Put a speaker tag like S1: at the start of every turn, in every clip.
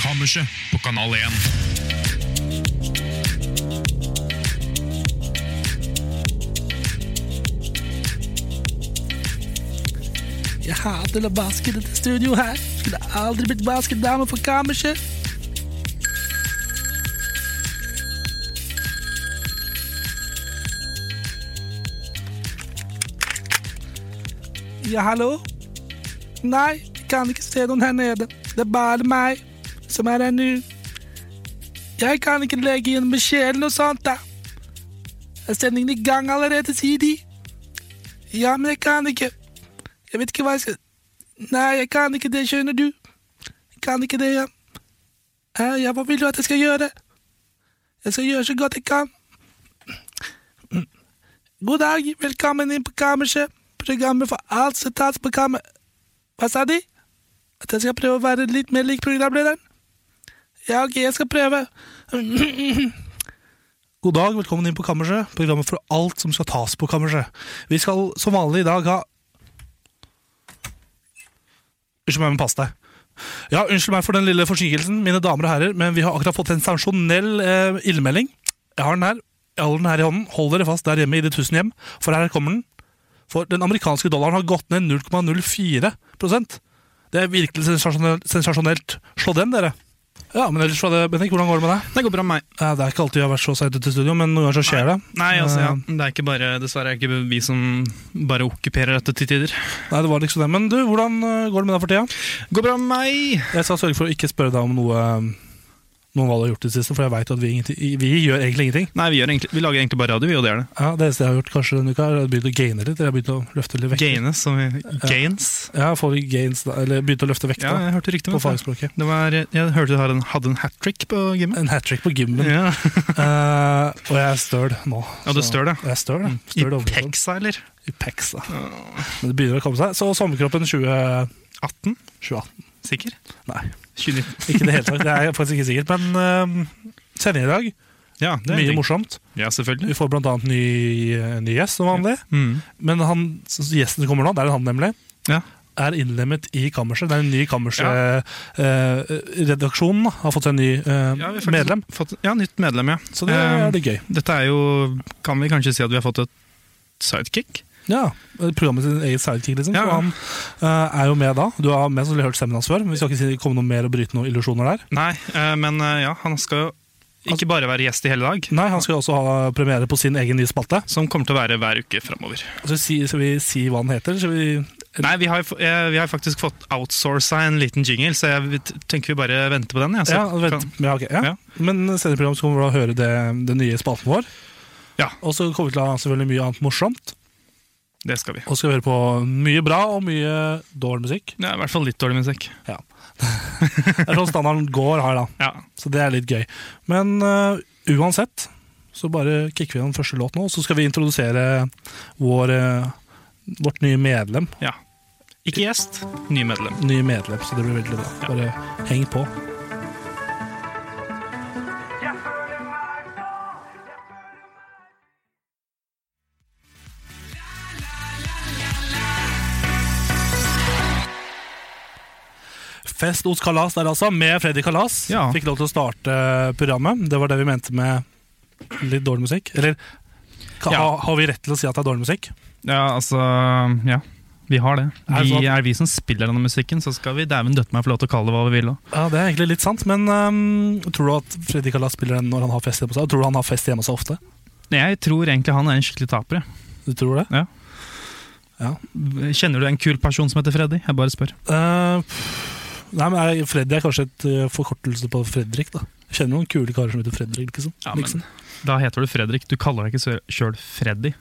S1: Kammerset på Kanal 1.
S2: Jeg hater å vaske dette studio her. Skulle aldri blitt vaskedame for kammerset. Ja, hallo? Nei, jeg kan ikke se noen her nede. Det er bare meg som er her nå. Jeg kan ikke legge igjen beskjed eller noe sånt, da. Er sendingen i gang allerede, sier de? Ja, men jeg kan ikke. Jeg vet ikke hva jeg skal Nei, jeg kan ikke det, skjønner du. Jeg kan ikke det, ja. Eh, Ja, hva vil du at jeg skal gjøre? Jeg skal gjøre så godt jeg kan. God dag, velkommen inn på kammerset. Programmet for alt som tas på kammer... Hva sa de? At jeg skal prøve å være litt mer lik programlederen? Ja, ok, jeg skal prøve. God dag, velkommen inn på kammerset. Programmet for alt som skal tas på kammerset. Vi skal som vanlig i dag ha Unnskyld meg, men pass deg. Ja, unnskyld meg for den lille forsinkelsen, mine damer og herrer, men vi har akkurat fått en sensasjonell eh, ildmelding. Jeg har den her. Jeg holder den her i hånden. Hold dere fast der hjemme i ditt tusen hjem, for her kommer den. For den amerikanske dollaren har gått ned 0,04 Det er virkelig sensasjonelt. sensasjonelt. Slå den, dere. Ja, men ellers var det, Bendik, hvordan går det med deg?
S3: Det går bra med meg.
S2: Eh, Det er ikke alltid jeg har vært så seint ute i studio, men noen ganger så skjer det.
S3: Nei, altså, ja.
S2: Eh,
S3: Det er ikke bare, dessverre er det ikke vi som bare okkuperer dette til tider.
S2: Nei, det var liksom det. Men du, hvordan eh, går det med deg for tida?
S3: Går bra med meg!
S2: Jeg skal sørge for å ikke spørre deg om noe noen hva du har gjort i det siste, for jeg veit at vi, ingenting- vi gjør egentlig ingenting.
S3: Nei, vi, gjør egentlig, vi lager egentlig bare radio, vi, og det er det.
S2: Ja, Det eneste jeg har gjort kanskje denne uka, er at jeg har begynt å gaine litt. Eller jeg har begynt å løfte litt vekt.
S3: Gaines, som vi Gains.
S2: Ja, får vi gains, da, eller begynt å løfte vekt,
S3: Ja,
S2: da,
S3: jeg hørte riktig med
S2: på
S3: det.
S2: fagspråket.
S3: det var, jeg hørte du hadde en, hadde en hat trick på gymmet.
S2: En hat trick på gymmen.
S3: Ja,
S2: Eh, og jeg er støl nå.
S3: ja du
S2: så-
S3: stør det.
S2: Jeg er støl, jeg.
S3: I
S2: Støl overkropp.
S3: Pexa, eller?
S2: sånn. I pecs, da. Men det begynner å komme seg. Så sommerkroppen 20...
S3: 18?
S2: 2018.
S3: Sikker?
S2: Nei,
S3: 2019.
S2: ikke i det hele tatt. Det er jeg faktisk ikke sikkert. Men uh, sending i dag,
S3: Ja, det er
S2: mye
S3: en ting.
S2: morsomt.
S3: Ja,
S2: Vi
S3: selvfølgelig.
S2: får blant annet ny, ny gjest, som vanlig.
S3: Mm.
S2: Men han, så gjesten som kommer nå, det er han nemlig,
S3: Ja.
S2: er innlemmet i kammerset. eh, Det er en ny kammerset-redaksjon. har fått seg en ny eh,
S3: Ja, vi har faktisk
S2: medlem.
S3: Fått, ja, nytt medlem, ja.
S2: Så det
S3: Eh,
S2: er litt gøy.
S3: Dette er jo Kan vi kanskje si at vi har fått et sidekick?
S2: Ja, Programmet sin eget sidekick, liksom.
S3: Ja.
S2: Så han eh, er jo med da. Du har med, så du har hørt stemmen hans før. Men vi skal ikke si det kommer noe mer og bryte noen illusjoner der.
S3: Nei, eh, men eh, ja, han skal jo ikke bare være gjest i hele dag.
S2: Nei, han skal jo også ha premiere på sin egen nye spalte.
S3: Som kommer til å være hver uke framover.
S2: Så si, skal vi si hva den heter? Skal vi
S3: Nei, vi har, eh, vi har faktisk fått outsourca en liten jingle, så jeg t- tenker vi bare venter på den. Ja, så
S2: ja, vent.
S3: Kan,
S2: ja, ok, ja.
S3: Ja.
S2: Men senere i programmet så kommer vi da å høre det, den nye spalten vår.
S3: Ja.
S2: Og så kommer vi til å ha selvfølgelig mye annet morsomt.
S3: det skal vi.
S2: Og skal høre på mye bra og mye dårlig musikk.
S3: Det er i hvert fall litt dårlig musikk.
S2: Det er sånn standarden går her, da.
S3: Ja,
S2: Så det er litt gøy. Men øh, uansett så bare kicker vi den første låt nå, og så skal vi introdusere vår, øh, vårt nye medlem.
S3: ja. Ikke gjest, ny medlem.
S2: Nye medlem, så det blir veldig bra. Bare heng på. Fest hos Kalas der altså, med Freddy Kalas.
S3: Ja.
S2: Fikk lov til å starte programmet. Det var det vi mente med litt dårlig musikk. Eller ka-
S3: Ja.
S2: ha, har vi rett til å si at det er dårlig musikk?
S3: Ja, altså Ja. Vi har det.
S2: Er det
S3: Vi
S2: sånn?
S3: er vi som spiller denne musikken, så skal vi dæven døtte meg få lov til å kalle det hva vi vil. da.
S2: Ja, Det er egentlig litt sant, men øhm, tror du at Freddy Kalas spiller den når han har fest hjemme hos seg? Og Tror du han har fest hjemme hos seg ofte?
S3: Jeg tror egentlig han er en skikkelig taper. jeg.
S2: Du tror det?
S3: Kjenner du en kul person som heter Freddy? Jeg bare spør.
S2: Eh, pff, nei, men er, Freddy er kanskje et eh, forkortelse på Fredrik, da. Jeg kjenner noen kule karer som heter Fredrik. Ikke sant?
S3: Ja, men-
S2: Liksom.
S3: Da heter du Fredrik. Du kaller deg ikke sjøl Freddy.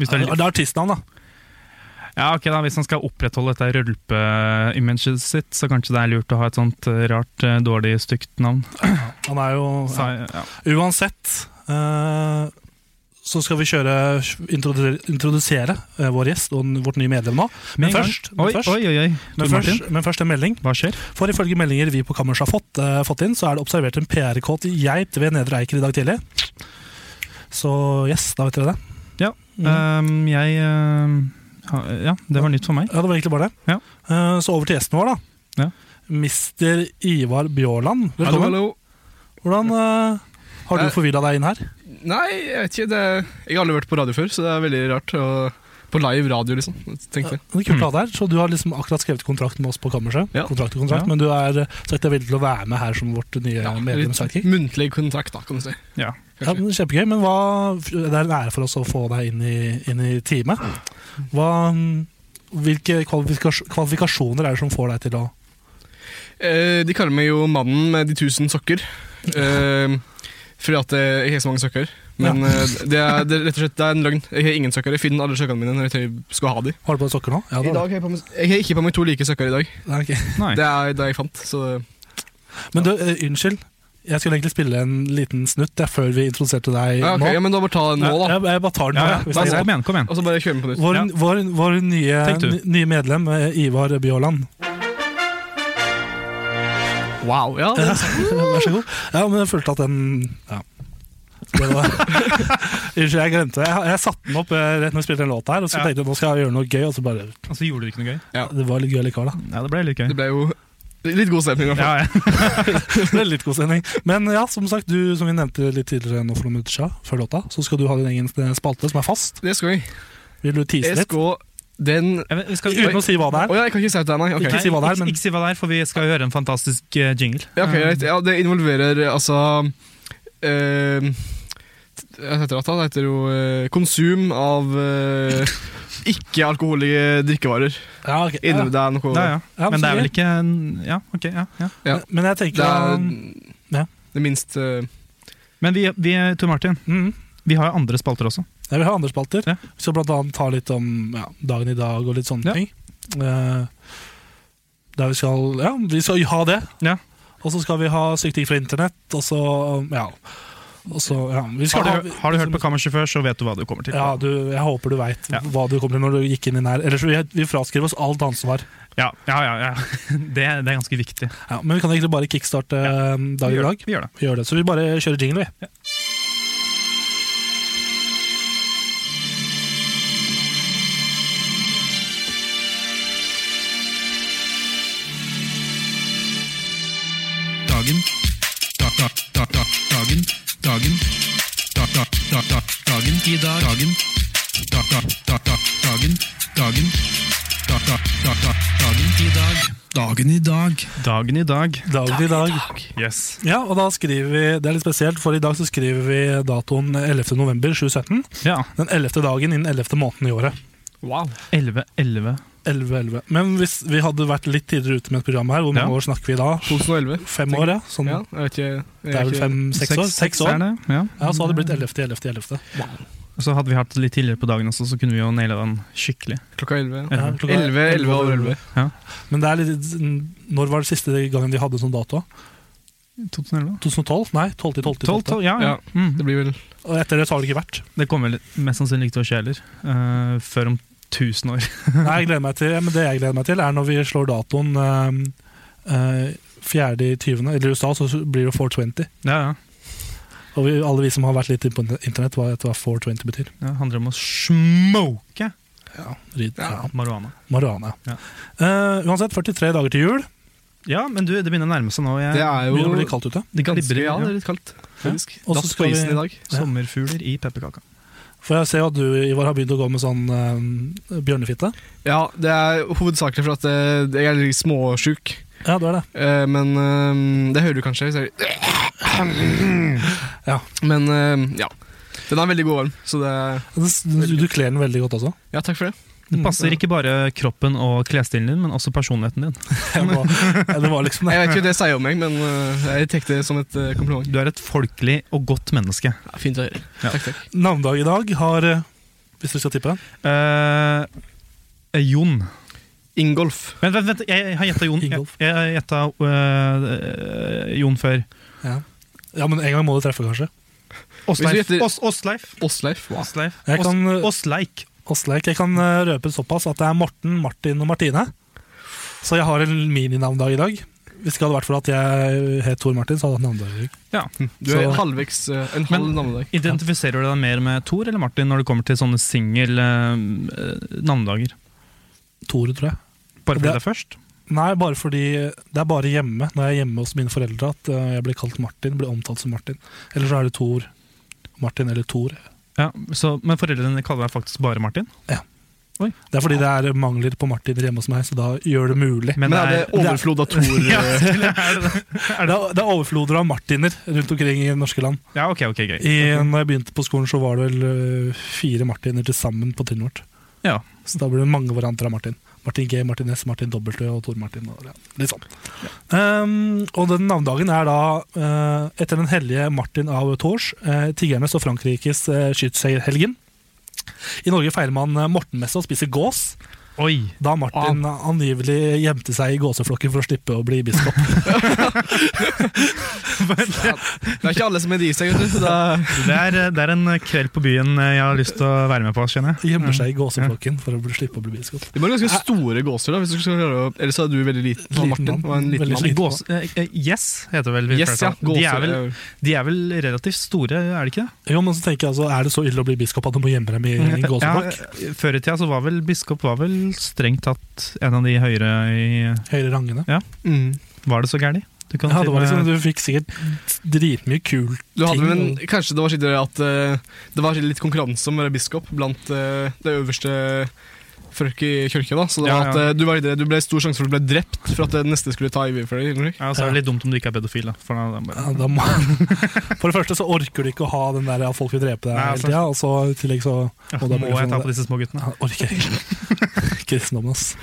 S3: Hvis du
S2: Ja,
S3: er,
S2: det er artistnavn, da.
S3: Ja, ok da, Hvis han skal opprettholde dette rølpe-imaget sitt, så kanskje det er lurt å ha et sånt eh, rart, eh, dårlig, stygt navn.
S2: Han er jo
S3: Sa jeg- ja.
S2: Uansett eh, så skal vi kjøre introdusere, introdusere eh, vår gjest og n- vårt nye medlem nå. Men
S3: Med en gang.
S2: først, men
S3: Oi,
S2: først,
S3: oi, oi, oi. Tor
S2: men,
S3: Martin,
S2: først, men først en melding.
S3: hva skjer?
S2: For ifølge meldinger vi på kammerset har fått, eh, fått inn, så er det observert en PR-kåt geit ved Nedre Eiker i dag tidlig. Så yes, da vet dere det.
S3: Ja,
S2: Mhm.
S3: Ehm, jeg eh, ha- Ja, det var nytt for meg.
S2: Ja, det var egentlig bare det.
S3: Ja.
S2: Eh, så over til gjesten vår, da.
S3: Ja.
S2: Mister Ivar Bjåland, velkommen. Hvordan eh, har
S4: Eh,
S2: du forvilla deg inn her?
S4: Nei, jeg vet ikke. Det, jeg har aldri vært på radio før, så det er veldig rart. Og på live radio, liksom. tenkte jeg.
S2: Det er kult å ha deg her, så Du har liksom akkurat skrevet kontrakt med oss på Kammerset,
S4: Ja.
S2: kontrakt og kontrakt,
S3: Ja.
S2: men du er eh, sagt deg villig til å være med her som vårt nye
S4: Ja,
S2: medlem.
S4: litt sånn
S2: sidekick.
S4: muntlig kontakt, da, kan du si.
S3: Ja.
S2: Ja, men kjempegøy, men hva, det er en ære for oss å få deg inn i, inn i teamet. Hva, mm, hvilke kvalifikas kvalifikasjoner er det som får deg til å
S4: Eh, de kaller meg jo mannen med de tusen sokker. Eh, fordi at eh, jeg har så mange sokker. Men eh, det, er, det, er rett og slett, det er en løgn. Jeg har ingen sokker. Jeg finner alle sokkene mine når jeg skal ha de.
S2: Har du på deg sokker nå? Ja, det
S4: I
S2: har
S4: dag har jeg, på meg, jeg har ikke på meg to like sokker i dag.
S2: du. Nei, ok.
S3: Nei.
S4: Det er det jeg fant. Så
S2: Men du, eh, unnskyld. Jeg skulle egentlig spille en liten snutt jeg, før vi introduserte deg
S4: ja, ok,
S2: nå.
S4: ja, men da bare ta den nå, da.
S2: Jeg, jeg bare tar den
S3: Ja,
S2: nå,
S3: ja,
S2: jeg, hvis
S3: da-
S2: det er greit.
S3: kom igjen, kom igjen.
S4: Og så bare kjøre den på nytt.
S2: Vår,
S3: Ja.
S2: vår, vår nye,
S3: Tenk du.
S2: n- nye medlem, eh, Ivar Bjåland.
S4: Wow, ja, det,
S2: Vær så god. Ja, men jeg følte at den Ja. Det var Unnskyld, jeg glemte det. Jeg, jeg satte den opp eh, rett når jeg spilte den låta her, og så
S3: Ja.
S2: tenkte jeg nå skal jeg gjøre noe gøy, og så bare
S3: Og så gjorde du ikke noe gøy?
S2: Det var litt gøy likevel, da.
S3: Ja, det ble litt gøy.
S4: det ble jo litt god stemning, i hvert fall.
S3: Ja, ja.
S2: Det ble litt god sending. Men ja, som sagt, du, som vi nevnte litt tidligere nå for noen minutter siden, før låta, så skal du ha din egen eh, spalte som er fast.
S4: Det skal jeg.
S2: Vil du tease
S4: Jeg
S2: litt?
S4: skal den
S3: Jeg vet- vi skal-
S2: Uten å si hva det
S4: Å
S2: er.
S4: ja, jeg kan ikke si det, nei. ok.
S2: Ikke si hva det er,
S3: Nei,
S2: men-
S3: ikke, ikke si hva det er, for vi skal høre en fantastisk eh, jingle.
S4: Ja, ok, greit. Ja, det involverer altså eh, Hva heter det? da? Det heter jo eh, konsum av eh, ikke-alkoholige drikkevarer.
S2: Ja, ok.
S4: Inni
S2: Ja.
S4: det er noe
S3: Ja, ja.
S2: Ja,
S3: Men det er vel
S2: så gøy.
S3: ikke en- Ja, ok. Ja, ja.
S4: ja.
S2: Men jeg tenker
S4: Det er
S2: Ja.
S4: det minst eh,
S3: Men vi, vi Tor Martin,
S2: mm,
S3: vi har jo andre spalter også.
S2: Jeg vil ha andre spalter.
S3: Ja.
S2: Vi skal blant annet ta litt om ja, dagen i dag og litt sånne
S3: Ja.
S2: ting. Eh, der vi skal Ja, vi skal ha det.
S3: Ja.
S2: Og så skal vi ha sykt ting fra internett, og så Ja. Og så, ja vi skal
S3: Har du,
S2: ha,
S3: har du hørt på Kammerset før, så vet du hva du kommer til.
S2: ja, du, jeg håper du veit
S3: Ja.
S2: hva du kommer til når du gikk inn i den her. Ellers vi, vi fraskriver oss alt ansvar.
S3: ja, ja, ja, ja. Det, det er ganske viktig.
S2: Ja, men vi kan egentlig bare kickstarte eh,
S3: Vi
S2: dagen i
S3: gjør,
S2: dag.
S3: det, vi gjør det.
S2: Vi gjør det, Så vi bare kjører jingle, vi.
S1: Dagen. Da, da, da, da, dagen. Dagen. Da, da, da, da, dagen. I dag. Dagen. Da, da, da, da, dagen. Dagen. Da, da, da, da, dagen. I dag. Dagen i dag.
S3: Dagen i dag.
S2: Dagen i dag.
S3: Yes.
S2: Ja, og da skriver vi, Det er litt spesielt, for i dag så skriver vi datoen 11.11.2017.
S3: Ja.
S2: Den 11. dagen innen 11. måneden i året.
S4: Wow.
S3: 11, 11.
S2: 11-11. Men hvis vi hadde vært litt tidligere ute med et program her, hvor mange
S3: Ja.
S2: år snakker vi da?
S4: 2011.
S2: Fem år, ja? Sånn,
S4: Ja, jeg vet ikke jeg
S2: Det er vel
S4: ikke-
S2: fem-seks år? Seks
S3: er
S2: år.
S3: det. Ja.
S2: Ja, så hadde det blitt 11.11.11.
S3: Så hadde vi hatt det litt tidligere på dagen også, så kunne vi jo naila den skikkelig.
S4: Klokka 11.
S2: Ja,
S3: Ja.
S2: klokka
S4: 11, 11 over 11.
S2: Men det er litt Når var det siste gangen de hadde sånn dato?
S3: 2011?
S2: 2012? Nei, 12 12.
S3: 12, 12, ja, ja.
S4: Ja. Det
S3: Mm.
S4: blir vel
S2: Og etter det så har det ikke vært.
S3: Det kommer vel mest sannsynlig ikke til å skje heller. eh, før om 1000 år.
S2: Nei, jeg gleder meg til, men Det jeg gleder meg til, er når vi slår datoen um, uh, 4.20. Eller i USA så blir det 420.
S3: Ja, ja.
S2: Og vi, alle vi som har vært litt inn på internett, vet hva 420 betyr.
S3: Det handler om å smoke
S2: Ja, Rid, ja.
S3: marihuana.
S2: Marihuana.
S3: Ja.
S2: Eh, uansett, 43 dager til jul.
S3: Ja, men du, det begynner å nærme seg nå. Jeg,
S4: Det er
S2: Begynner å
S4: jo
S2: bli kaldt ute.
S3: det
S4: ganske
S3: glibrer,
S4: Ja, det
S3: ja.
S4: er litt kaldt, faktisk.
S2: Og så
S4: Datt
S2: skal
S4: på
S2: vi-
S4: isen i dag.
S3: Sommerfugler i pepperkaka.
S2: For jeg ser jo at du, Ivar, har begynt å gå med sånn eh, bjørnefitte.
S4: Ja, det er hovedsakelig for at eh, jeg er litt småsjuk.
S2: Ja, du er det.
S4: Eh, men eh, det hører du kanskje. hvis jeg-
S2: Ja.
S4: Men eh, ja. Den er veldig god varm, så det
S2: Du, du kler den veldig godt også. Mm.
S4: Ja, takk for det.
S3: Det passer ikke bare kroppen og klesstilen din, men også personligheten din.
S2: Jeg må- ja, det var liksom
S4: Jeg vet ikke hva det sier om meg, men eh, jeg tar det som et eh, kompliment.
S3: Du er et folkelig og godt menneske.
S4: Ja, fint å høre.
S3: Ja.
S4: Takk, takk.
S2: Navnedag i dag har eh, Hvis du skal tippe?
S3: Eh, Eh, Jon.
S4: Ingolf.
S3: Vent, vent, vent. jeg har gjetta Jon. Jeg,
S2: Ingolf.
S3: jeg gjetta eh, Jon før.
S2: Ja. ja, men en gang må du treffe, kanskje.
S4: Hvis
S3: Åsleif.
S4: du gjetter-
S3: Ås- Åsleif.
S4: Åsleif. Wow.
S3: Åsleif.
S2: Jeg kan,
S3: Ås- Åsleik.
S2: Åsleik, jeg kan eh, røpe såpass at det er Morten, Martin og Martine. Så jeg har en mininavndag i dag. Hvis det ikke hadde vært for at jeg het Tor Martin, så hadde jeg hatt navnedag i dag.
S4: Du er
S2: Så-
S4: halvveis eh, en halv
S3: Men-
S4: navnedag.
S3: Identifiserer du deg mer med Thor eller Martin når det kommer til sånne singel eh, navnedager?
S2: Tor, tror jeg.
S3: Bare fordi
S2: Det-
S3: det er først?
S2: Nei, bare fordi det er bare hjemme, når jeg er hjemme hos mine foreldre, at eh, jeg blir kalt Martin, blir omtalt som Martin. Eller så er det Tor Martin eller Tor.
S3: Ja, så, Men foreldrene kaller deg faktisk bare Martin?
S2: Det er fordi det er mangler på Martin hjemme hos meg, så da gjør det mulig.
S4: Men er det overflod av Thor?
S3: ja,
S4: eh,
S3: er det,
S2: Det er, det er overfloder av Martiner rundt omkring i norske land.
S3: ja, ok, ok, greit.
S2: I, når jeg begynte på skolen, så var det vel øh, fire Martiner til sammen på trinnet vårt.
S3: Ja.
S2: Så da blir det mange varianter av Martin. Martin G, Martin S, Martin W og Tor Martin. Og, ja, litt sånn. Um, og den navnedagen er da eh, etter den hellige Martin av Tours, eh, tiggernes og Frankrikes uh, skytshelgen. I Norge feirer man eh, Mortenmesse og spiser gås,
S3: Oi!
S2: da Martin angivelig gjemte seg i gåseflokken for å slippe å bli biskop.
S4: Det er ikke alle som er de seg, vet du. Det er,
S3: Det er, eh, det er en kveld på byen eh, jeg har lyst til å være med på, skjønner jeg.
S2: Gjemmer seg i gåseflokken for å bli, slippe å bli biskop.
S4: det var ganske store gåser, da. Hvis du skal klare å, ellers er du veldig liten.
S2: Liten
S4: Martin
S2: mann.
S4: var en liten
S2: Veldig
S4: mann.
S2: liten.
S3: Gås, eh, eh, yes, heter vel vi
S4: Yes, ja.
S3: flertall. de, er
S4: gåser,
S3: vel,
S4: eh,
S3: de er vel relativt store, er de ikke det?
S2: Jo, men så tenker jeg altså, Er det så ille å bli biskop at du må gjemme dem i
S3: Mm,
S2: en gåseflokk?
S3: Ja, eh, før i tida så var vel biskop var vel strengt tatt en av de høyere i
S2: Høyere rangene.
S4: mm.
S3: Var det så gærent? Du kan
S2: Ja,
S3: til
S2: det
S3: og
S2: var
S3: med-
S2: liksom, du fikk sikkert dritmye kult.
S4: Du hadde
S2: Ting
S4: vel
S2: og-
S4: en, Kanskje det var skikkelig at eh, det var skikkelig litt konkurranse om å være biskop blant eh, det øverste folk i kirka. da Så det
S3: Ja,
S4: var at
S3: ja.
S4: eh, du var redd, du ble stor sjanse for at du ble drept for at det neste skulle ta IV for deg. eller noe.
S3: ja, så er det litt dumt om du ikke er pedofil, da. For da, da
S2: Ja,
S3: bare,
S2: da må, for det første så orker du ikke å ha den der at folk vil drepe
S3: Nei,
S2: deg hele
S3: altså.
S2: tida, og så i tillegg så
S3: ja,
S2: og da blir
S3: må
S2: det
S3: jeg
S2: sånn
S3: ta
S2: det-
S3: på disse små guttene?
S2: ja, orker jeg ikke. Kristendommen, ass.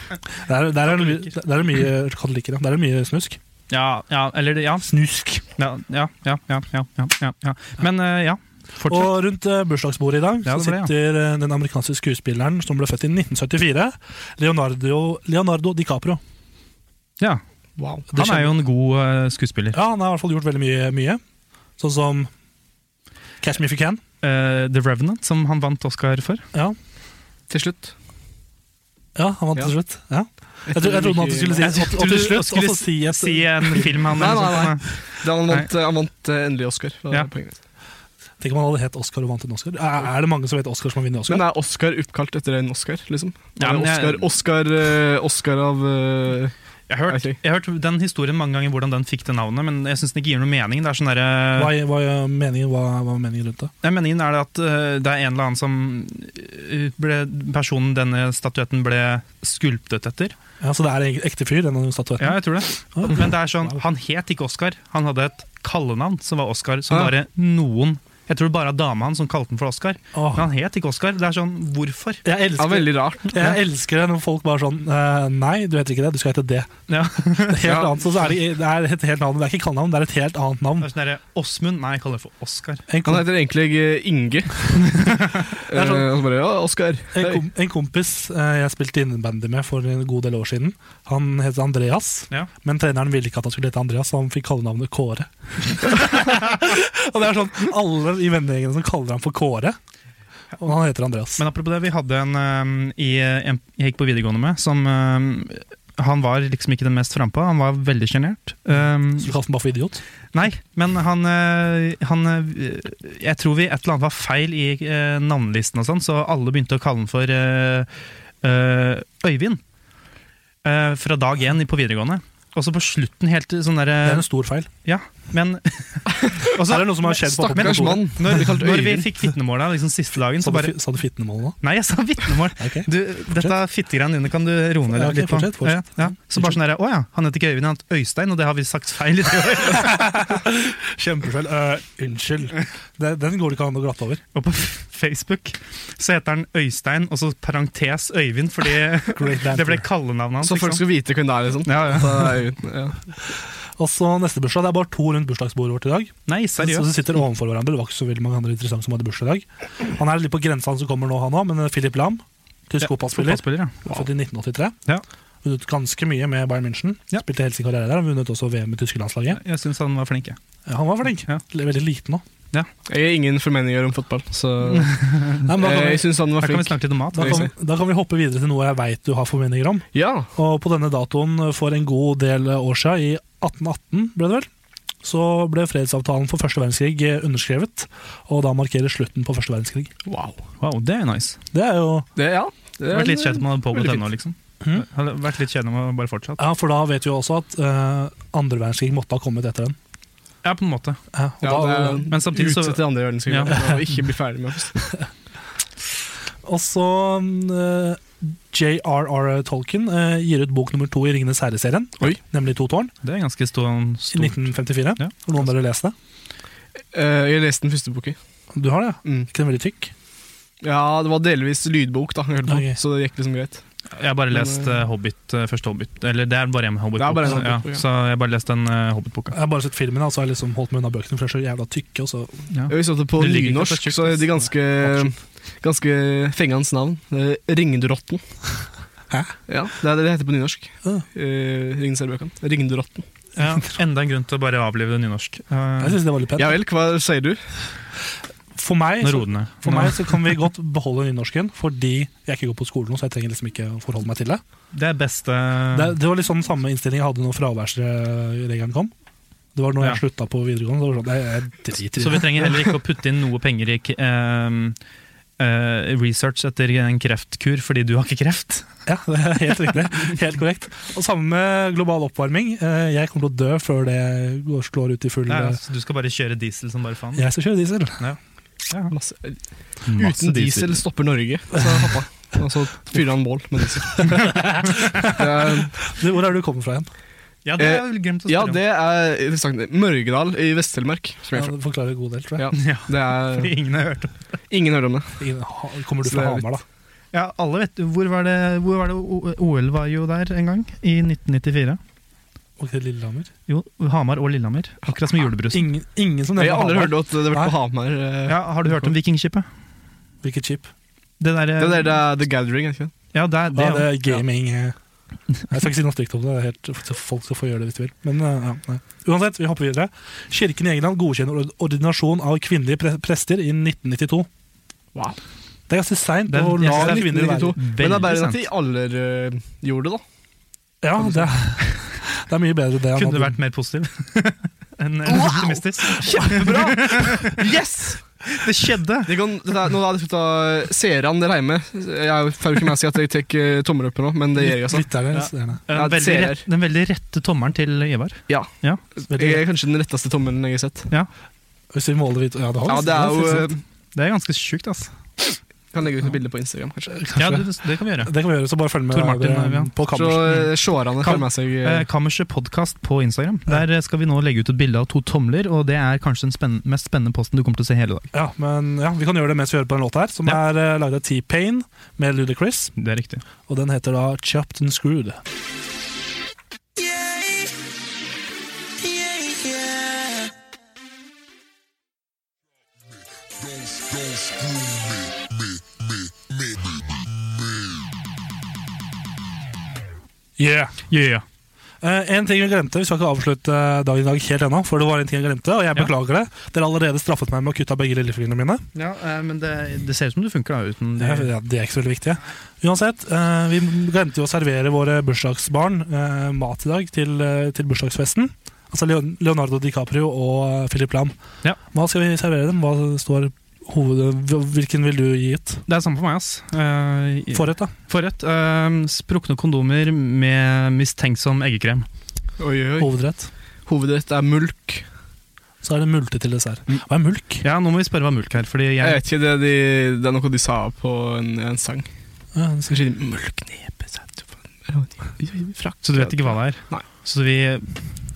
S2: Der, der, er det, mye- der er det mye katolikker, ja. Der er det mye snusk.
S3: Ja, ja, eller ja.
S2: Snusk.
S3: Ja, ja, ja, ja, ja, ja, ja, ja. Men eh, ja, fortsett.
S2: Og rundt eh, bursdagsbordet i dag
S3: Ja, det
S2: så
S3: ble, ja.
S2: sitter eh, den amerikanske skuespilleren som ble født i 1974, Leonardo, Leonardo DiCaprio.
S3: Ja,
S4: Wow.
S3: han er jo en god eh, skuespiller.
S2: Ja, han har i hvert fall gjort veldig mye, mye. Sånn som Catch Me If You Can.
S3: Eh, The Revenant, som han vant Oscar for.
S2: Ja,
S4: Til slutt.
S2: ja han vant
S4: Ja.
S2: til slutt. Ja. Jeg, tro, jeg trodde han skulle si
S3: Jeg
S2: at, at
S3: trodde
S2: til
S3: du
S2: slutt,
S3: skulle
S2: og så si et
S3: Si en film han sånn.
S4: Nei, nei, nei.
S3: sånt.
S4: Det, han vant, eh, han vant eh, endelig Oscar. var
S3: Ja.
S4: det poenget.
S2: Tenk om han hadde hett Oscar og vant en Oscar. Er, er det mange som vet Oscar som har vunnet Oscar?
S4: Men er Oscar oppkalt etter en Oscar? liksom?
S3: Ja, men jeg-
S4: Oscar, Oscar, eh, Oscar av eh,
S3: Jeg har hørt-
S4: Ok.
S3: jeg har hørt den historien mange ganger, hvordan den fikk det navnet, men jeg syns den ikke gir noe mening. Det er sånn
S2: Hva,
S3: derre
S2: hva, er meningen, hva, hva er meningen rundt det?
S3: Nei, Meningen er det at eh, det er en eller annen som eh, ble, Personen denne statuetten ble skulptet etter.
S2: Ja, Så det er en ekte fyr, denne statuetten?
S3: Ja, jeg tror det. Men det er sånn, han het ikke Oscar. Han hadde et kallenavn som var Oscar, som
S4: Ah.
S3: bare noen Jeg tror bare dama hans som kalte han for Oscar.
S2: Åh.
S3: Men han het ikke Oscar. Det er sånn, hvorfor?
S2: Jeg
S4: ja,
S2: elsker,
S4: Veldig rart.
S2: jeg elsker det når folk bare sånn eh, Nei, du heter ikke det, du skal hete det.
S3: Ja.
S2: Det er, helt
S4: Ja.
S2: annet, så så er det, det er et helt navn, det er ikke kallenavn, det er et helt annet navn.
S3: Det er sånn derre Åsmund Nei, jeg kaller det for Oscar.
S2: En,
S4: Han
S2: kom,
S4: heter egentlig eh, Inge. Eh, Og så bare ja,
S2: en,
S4: Oscar. Hei.
S2: kom, en kompis eh, jeg spilte innebandy med for en god del år siden, han het Andreas.
S3: Ja.
S2: Men treneren ville ikke at han skulle hete Andreas, så han fikk kallenavnet Kåre. og det er sånn, Alle i vennegjengen som kaller ham for Kåre, og han heter Andreas.
S3: Men apropos det, vi hadde en, øhm, i, en jeg gikk på videregående med, som øhm, han var liksom ikke den mest frampå, han var veldig sjenert. Øhm,
S2: så du kalte han bare for idiot?
S3: nei, men han, øh, han øh, Jeg tror vi et eller annet var feil i øh, navnelisten, og sånn, så alle begynte å kalle han for øh, øh, Øyvind. Øh, fra dag én på videregående. Og så på slutten helt til sånn
S2: Det er
S3: derre
S2: en stor feil.
S3: Ja, men og så-
S2: er det noe som har skjedd på
S4: Stakkars
S2: kontoret?
S4: mann.
S3: Når,
S4: Blir kalt
S3: når vi
S4: Øyvind.
S3: fikk vitnemåla liksom, siste dagen,
S2: Sa
S3: så
S2: du,
S3: bare
S2: fi- sa du fitnemål nå?
S3: Nei, jeg sa vitnemål.
S2: Ok.
S3: Du, dette fittegreiene dine kan du roe ned
S2: Ja, ok,
S3: litt på.
S2: fortsett, fortsett.
S3: Ja, ja. Så bare sånn der, Å ja, han heter ikke Øyvind, han heter Øystein, og det har vi sagt feil. i tre år.
S2: Kjempefeil.
S3: Eh,
S2: Øh, unnskyld. Det, den går det ikke an å glatte over.
S3: Og på Facebook så heter han Øystein, og så parentes Øyvind, fordi
S2: Great
S3: det ble
S2: dancer.
S3: kallenavnet hans.
S4: Så folk
S3: ikke sant?
S4: skal vite hvem det er, liksom.
S3: ja, ja.
S4: Så det er Øyvind, ja.
S2: Og så neste bursdag. Det er bare to rundt bursdagsbordet vårt i dag.
S3: Nei,
S2: Så
S3: seriøst.
S2: de sitter overfor hverandre. Det var ikke så veldig mange andre interessante som hadde bursdag i dag. Han er litt på grensa, han som kommer nå, han òg, men eh, Philip Lam Tysk fotballspiller.
S3: Fotballspiller, ja.
S2: Født i 1983.
S3: Ja.
S2: Vunnet ganske mye med Bayern München.
S3: Ja.
S2: Spilte hele sin karriere der. og Vunnet også VM med tyske landslaget.
S3: Jeg syns han var flink, jeg.
S2: Han var flink.
S3: Ja.
S2: Veldig liten nå.
S4: Jeg har ingen formeninger om fotball, så eh,
S2: Nei, men
S3: Eh,
S2: da, kan
S4: jeg
S2: vi,
S4: syns han var
S3: Her kan vi
S4: flink.
S3: snakke litt om mat.
S2: da, kan, vi- da kan vi hoppe videre til noe jeg veit du har formeninger om.
S4: Ja,
S2: Og på denne datoen for en god del år siden, i 1818 ble det vel, så ble fredsavtalen for første verdenskrig eh, underskrevet. Og da markerer slutten på første verdenskrig.
S4: wow.
S3: Wow, det er nice.
S2: Det er jo
S4: Det, ja. Det
S3: Det
S4: er-
S3: hadde vært litt kjedelig om han hadde pågått
S4: Veldig
S3: ennå, liksom.
S2: Mhm.
S3: Hadde vært litt kjedelig om han bare fortsatt.
S2: Ja, for da vet vi jo også at eh, andre verdenskrig måtte ha kommet etter den.
S3: Ja, på en måte.
S2: Ja, og,
S4: Ja,
S2: da,
S4: det er-
S3: Men samtidig så
S4: Utsette andre verdenskrig
S3: Ja.
S4: og ikke bli ferdig med oss.
S2: og så eh, J.R.R. Tolkien eh, gir ut bok nummer to i Ringenes herre-serien,
S4: Oi.
S2: nemlig To tårn,
S3: Det er ganske stor,
S2: i
S3: stor
S2: 1954.
S3: Ja.
S2: Har Noen av dere lest det?
S4: Eh, jeg leste den første boka.
S2: Du har det, ja?
S4: Mm.
S2: Ikke den veldig tykk?
S4: Ja, det var delvis lydbok, da, jeg hørte på,
S2: Ok.
S4: så det gikk liksom greit.
S3: Jeg har bare lest eh, Hobbit, eh, første Hobbit. Eller det er bare en
S4: Det er
S3: Hobbit-bok.
S4: bare en
S3: så- ja.
S4: Hobbit-bok, ja.
S3: Så jeg har bare lest den eh, Hobbit-boka.
S2: Jeg har bare sett filmen, altså jeg har liksom holdt meg unna bøkene, for de er så jævla tykke. Og så,
S4: Jeg visste at det På
S3: Det ligger ikke så
S4: nynorsk
S3: tjukt,
S4: så er de ganske,
S2: Absolutt.
S4: ganske fengende navn. Eh, Ringdrotten.
S2: Hæ?
S4: Ja, Det er det det heter på nynorsk.
S2: Ah.
S4: Eh, Ringneserbøkene. Ringdrotten.
S3: Ja, enda en grunn til å bare avlive det nynorsk.
S2: jeg
S3: Uh,
S2: synes det var litt pent.
S4: Ja vel, hva sier du?
S2: For meg,
S3: Nå
S2: så,
S3: roer den ned.
S2: for meg så kan vi godt beholde nynorsken, fordi jeg ikke går på skole nå, så jeg trenger liksom ikke å forholde meg til det.
S3: Det er eh, beste
S2: Det, det var liksom samme innstilling jeg hadde når fraværsregelen kom. Det var når jeg
S3: Ja.
S2: slutta på videregående. Så var det sånn, jeg, jeg driter
S3: Så
S2: i
S3: vi
S2: det.
S3: trenger heller ikke å putte inn noe penger i k- ehm, eh, research etter en kreftkur, fordi du har ikke kreft.
S2: Ja, det er helt riktig. Helt korrekt. Og samme med global oppvarming. Eh, Jeg kommer til å dø før det går, slår ut i full
S3: Nei,
S2: eh,
S3: altså, du skal bare kjøre diesel som bare
S4: sånn.
S3: faen.
S2: Jeg skal kjøre diesel.
S4: Masse,
S3: Masse
S4: uten diesel stopper Norge, sa pappa. Og så Altså, fyrer han bål med diesel. det er,
S2: Du, Hvor er du kommet fra igjen?
S3: Ja, det er vel glemt å
S4: Eh, ja,
S3: spørre om.
S4: det er interessant. Mørgedal i Vest-Telemark. som
S2: Ja,
S4: jeg er fra.
S2: det forklarer en god del, tror jeg.
S4: Ja.
S3: Ja,
S4: Det er,
S3: fordi ingen har hørt om
S4: ingen hører om det.
S2: Ingen- ha- Kommer du
S4: Så
S2: fra
S4: det er litt-
S2: Hamar, da?
S3: Ja, alle vet jo, Hvor var det, hvor var det O- OL var jo der en gang? I 1994.
S2: Og til Lillehammer?
S3: Jo, Hamar og Lillehammer. Akkurat som julebrusen.
S2: Ingen, ingen som
S4: Jeg
S2: nevner
S4: har aldri
S2: Hamar.
S4: hørt at det har vært på Hamar. eh.
S3: Ja, har du hørt om Vikingskipet?
S2: Hvilket chip?
S3: Det der,
S4: Det der det er The Gathering, er det ikke det?
S3: Ja, det, er- det,
S2: Ja, det er gaming eh. Jeg skal ikke si noe stygt om det. det er helt, så folk skal få gjøre det hvis de vil. Men eh, ja, nei. Uansett, vi hopper videre. Kirken i England godkjenner ord- ordinasjon av kvinnelige pre prester i 1992.
S4: Wow.
S2: Det er ganske seint
S3: Det er-
S2: å la
S3: jeg synes det er
S2: kvinner være
S4: 1992. Men det er
S3: Veldig
S4: bedre enn
S3: sant.
S4: at de aller øh, gjorde det, da.
S2: Ja, det er, det er mye bedre det enn
S3: Kunne du
S2: at
S3: vært mer positiv? Enn enn optimistisk?
S4: Kjempebra! Yes!
S3: Det skjedde!
S4: Det kan, dette, er- nå har jeg slutta seerne der hjemme. Jeg får jo ikke med seg at jeg tar eh, tommel opp nå, men det gjør jeg.
S2: lytterne
S4: altså.
S2: seerne.
S4: Ja,
S3: Den
S4: det
S3: veldig,
S4: ser jeg.
S3: rett, den veldig rette tommelen til Ivar.
S2: Veldig-
S4: Jeg er kanskje den retteste tommelen jeg har sett.
S2: Hvis vi måler vidt Ja, det
S4: Ja,
S2: holder.
S4: det er jo
S2: det
S4: eh,
S3: Det er ganske sjukt, altså.
S4: Kan legge ut et bilde på Instagram, kanskje.
S2: Kanskje.
S3: Ja, det, det kan vi gjøre.
S2: det kan vi gjøre, så bare følg med
S3: Tor Martin,
S2: eh,
S3: ja.
S2: på
S4: Så
S2: kammerset.
S4: eh, seerne
S3: Kam-
S4: får med seg eh,
S3: Eh, Kammerset podkast på Instagram. Der eh, skal vi nå legge ut et bilde av to tomler, og det er kanskje den spenn- mest spennende posten du kommer til å se hele dag.
S2: Ja, men ja, vi kan gjøre det mens vi hører på en låt her, som
S3: Ja.
S2: er uh, lagd av T-Pain med Ludacris.
S3: Det er riktig.
S2: Og den heter da Chopped and Screwed. Yeah.
S3: Yeah.
S2: Eh, en ting vi glemte, Vi skal ikke avslutte eh, dagen i dag helt ennå, for det var en ting jeg glemte, og jeg
S3: Ja.
S2: beklager det. Dere har allerede straffet meg med å kutte av begge lillefingrene mine.
S3: Ja, eh, men det, det ser ut som det funker, da. Uten
S2: Det er, ja, det er ikke så veldig viktig. Uansett, eh, vi glemte jo å servere våre bursdagsbarn eh, mat i dag til, eh, til bursdagsfesten. Altså Leon- Leonardo DiCaprio og eh, Philip Lam.
S3: Ja.
S2: Hva skal vi servere dem? Hva står hoved, Hvilken vil du gi ut?
S3: det er samme for meg, ass. Eh,
S2: Forrett, da.
S3: Forrett. eh, sprukne kondomer med mistenksom eggekrem.
S4: Oi, oi, oi.
S2: Hovedrett.
S4: Hovedrett er mulk.
S2: Så er det multe til dessert.
S3: Mm.
S2: Hva er mulk?
S3: Ja, nå må vi spørre hva mulk er, fordi
S4: Jeg
S3: jeg
S4: vet ikke, det, er de, det er noe de sa på en, en sang.
S2: Ja, det skal-
S4: Kanskje de mulknepe seg til- Frakk.
S3: Så du vet ikke hva det er?
S4: Nei.
S3: Så vi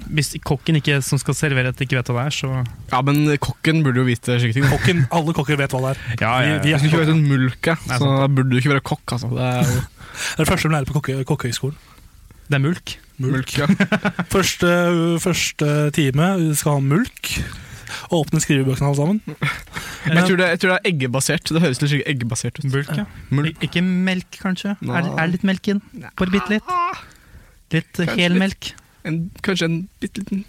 S3: Hvis kokken ikke, som skal servere dette, ikke vet hva det er, så
S4: Ja, men kokken burde jo vite slike ting.
S2: Kokken, alle kokker vet hva det er.
S3: Ja,
S2: ja, ja.
S4: Jeg skulle ikke vært en mulk, jeg.
S3: Nei,
S4: så da burde du ikke være kokk. altså. Det er jo
S2: Det er det første de lærer på kokke, kokkehøgskolen.
S3: Det er mulk.
S4: mulk, ja.
S2: Første, første time skal ha mulk. Åpne skrivebøkene alle sammen.
S4: Jeg tror, det, jeg tror det er eggebasert. Det høres litt skikkelig eggebasert ut.
S3: Bulk, ja.
S4: Mulk.
S3: Ik- Ikke melk, kanskje?
S4: Nei.
S3: Er, er litt melk inn? Bare bitte litt? Litt eh,
S4: Kanskje
S3: hel
S4: litt.
S3: melk?
S4: En, kanskje en bitte liten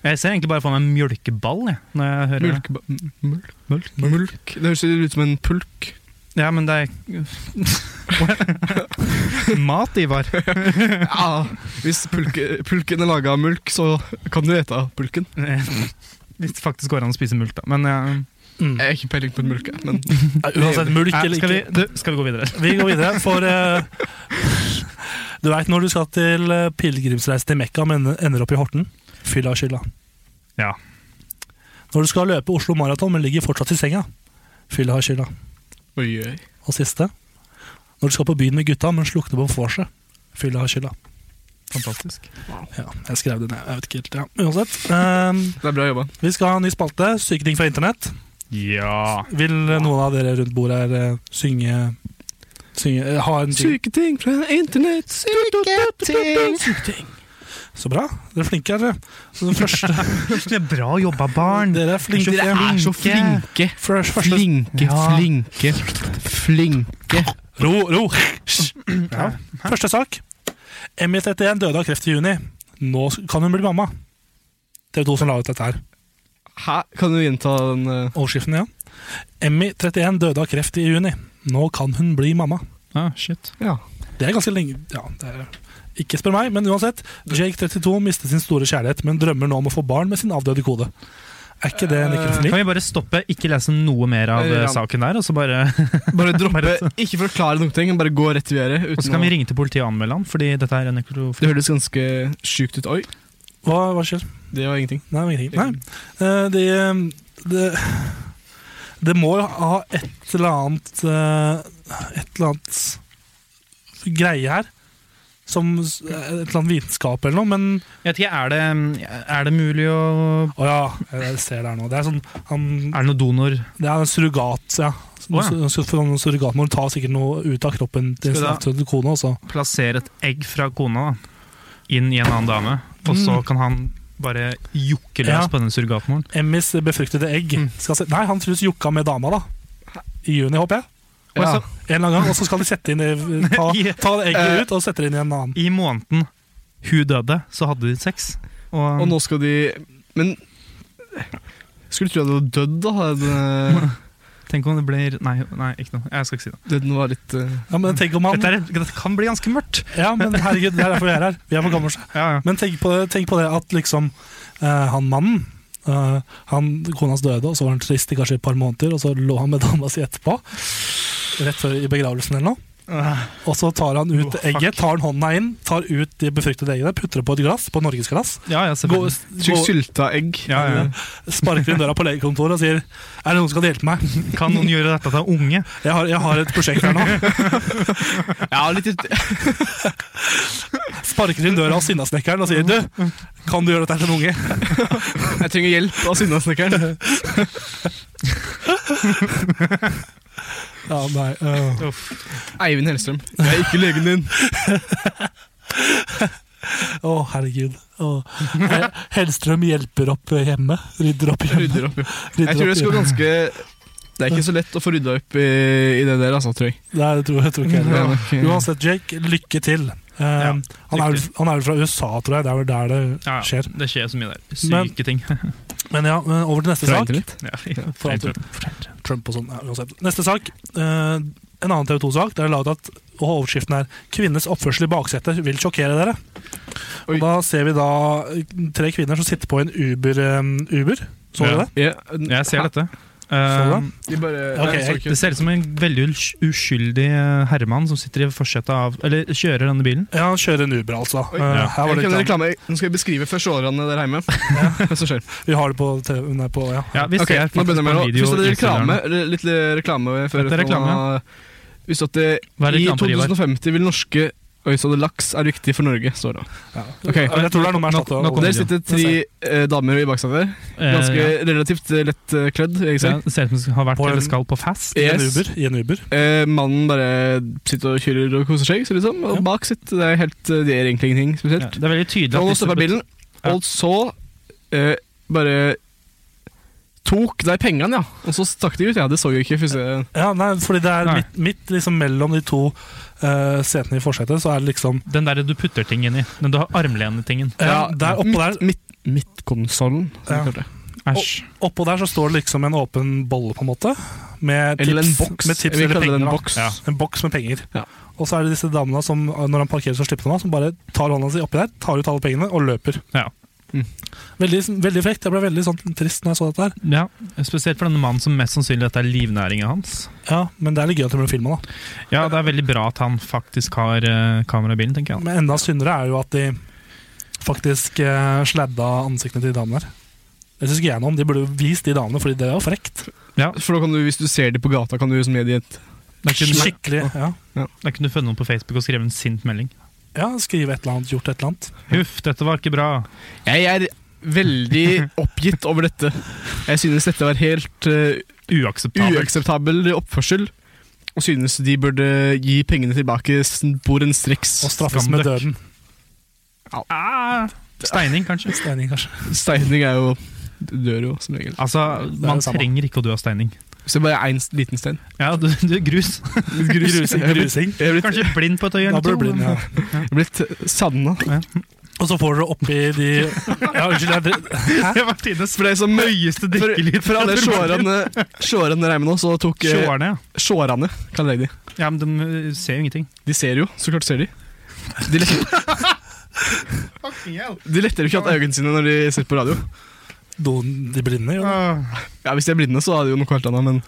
S3: Jeg ser egentlig bare for meg en mjølkeball, jeg, når jeg hører det.
S4: mulkeba... m- Mulk. Mulk. Det høres litt ut som en pulk.
S3: Ja, men det er Mat, Ivar.
S4: Ja, hvis pulke, pulken er laga av mulk, så kan du ete av pulken.
S3: Hvis det faktisk går an å spise mulk, da. Men eh,
S4: Jeg har ikke peiling på en mulke, men
S2: Nei, Mm. Uansett, mulk
S3: eh,
S2: eller
S3: skal, vi,
S2: ikke.
S3: du, skal vi gå videre?
S2: Vi går videre, for eh, Du veit når du skal til eh, pilegrimsreise til Mekka, men ender opp i Horten. Fylla og skylda.
S3: Ja.
S2: Når du skal løpe Oslo Maraton, men ligger fortsatt i senga. Fylla og skylda.
S4: oi, oi.
S2: Og siste. Når du skal på byen med gutta, men slukner på vorset. Fylla og skylda.
S3: Fantastisk.
S2: Ja, jeg skrev det ned. Jeg vet ikke helt, ja. Uansett. eh,
S4: Det er bra jobba.
S2: vi skal ha en ny spalte. Syke ting fra internett.
S3: Ja.
S2: Vil eh, noen av dere rundt bordet her eh, synge Synge, eh, ha en
S4: Syke ting fra internett. Syke ting.
S2: Så bra. Dere er flinke, dere. Så den første
S3: Det er bra jobba, barn.
S2: Dere er flinke.
S3: Dere er så flinke.
S2: Først, først,
S4: Flinke,
S3: Ja.
S4: flinke, flinke.
S2: Ro, ro. Ja. Første sak. MI31 døde av kreft i juni. Nå kan hun bli mamma. TV 2 som la ut dette her.
S4: Hæ? Kan du gjenta den eh,
S2: Overskriften, ja. MI31 døde av kreft i juni. Nå kan hun bli mamma.
S3: Ah, shit.
S4: Ja.
S2: Det er ganske lenge Ja, det er ikke spør meg, men uansett. Jake32 mistet sin store kjærlighet, men drømmer nå om å få barn med sin avdøde kode. Er ikke det nekrofili?
S3: Kan vi bare stoppe, ikke lese noe mer av eh,
S4: Ja.
S3: saken der, og så bare
S4: Bare droppe
S3: Bare-
S4: Ikke forklare noen ting, men bare gå rett videre.
S3: Og så
S4: Uten
S3: kan vi
S4: å,
S3: ringe til politiet og anmelde han, fordi dette er en nekrofil.
S4: det høres ganske sjukt ut. Oi,
S2: Hva, hva skjer?
S4: det var ingenting.
S2: Nei, det var ingenting. Nei. Eh, Det, det, det må jo ha et eller annet eh, Et eller annet greie her. Som s- et eller annet vitenskap eller noe, men
S3: Jeg vet ikke, er det, er det mulig å
S2: Å ja, jeg ser det her nå. Det er sånn han,
S3: Er det noen donor?
S2: Det er en surrogat, ja.
S3: Å ja.
S2: Sur- sur- for en surrogat må du ta sikkert noe ut av kroppen til sin
S3: Skal
S2: avdøde kone. Også.
S3: Plassere et egg fra kona da, inn i en annen dame, og så kan han bare jokke løs
S2: Ja.
S3: på den surrogatmoren?
S2: Emmys befruktede egg.
S3: Mm.
S2: Skal se, nei, han trues jokka med dama, da. I juni, håper jeg.
S3: Ja.
S2: En eller annen gang, Og så skal de sette inn i- ta,
S3: Ja.
S2: ta det
S3: Eh,
S2: egget ut og sette det inn i en annen.
S3: I måneden hun døde, så hadde de sex. Og,
S4: Og nå skal de Men skulle tro at du hadde dødd, da. Hadde,
S3: tenk om det blir Nei, nei ikke noe. jeg skal ikke si det.
S4: døden var litt eh,
S2: Ja, men tenk om han
S3: Dette, er, dette kan bli ganske mørkt.
S2: Ja, men herregud, det er derfor vi er her. Vi er for gamle. seg.
S3: Ja, ja.
S2: Men tenk på, det, tenk på det at liksom eh, han mannen eh, han, Kona hans døde, og så var han trist i kanskje et par måneder, og så lå han med dama si etterpå. Rett før i begravelsen eller noe. Og så tar han ut
S3: Åh, fuck.
S2: egget, tar han hånda inn, tar ut de befruktede eggene, putter det på et glass, på norgesglass,
S3: ja, ja
S2: går,
S3: selvfølgelig.
S4: Sykt
S2: går,
S4: sylta egg.
S3: Ja, ja.
S2: sparker inn døra på legekontoret og sier 'Er det noen som kan hjelpe meg?
S3: Kan noen gjøre dette til unge?
S2: Jeg har, jeg har et prosjekt her nå.'
S4: Ja, litt ut-
S2: Sparker inn døra hos Sinnasnekkeren og sier 'Du, kan du gjøre dette her til en unge?'
S4: Jeg trenger hjelp av Sinnasnekkeren.
S2: Ja, nei, øh.
S4: Eivind Hellstrøm. Jeg er ikke legen din.
S2: Å, herregud. Å. He- Hellstrøm hjelper opp hjemme. Rydder opp hjemme.
S4: Rydder opp, jo.
S2: Rydder
S4: Jeg tror
S2: opp
S4: det skal
S2: hjemme.
S4: ganske Det er ikke så lett å få rydda opp i, i det der, altså, tror jeg.
S2: Nei, det tror jeg, tror ikke jeg
S4: Det er
S2: heller.
S4: nok, eh,
S2: Uansett, Jake, lykke til. Eh, han, er, vel- han er vel fra USA, tror jeg. Det er vel der det
S3: Ja, ja.
S2: skjer.
S3: Det skjer så mye der.
S2: Men-
S3: Syke ting.
S2: Men ja, men over til neste
S4: fra
S2: sak.
S4: internett.
S3: Ja,
S2: For alt du- Trump og sånn. Ja, uansett. neste sak. eh, en annen TV 2-sak der det er laget at og overskriften er 'Kvinnes oppførsel i baksetet vil sjokkere dere'.
S4: Oi.
S2: Og Da ser vi da eh, tre kvinner som sitter på en Uber. eh, Uber. Så du
S3: Ja.
S2: det?
S4: Ja,
S3: Jeg ser
S4: hæ?
S3: dette.
S2: Så
S3: Eh,
S4: De bare
S2: Ok,
S4: Nei, jeg så
S2: jeg-
S4: ikke.
S3: det ser ut som en veldig us- uskyldig eh, herremann som sitter i forsetet av Eller kjører denne bilen.
S2: Ja, han kjører en Uber, altså. Eh,
S4: Oi.
S3: Ja.
S2: her var det
S4: Jeg kan
S2: reklame.
S4: reklame. Nå skal jeg beskrive førsteårene der hjemme. Hva som skjer.
S2: Vi har det på TV Nei, på, ja.
S3: Ja, vi
S4: Ok,
S3: ser
S4: nå begynner
S3: faktisk på
S4: vi
S3: en
S4: å
S3: video
S4: Hvis det er reklame,
S3: Instagram.
S4: eller litt eh, reklame før
S3: Dette er reklame.
S4: nå- Hvis at det,
S3: Hva er
S4: i
S3: reklame for, Ivar?
S4: 2050 vil norske Øysade laks er viktig for Norge, står det. Ok.
S2: Jeg tror det er noe med
S3: Nok-
S2: erstatte.
S3: nok om-
S2: og-
S4: Der sitter tre eh, damer i baksetet.
S3: Eh,
S4: Ganske
S3: ja.
S4: relativt eh, lett eh, kledd. Jeg ser.
S3: Det ser ut som det har vært
S2: På en-
S3: eller skal på fest.
S2: I en
S4: Yes.
S2: Uber. I en Uber.
S4: Eh, mannen bare sitter og kjører og koser seg, ser det ut som. Og
S2: Ja.
S4: bak sitt, det er helt, eh, det er egentlig ingenting
S3: Ja,
S4: spesielt.
S3: det er veldig tydelig
S4: Og
S3: at
S4: nå stopper bilen,
S3: Ja.
S4: og så eh, bare tok de pengene, ja. Og så stakk de ut. Ja, det så jeg ikke. Hvis jeg,
S2: Ja, nei, fordi det er
S3: Nei.
S2: midt, midt liksom mellom de to eh, setene i forsetet, så er det liksom
S3: Den der du putter ting inn i. Den du har armlenetingen.
S2: ja, der oppå der,
S4: Midt, midt, midtkonsollen. som
S2: Ja.
S4: de kaller det.
S3: Æsj.
S2: oppå der så står det liksom en åpen bolle, på en måte. Med tips,
S4: Eller en boks.
S2: Med tips
S4: Jeg vil
S2: eller
S4: kalle det
S2: penger.
S4: en
S2: da.
S4: boks.
S3: Ja.
S2: En boks med penger.
S4: Ja.
S2: Og så er det disse damene som når han parkerer, så slipper de ham, som bare tar hånda si oppi der, tar ut alle pengene og løper.
S3: Ja.
S4: Mm.
S2: Veldig, veldig frekt. Jeg ble veldig sånn trist når jeg så dette her.
S3: Ja. Spesielt for denne mannen som mest sannsynlig dette er livnæringen hans.
S2: Ja, Men det er litt gøy at det ble filma, da.
S3: Ja, det er veldig bra at han faktisk har eh, kamera i bilen, tenker jeg.
S2: Men enda syndere er jo at de faktisk eh, sladda ansiktene til de damene her. Det syns ikke jeg noe om. De burde jo vist de damene, fordi det er jo frekt.
S4: For da kan du, Hvis du ser dem på gata, kan du liksom gi dem et
S3: Da kunne,
S2: Skikkelig. Ja.
S3: da kunne du funnet noen på Facebook og skrevet en sint melding.
S2: ja, skrive et eller annet, gjort et eller annet.
S3: Huff, dette var ikke bra.
S4: Jeg er veldig oppgitt over dette. Jeg synes dette var helt eh,
S3: Uakseptabelt.
S4: uakseptabel oppførsel. Og synes de burde gi pengene tilbake sporenstreks.
S2: Og straffes med
S3: Skamdøkk.
S2: døden.
S3: Ah, steining, kanskje.
S2: Steining, kanskje.
S4: Steining er jo Du dør jo, som regel.
S3: Altså,
S2: Det er
S3: man
S2: det samme.
S3: trenger ikke å dø av steining.
S4: Så bare én liten stein.
S3: Ja, du, du er grus.
S4: Litt grus. Jeg er blitt,
S2: Grusing.
S4: jeg er blitt,
S3: Kanskje blind på et øye.
S2: Da
S3: eller
S2: blir
S3: to,
S2: du blind,
S3: men-
S2: ja.
S4: jeg er blitt savna.
S2: Og så får dere oppi de Ja, unnskyld, jeg dri-
S3: Det var tidenes
S4: For de som
S3: møyeste
S4: For,
S3: drikkelyd.
S4: for alle sjåerne Sjåerne regner med nå, så tok eh,
S3: Sjåerne, ja.
S4: Sjårene, kaller jeg de.
S3: ja. Men de eh, ser jo ingenting.
S4: De ser jo, så klart ser de. De letter, de letter jo ikke igjen øynene sine når de ser på radio.
S2: Doen de blinde, jo.
S3: Ah.
S4: Ja, Hvis de er blinde, så er det jo noe helt annet, men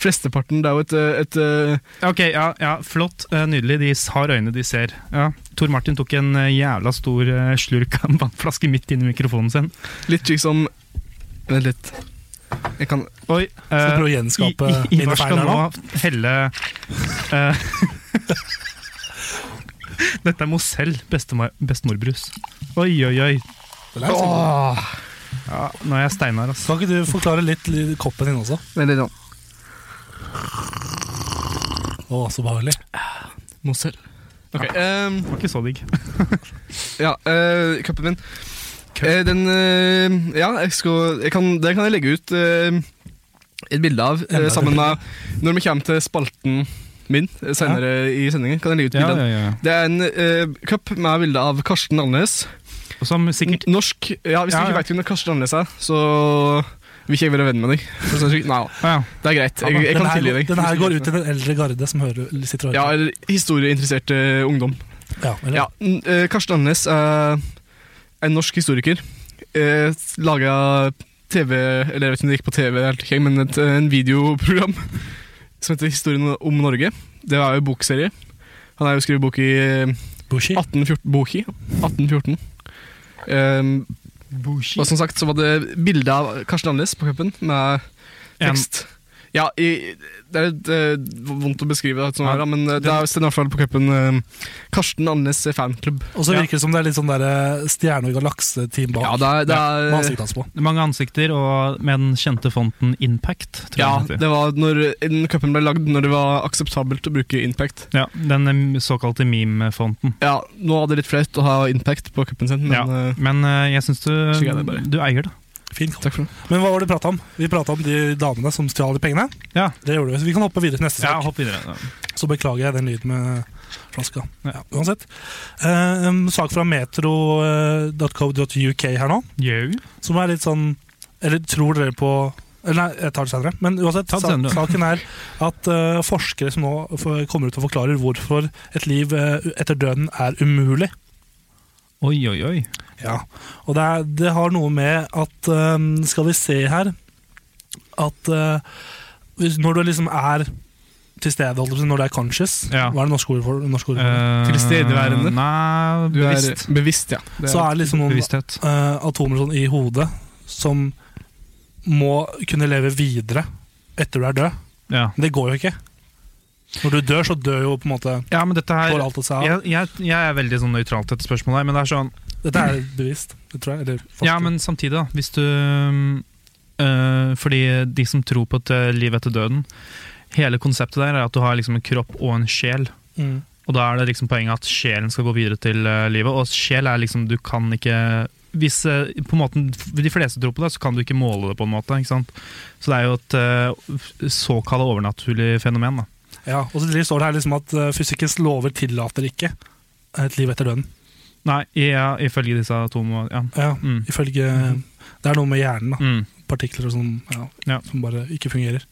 S4: flesteparten Det er jo et, eh, et eh,
S3: Ok, ja, ja, flott. eh, Nydelig. De har øyne de ser. Ja. Tor Martin tok en eh, jævla stor eh, slurk av en vannflaske midt inn i mikrofonen sin.
S4: litt slik som Vent litt. Jeg kan
S3: Oi.
S2: Skal
S3: eh,
S2: prøve å gjenskape
S3: I- I-
S2: mine
S3: Ivar
S2: feil
S3: skal
S2: her
S3: nå
S2: nå.
S3: helle eh, Dette er Mosell bestemor, bestemorbrus. Oi, oi, oi.
S2: Det er sånn.
S3: Ja, nå er jeg steinar, altså.
S2: Kan ikke du forklare litt, litt koppen din også?
S4: Vent litt. nå.
S2: Å, så behagelig.
S4: Mozart. Ok, ehm,
S3: Det var ikke så digg.
S4: ja, eh, kappen min. Eh, den eh, Ja, jeg skal, jeg kan, den kan jeg legge ut eh, et bilde av eh,
S2: Enda et
S4: sammen med Når vi kommer til spalten min eh, senere i sendingen, kan jeg legge ut bilde. av den. Det er en eh, cup med bilde av Karsten Andenes.
S3: Og Som sikkert
S4: Norsk Ja, Hvis
S3: Ja, ja.
S4: du ikke vet hvem Karsten Andenes er, så vil ikke jeg være venn med deg. For å si det slik. Nei,
S3: Å ja.
S4: det er greit. Jeg, jeg
S2: Den
S4: kan
S2: her,
S4: tilgi deg.
S2: den her går ut til den eldre garde som hører, sitter og
S4: Ja,
S2: hører.
S4: eller historieinteressert eh, ungdom.
S2: Ja, eller?
S4: Ja, n- eh, Karsten Andenes er en norsk historiker. Uh, Laga TV Eller jeg vet ikke om det gikk på TV, eller ikke, men et, eh, en videoprogram som heter Historien om Norge. Det er jo en bokserie. Han har jo skrevet bok i eh,
S2: Bushi.
S4: 1814. Boki. 1814. Ehm, og som sagt så var det bilde av Karsten Andenes på cupen med
S3: En-
S4: tekst. Ja, i, det er litt eh, vondt å beskrive, det, sånn
S3: Ja,
S4: her, da, men eh, det er står i hvert fall på cupen eh, Karsten Andenes fanklubb.
S2: Og så virker det som det er litt sånn der eh, stjerne- og galakseteam bak.
S4: Ja, det er, det
S2: Med
S4: er
S2: ansiktet hans på.
S3: Mange ansikter, og med den kjente fonten Impact. Tror
S4: ja,
S3: jeg den heter.
S4: det var når den cupen ble lagd, når det var akseptabelt å bruke Impact.
S3: ja, Den eh, såkalte meme-fonten.
S4: Ja, nå var det litt flaut å ha Impact på cupen sin, men
S3: Ja.
S4: eh,
S3: Men eh, jeg syns du,
S4: Så gøy det bare.
S3: du eier det.
S2: Fin kopp.
S4: takk for det.
S2: Men hva var det vi prata om? Vi prata om de damene som stjal de pengene.
S3: Ja.
S2: Det gjorde Vi Så vi kan hoppe videre til neste
S3: Ja,
S2: sak.
S3: Hopp videre.
S2: Så beklager jeg den lyden med flaska.
S3: Ja.
S2: Ja, uansett. Eh, en sak fra metro.co.uk her nå,
S3: Yo.
S2: som er litt sånn Eller tror dere på eller Nei, jeg tar det senere. Men uansett,
S3: Ta det
S2: sa-
S3: senere.
S2: saken er at eh, forskere som nå f- kommer ut og forklarer hvorfor et liv eh, etter døden er umulig.
S3: Oi, oi, oi.
S2: Ja, og det, er, det har noe med at øhm, Skal vi se her At øh, hvis- når du liksom er til stede, holdt jeg på å si, når du er conscious
S3: Ja.
S2: Hva er det norske ordet for, norske ordet for det?
S3: Eh,
S4: Tilstedeværende.
S3: Nei,
S4: Du er
S3: bevisst.
S4: bevisst, ja. Det er-
S2: Så er det liksom noen
S3: Bevissthet.
S2: øh, atomer sånn i hodet som må kunne leve videre etter du er død.
S3: Ja.
S2: Men det går jo ikke. Når du dør, så dør jo på en måte
S3: ja, men dette her
S2: Går alt å si
S3: jeg, jeg, jeg er veldig sånn nøytral til dette spørsmålet, her, men det er sånn
S2: Dette er bevisst, det tror jeg. Eller faktisk.
S3: Ja, men samtidig, da. Hvis du øh, Fordi de som tror på et øh, liv etter døden Hele konseptet der er at du har liksom en kropp og en sjel.
S2: mm.
S3: eh, Og da er det liksom poenget at sjelen skal gå videre til øh, livet. Og sjel er liksom Du kan ikke hvis eh, på en måte, de fleste tror på det, så kan du ikke måle det, på en måte. Ikke sant? Så det er jo et eh, såkalt overnaturlig fenomen. Da.
S2: Ja, og så til det står det her liksom at eh, fysikkens lover tillater ikke et liv etter døden.
S3: Nei, ja, ifølge disse to må- ja.
S2: Ja,
S3: Mm.
S2: ifølge, Det er noe med hjernen, da.
S3: Mm.
S2: partikler og sånn, ja,
S3: Ja.
S2: som bare ikke fungerer.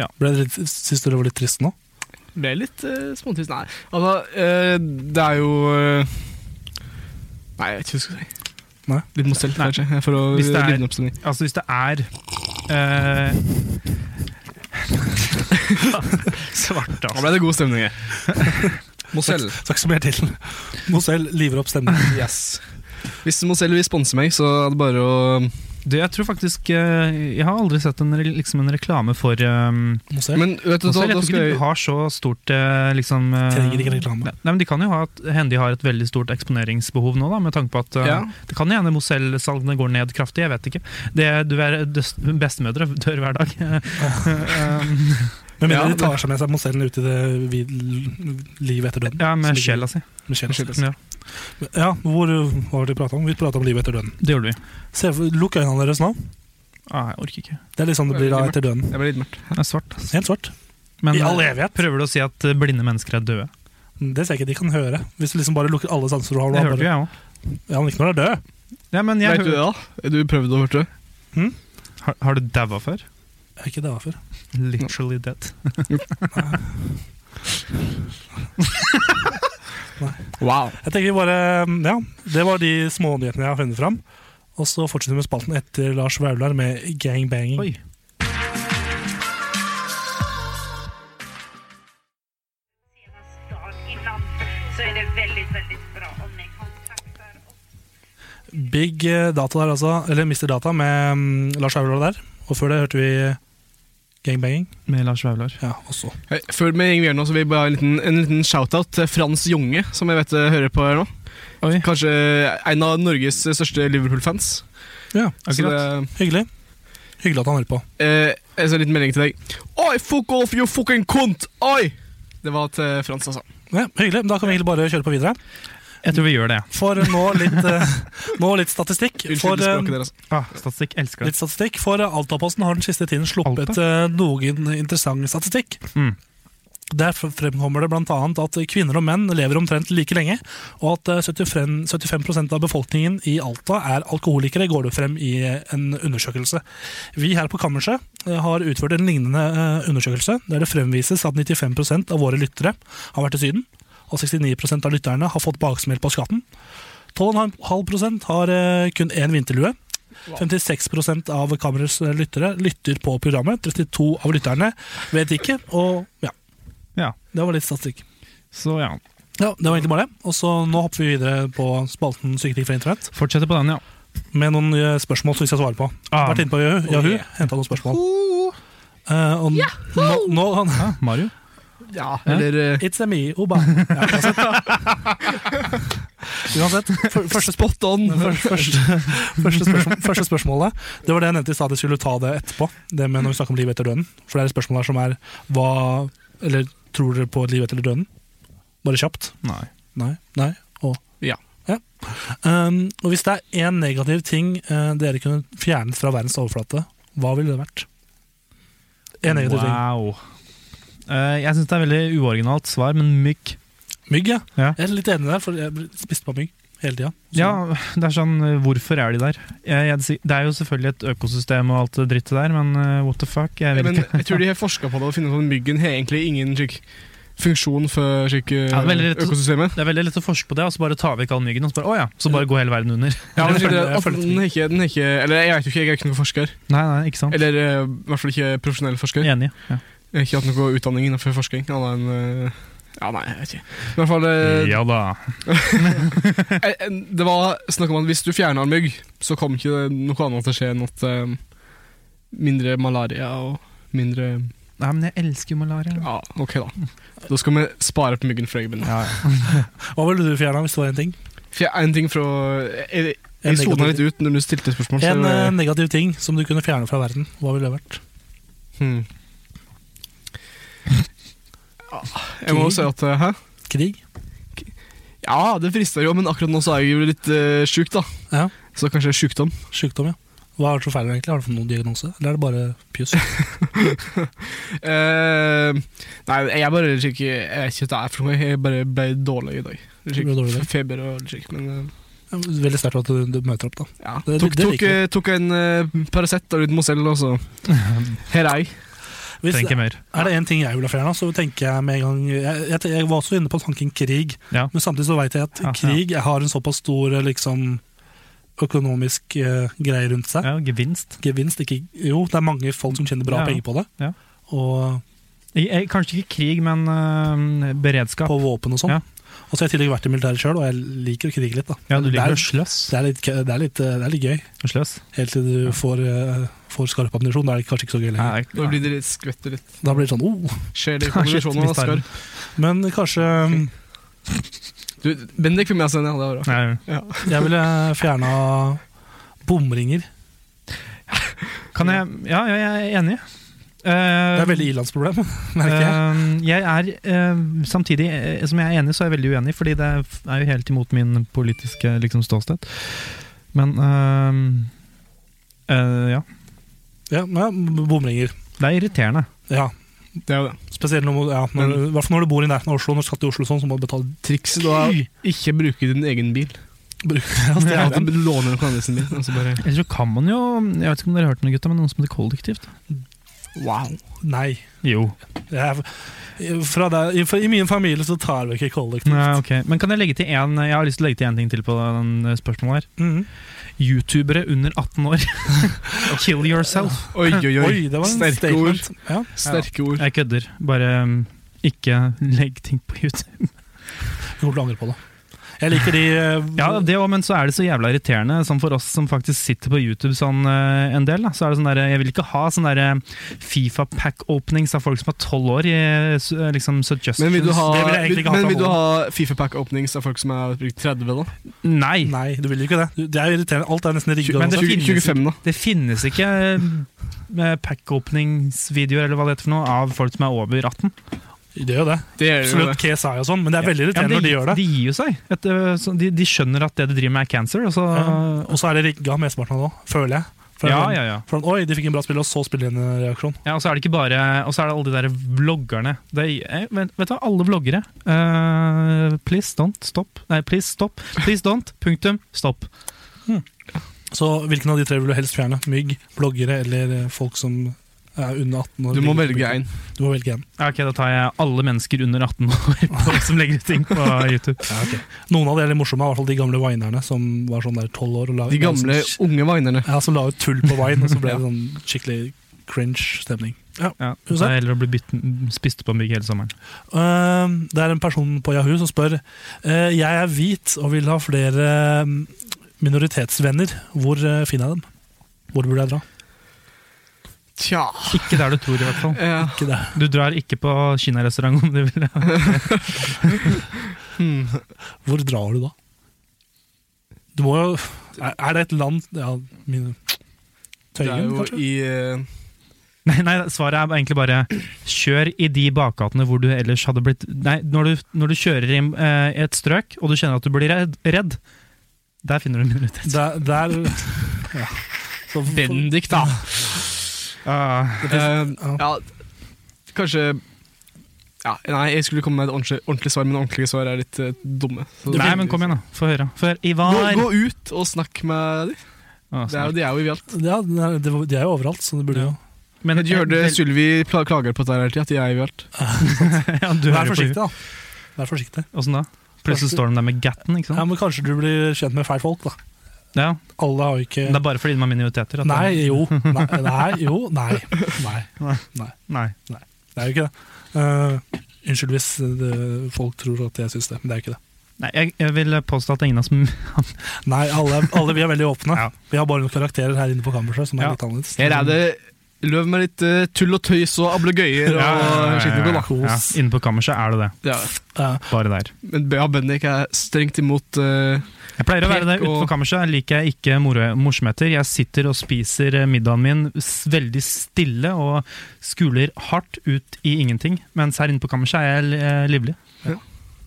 S3: Ja.
S2: Ble det litt, synes du det var litt trist nå?
S4: Ble litt uh, småtrist. Nei, altså, eh, det er jo eh, Nei, jeg vet ikke hva jeg skal si.
S2: Nei.
S4: Litt mot selv,
S3: Nei.
S4: kanskje. For å
S3: Hvis det er-
S4: lydne opp stemning.
S3: Altså, hvis det er eh, Svart,
S4: Nå
S3: altså.
S4: ble det god stemning her. Mozell.
S2: Skal ikke så mer til. Mozell liver opp stemmen.
S4: Yes. Hvis Mozell vil sponse meg, så er det bare å
S3: Du, jeg tror faktisk eh, Jeg har aldri sett en, re- liksom en reklame for um,
S2: Mozell
S4: Men vet du,
S3: Også,
S4: da,
S3: Jeg tror
S4: da
S3: ikke
S4: skal
S3: de
S4: jeg
S3: har så stort eh, liksom, eh,
S2: trenger ikke reklame.
S3: Nei, nei, men De kan jo ha et, hende de har et veldig stort eksponeringsbehov nå, da, med tanke på at eh,
S4: Ja.
S3: det kan hende Mozell-salgene går ned kraftig. Jeg vet ikke. Det, du er døs- bestemødre dør hver dag. Eh,
S2: Men
S4: Ja,
S2: mindre de
S4: men-
S2: tar seg med seg Mozellen ut i det vid- livet etter døden.
S3: ja,
S2: Som
S3: med
S2: ligger-
S3: sjela si.
S2: med sjela.
S3: Ja,
S2: Ja, hvor hva var det vi pratet om? Vi pratet om livet etter døden.
S3: det gjorde vi.
S2: Se, lukk øynene deres nå.
S3: Ah, jeg orker ikke.
S2: Det er litt sånn det blir da etter døden.
S4: Jeg ble litt mørkt.
S3: Det er svart. ass.
S2: Helt svart.
S3: Men
S2: I all
S3: eh,
S2: evighet.
S3: prøver du å si at eh, blinde mennesker er døde?
S2: Det ser jeg ikke de kan høre. Hvis du liksom bare lukker alle sanser du
S3: Det
S2: har. da
S3: hørte jo
S2: bare,
S3: jeg òg.
S2: ja, men ikke når du er død.
S3: Ja, men jeg
S4: Vet du det,
S3: hør-
S4: da? Du prøvde å hørte det?
S3: har, har du daua før?
S2: Jeg er ikke det før.
S3: Literally dead.
S4: Wow.
S2: Jeg tenker vi bare, ja, Det var de smånyhetene jeg har funnet fram. Og så fortsetter vi med spalten etter Lars Vaular med gangbanging.
S3: Oi.
S5: dag innan så er det väldigt, väldigt bra om ni kontaktar oss.
S2: Big eh, Data der altså, eller Mr. Data med mm, Lars Vaular der. Og før det hørte vi gangbanging.
S3: Med Lars Vaular.
S2: Ja, også.
S4: Hei, Før vi går nå, så vil jeg bare ha en liten, en liten shout-out til Frans Junge, som jeg vet eh, hører på her nå.
S3: Oi,
S4: Kanskje en av Norges største Liverpool-fans.
S2: Ja,
S4: Så det,
S3: akkurat.
S2: Hyggelig. Hyggelig at han hører på.
S4: eh, jeg ser en liten melding til deg. Oi, fuck off, you fucking cunt! Oi! Det var til Frans, altså.
S2: Ja, hyggelig, men Da kan vi egentlig bare kjøre på videre.
S3: Jeg tror vi gjør det.
S2: For nå litt, eh, nå litt statistikk. For,
S4: Unnskyld
S2: eh,
S4: språket deres.
S3: Ah, statistikk elsker det.
S2: Litt statistikk, for Altaposten har den siste tiden sluppet eh, noen interessant statistikk.
S3: Mm.
S2: Der fremkommer det bl.a. at kvinner og menn lever omtrent like lenge, og at eh, 75, 75 av befolkningen i Alta er alkoholikere, går det frem i eh, en undersøkelse. Vi her på Kammerset eh, har utført en lignende eh, undersøkelse, der det fremvises at 95 av våre lyttere har vært i Syden, og 69 av lytterne har fått baksmell på skatten. 12,5 har eh, kun én vinterlue. 56 av Kammerets lyttere lytter på programmet. 32 av lytterne vet ikke. Og ja,
S3: Ja,
S2: det var litt statistikk.
S3: så ja.
S2: Ja, Det var egentlig bare det. Og så Nå hopper vi videre på spalten Psykiatri fra internett
S3: Fortsette på den, ja.
S2: med noen eh, spørsmål som vi skal svare på.
S3: Ah.
S2: Vært inne på Yahoo, Yahoo henta noen spørsmål. Eh, og nå, nå,
S3: Ja, Mario.
S4: Ja, eller eh,
S2: It's a me, Oba. Ja, uansett. uansett for, første,
S4: Spot on!
S2: Men først- Første, første, spørsmål, første spørsmålet Det var det jeg nevnte i stad, at jeg skulle ta det etterpå. Det med når vi snakker om livet etter døden. For det er et spørsmål her som er hva Eller tror dere på et liv etter døden? Bare kjapt.
S3: Nei.
S2: Nei. Nei. Og
S4: Ja.
S2: um, Og hvis det er én negativ ting eh, dere kunne fjernet fra verdens overflate, hva ville det vært? En negativ
S3: Wow. Eh, jeg syns det er veldig uoriginalt svar, men mygg.
S2: ting. Mygg, ja.
S3: Ja.
S2: Jeg er litt enig der, for jeg spiste på mygg hele tida.
S3: Ja, det er sånn, eh, hvorfor er de der? Jeg, jeg, si- det er jo selvfølgelig et økosystem og alt det drittet der, men eh, what the fuck? Jeg
S4: Ja,
S3: vet
S4: Men
S3: ikke.
S4: jeg tror de har forska på det og funnet ut at myggen har egentlig ingen slik funksjon for slik, eh,
S3: Ja, det er veldig lett å-
S4: økosystemet.
S3: Det er veldig lett å forske på det, og så bare ta vekk all myggen, og så bare, å ja, så bare går hele verden under.
S4: Ja, men
S2: Jeg
S4: slik,
S2: følger-
S4: det-
S2: jeg
S4: at
S2: følger
S4: den har ikke, den har ikke Eller jeg vet jo ikke, jeg er ikke noen forsker.
S3: Nei, nei, ikke sant?
S4: Eller eh, i hvert fall ikke profesjonell forsker. Jeg
S3: Enig. Ja,
S4: har ikke hatt noe utdanning innenfor forskning. Annet enn eh, Ja, nei, jeg vet ikke. I hvert fall, eh,
S3: ja da.
S4: eh, eh, Det var snakk om at hvis du fjerner en mygg, så kom ikke det noe annet til å skje enn at eh, mindre malaria og mindre
S3: Nei, men jeg elsker jo malaria.
S4: Ja, ok, da. Da skal vi spare på myggen for øyeblikket.
S3: Ja,
S2: Hva ville du fjerna hvis det var én ting?
S4: For jeg- en ting fra Jeg,
S2: En
S4: jeg sona
S2: negativ
S4: litt ut når du stilte spørsmål.
S2: En
S4: så,
S2: eh, negativ ting som du kunne fjerne fra verden. Hva ville det vært?
S4: hmm. Ah, Ja, Jeg må si at eh, Hæ?
S2: Krig?
S4: Ja, det frister jo, men akkurat nå så er jeg jo litt uh, sjuk, da.
S2: Ja.
S4: Så kanskje sjukdom.
S2: Sjukdom, ja. Hva er det som feiler egentlig? Har du fått noen diagnose, eller er det bare pjus?
S4: Eh, nei, jeg er bare sjuk. Jeg vet ikke hva det er for noe. Jeg bare ble dårlig i dag. Sjuk.
S2: Ble dårlig i dag?
S4: Feber og sjuk. Men eh,
S2: Ja, Veldig sterkt at du, du møter opp, da.
S4: ja.
S2: Det- det-
S4: tok,
S2: det
S4: tok,
S2: liker jeg.
S4: eh, tok en uh, Paracet og litt Mozell, og så Her er jeg.
S2: Hvis,
S3: Trenger ikke mer.
S2: er det én ting jeg vil ha fjerna, så tenker jeg med en gang Jeg, jeg, jeg var også inne på tanken krig,
S3: Ja.
S2: men samtidig så veit jeg at
S3: Ja, ja.
S2: krig har en såpass stor eh, liksom, økonomisk eh, greie rundt seg.
S3: Ja, gevinst.
S2: Gevinst, ikke Jo, det er mange folk som tjener bra
S3: Ja.
S2: penger på det.
S3: Ja.
S2: Og
S3: I- eh, Kanskje ikke krig, men eh, beredskap.
S2: på våpen og
S3: Ja.
S2: sånn. Og så har jeg i tillegg vært i militæret sjøl, og jeg liker å krige litt. da.
S3: Ja, du
S2: det,
S3: liker å
S2: er,
S3: sløss.
S2: det, er litt, det, er litt, eh, det er litt gøy,
S3: Sløs.
S2: helt til du får, eh, får skarp ammunisjon. Da er det kanskje ikke så gøy lenger.
S3: Nei,
S4: Da blir det litt skvetter litt.
S2: Da blir det sånn oh.
S4: Skjer det i
S3: Shit,
S4: kombinasjonen av
S3: mistet den.
S4: Asgard.
S2: Men kanskje um,
S4: Du, Bendik fikk med seg en, ja. Det var bra.
S3: Nei,
S4: Ja.
S2: jeg ville fjerna bomringer.
S3: kan jeg Ja, ja jeg er enig.
S2: Det er veldig ilandsproblem, merker jeg.
S3: Eh, jeg er eh, Samtidig eh, som jeg er enig, så er jeg veldig uenig, fordi det er jo helt imot min politiske liksom, ståsted. Men eh, eh, ja.
S2: Ja, ja, bomringer.
S3: Det er irriterende.
S2: Ja.
S4: Det er jo det.
S2: Spesielt når, ja, når, i hvert fall når du bor i nærheten av Oslo. Når du skal til Oslo sånn, så må du betale
S4: Trikset da er ikke bruke din egen bil.
S2: bruk. Altså, det
S4: Ja,
S2: er
S4: at du låner noen andres bil. Og så bare
S3: Eller så kan man jo Jeg vet ikke om dere har hørt noe, gutta, men noen som heter kollektivt.
S4: wow.
S2: Nei.
S3: Jo.
S2: Det er, fra der, i, I min familie så tar vi ikke kollektivt.
S3: Nei, ok. Men kan jeg legge til en Jeg har lyst til å legge til én ting til på den eh, spørsmålet her.
S2: Mhm.
S3: Youtubere under 18 år. Kill yourself.
S4: Oi, oi, oi.
S2: Oi, det var en
S4: Sterke
S2: statement. Ja.
S4: Sterke ord.
S3: Jeg kødder. Bare mm, ikke legg ting på YouTube.
S2: Jeg kommer til å angre på det. Jeg liker de eh,
S3: Ja, det også, men så er det så jævla irriterende, sånn for oss som faktisk sitter på YouTube sånn eh, en del. Da. Så er det sånn der, Jeg vil ikke ha sånn derre Fifa pack openings av folk som er tolv år i eh, s- eh, liksom suggestions.
S4: Men vil du ha,
S2: Det vil jeg egentlig ikke ha
S4: men
S2: fra
S4: vil du
S2: hånden.
S4: ha Fifapack-åpnings av folk som er brukt 30, da?
S3: Nei!
S2: Nei, du vil jo ikke det. Du- Det er jo irriterende. Alt er nesten rigga.
S3: Men det
S2: også.
S3: finnes ikke.
S4: 25, da.
S3: Det finnes ikke eh, pack openings-videoer eller hva det heter for noe av folk som er over 18.
S2: Det gjør jo det.
S4: Det gjør jo
S2: Absolutt KSI og sånn, men det er veldig
S3: Ja,
S2: irriterende
S3: men
S2: når de gjør det.
S3: De gir jo seg. Et, øh, så de, de skjønner at det de driver med er cancer, og så
S2: Ja. Og så er det rigga mesteparten av det òg, føler jeg. For-
S3: ja, ja, ja.
S2: For, Oi, de fikk en bra spill, og så spiller de en reaksjon.
S3: ja, og så er det ikke bare Og så er det alle de der vloggerne. Det, er- eh, vet, vet du hva, alle vloggere. Eh, please don't stop. Nei, please stop. Please don't. Punktum. Stopp.
S2: Så hvilken av de tre vil du helst fjerne? Mygg, bloggere eller eh, folk som er under 18 år?
S4: Du må velge én.
S2: Du må velge en.
S3: Ja, Ok, da tar jeg alle mennesker under 18 år på, som legger ut ting på YouTube.
S2: Noen av de er litt morsomme, i hvert fall de gamle vinerne som var sånn der 12 år. Og la,
S4: De gamle, unge vinerne.
S2: Ja, som la ut tull på vine, og så ble det sånn skikkelig cringe stemning. Ja.
S3: Ja, så er det heller å bli bytt, spist på mygg hele sommeren.
S2: Ehm, det er en person på Yahoo som spør eh, Jeg er hvit og vil ha flere mm, minoritetsvenner. Hvor eh, finner jeg dem? Hvor burde jeg dra?
S4: Tja
S3: Ikke der du tror, i hvert fall.
S4: eh,
S2: Ikke det.
S3: Du drar ikke på kinarestaurant om du vil.
S4: hmm.
S2: Hvor drar du da? Du må jo Er er det et land ja, min,
S4: Det er
S2: Tøyen,
S4: jo
S2: kanskje?
S4: i eh,
S3: Nei, nei, svaret er egentlig bare kjør i de bakgatene hvor du ellers hadde blitt Nei, når du, når du kjører i eh, et strøk og du kjenner at du blir redd, redd der finner du en minoritet.
S2: Der, der ja. Så,
S4: Bendik, da.
S3: Ah,
S4: Eh,
S2: ja.
S4: ja, kanskje ja, Nei, jeg skulle komme med et ordentlig, ordentlig svar, men ordentlige svar er litt eh, dumme. Så-
S3: nei, men kom igjen, da. Få høre. Få høre.
S4: Gå,
S3: Ivar!
S4: gå ut og snakk med dem.
S3: Ah,
S4: Det er jo, de er jo overalt.
S2: ja, det er- det var- de er jo overalt, så det burde jo
S3: men,
S4: Du hørte Sylvi pla- klager på dette her hele tida, at de er overalt.
S3: ja, du
S2: Vær
S3: hører
S2: forsiktig,
S3: på
S2: da. Vær forsiktig.
S3: Åssen da? Plutselig står de der med gatten, ikke
S2: Ja,
S3: sant?
S2: men Kanskje du blir kjent med feil folk, da.
S3: Ja,
S2: Alle har jo
S3: Det
S2: ikke
S3: er bare fordi de er minoriteter? At
S2: Nei,
S3: de-
S2: jo. Nei, nei jo. Nei. nei.
S3: nei.
S2: Det er jo ikke det. Eh, unnskyld hvis det, folk tror at jeg syns det, men det er jo ikke det.
S3: nei jeg, jeg vil påstå at ingen av oss
S2: Nei, alle, alle vi er veldig åpne.
S3: Ja.
S2: Vi har bare noen karakterer her inne på kammerset som er
S3: Ja.
S2: litt annerledes.
S4: Her er det løv med litt eh, tull og tøys og ablegøyer og skikkelig god, da.
S3: Ja, Inne på kammerset er det det.
S4: Det er det.
S2: Eh,
S3: Bare der.
S4: Men ja, Bendik er strengt imot eh,
S3: Jeg pleier å være der
S4: Pek og-
S3: utenfor kammerset. Liker jeg ikke moro- morsomheter. Jeg sitter og spiser eh, middagen min s- veldig stille og skuler hardt ut i ingenting. Mens her inne på kammerset er jeg eh, livlig.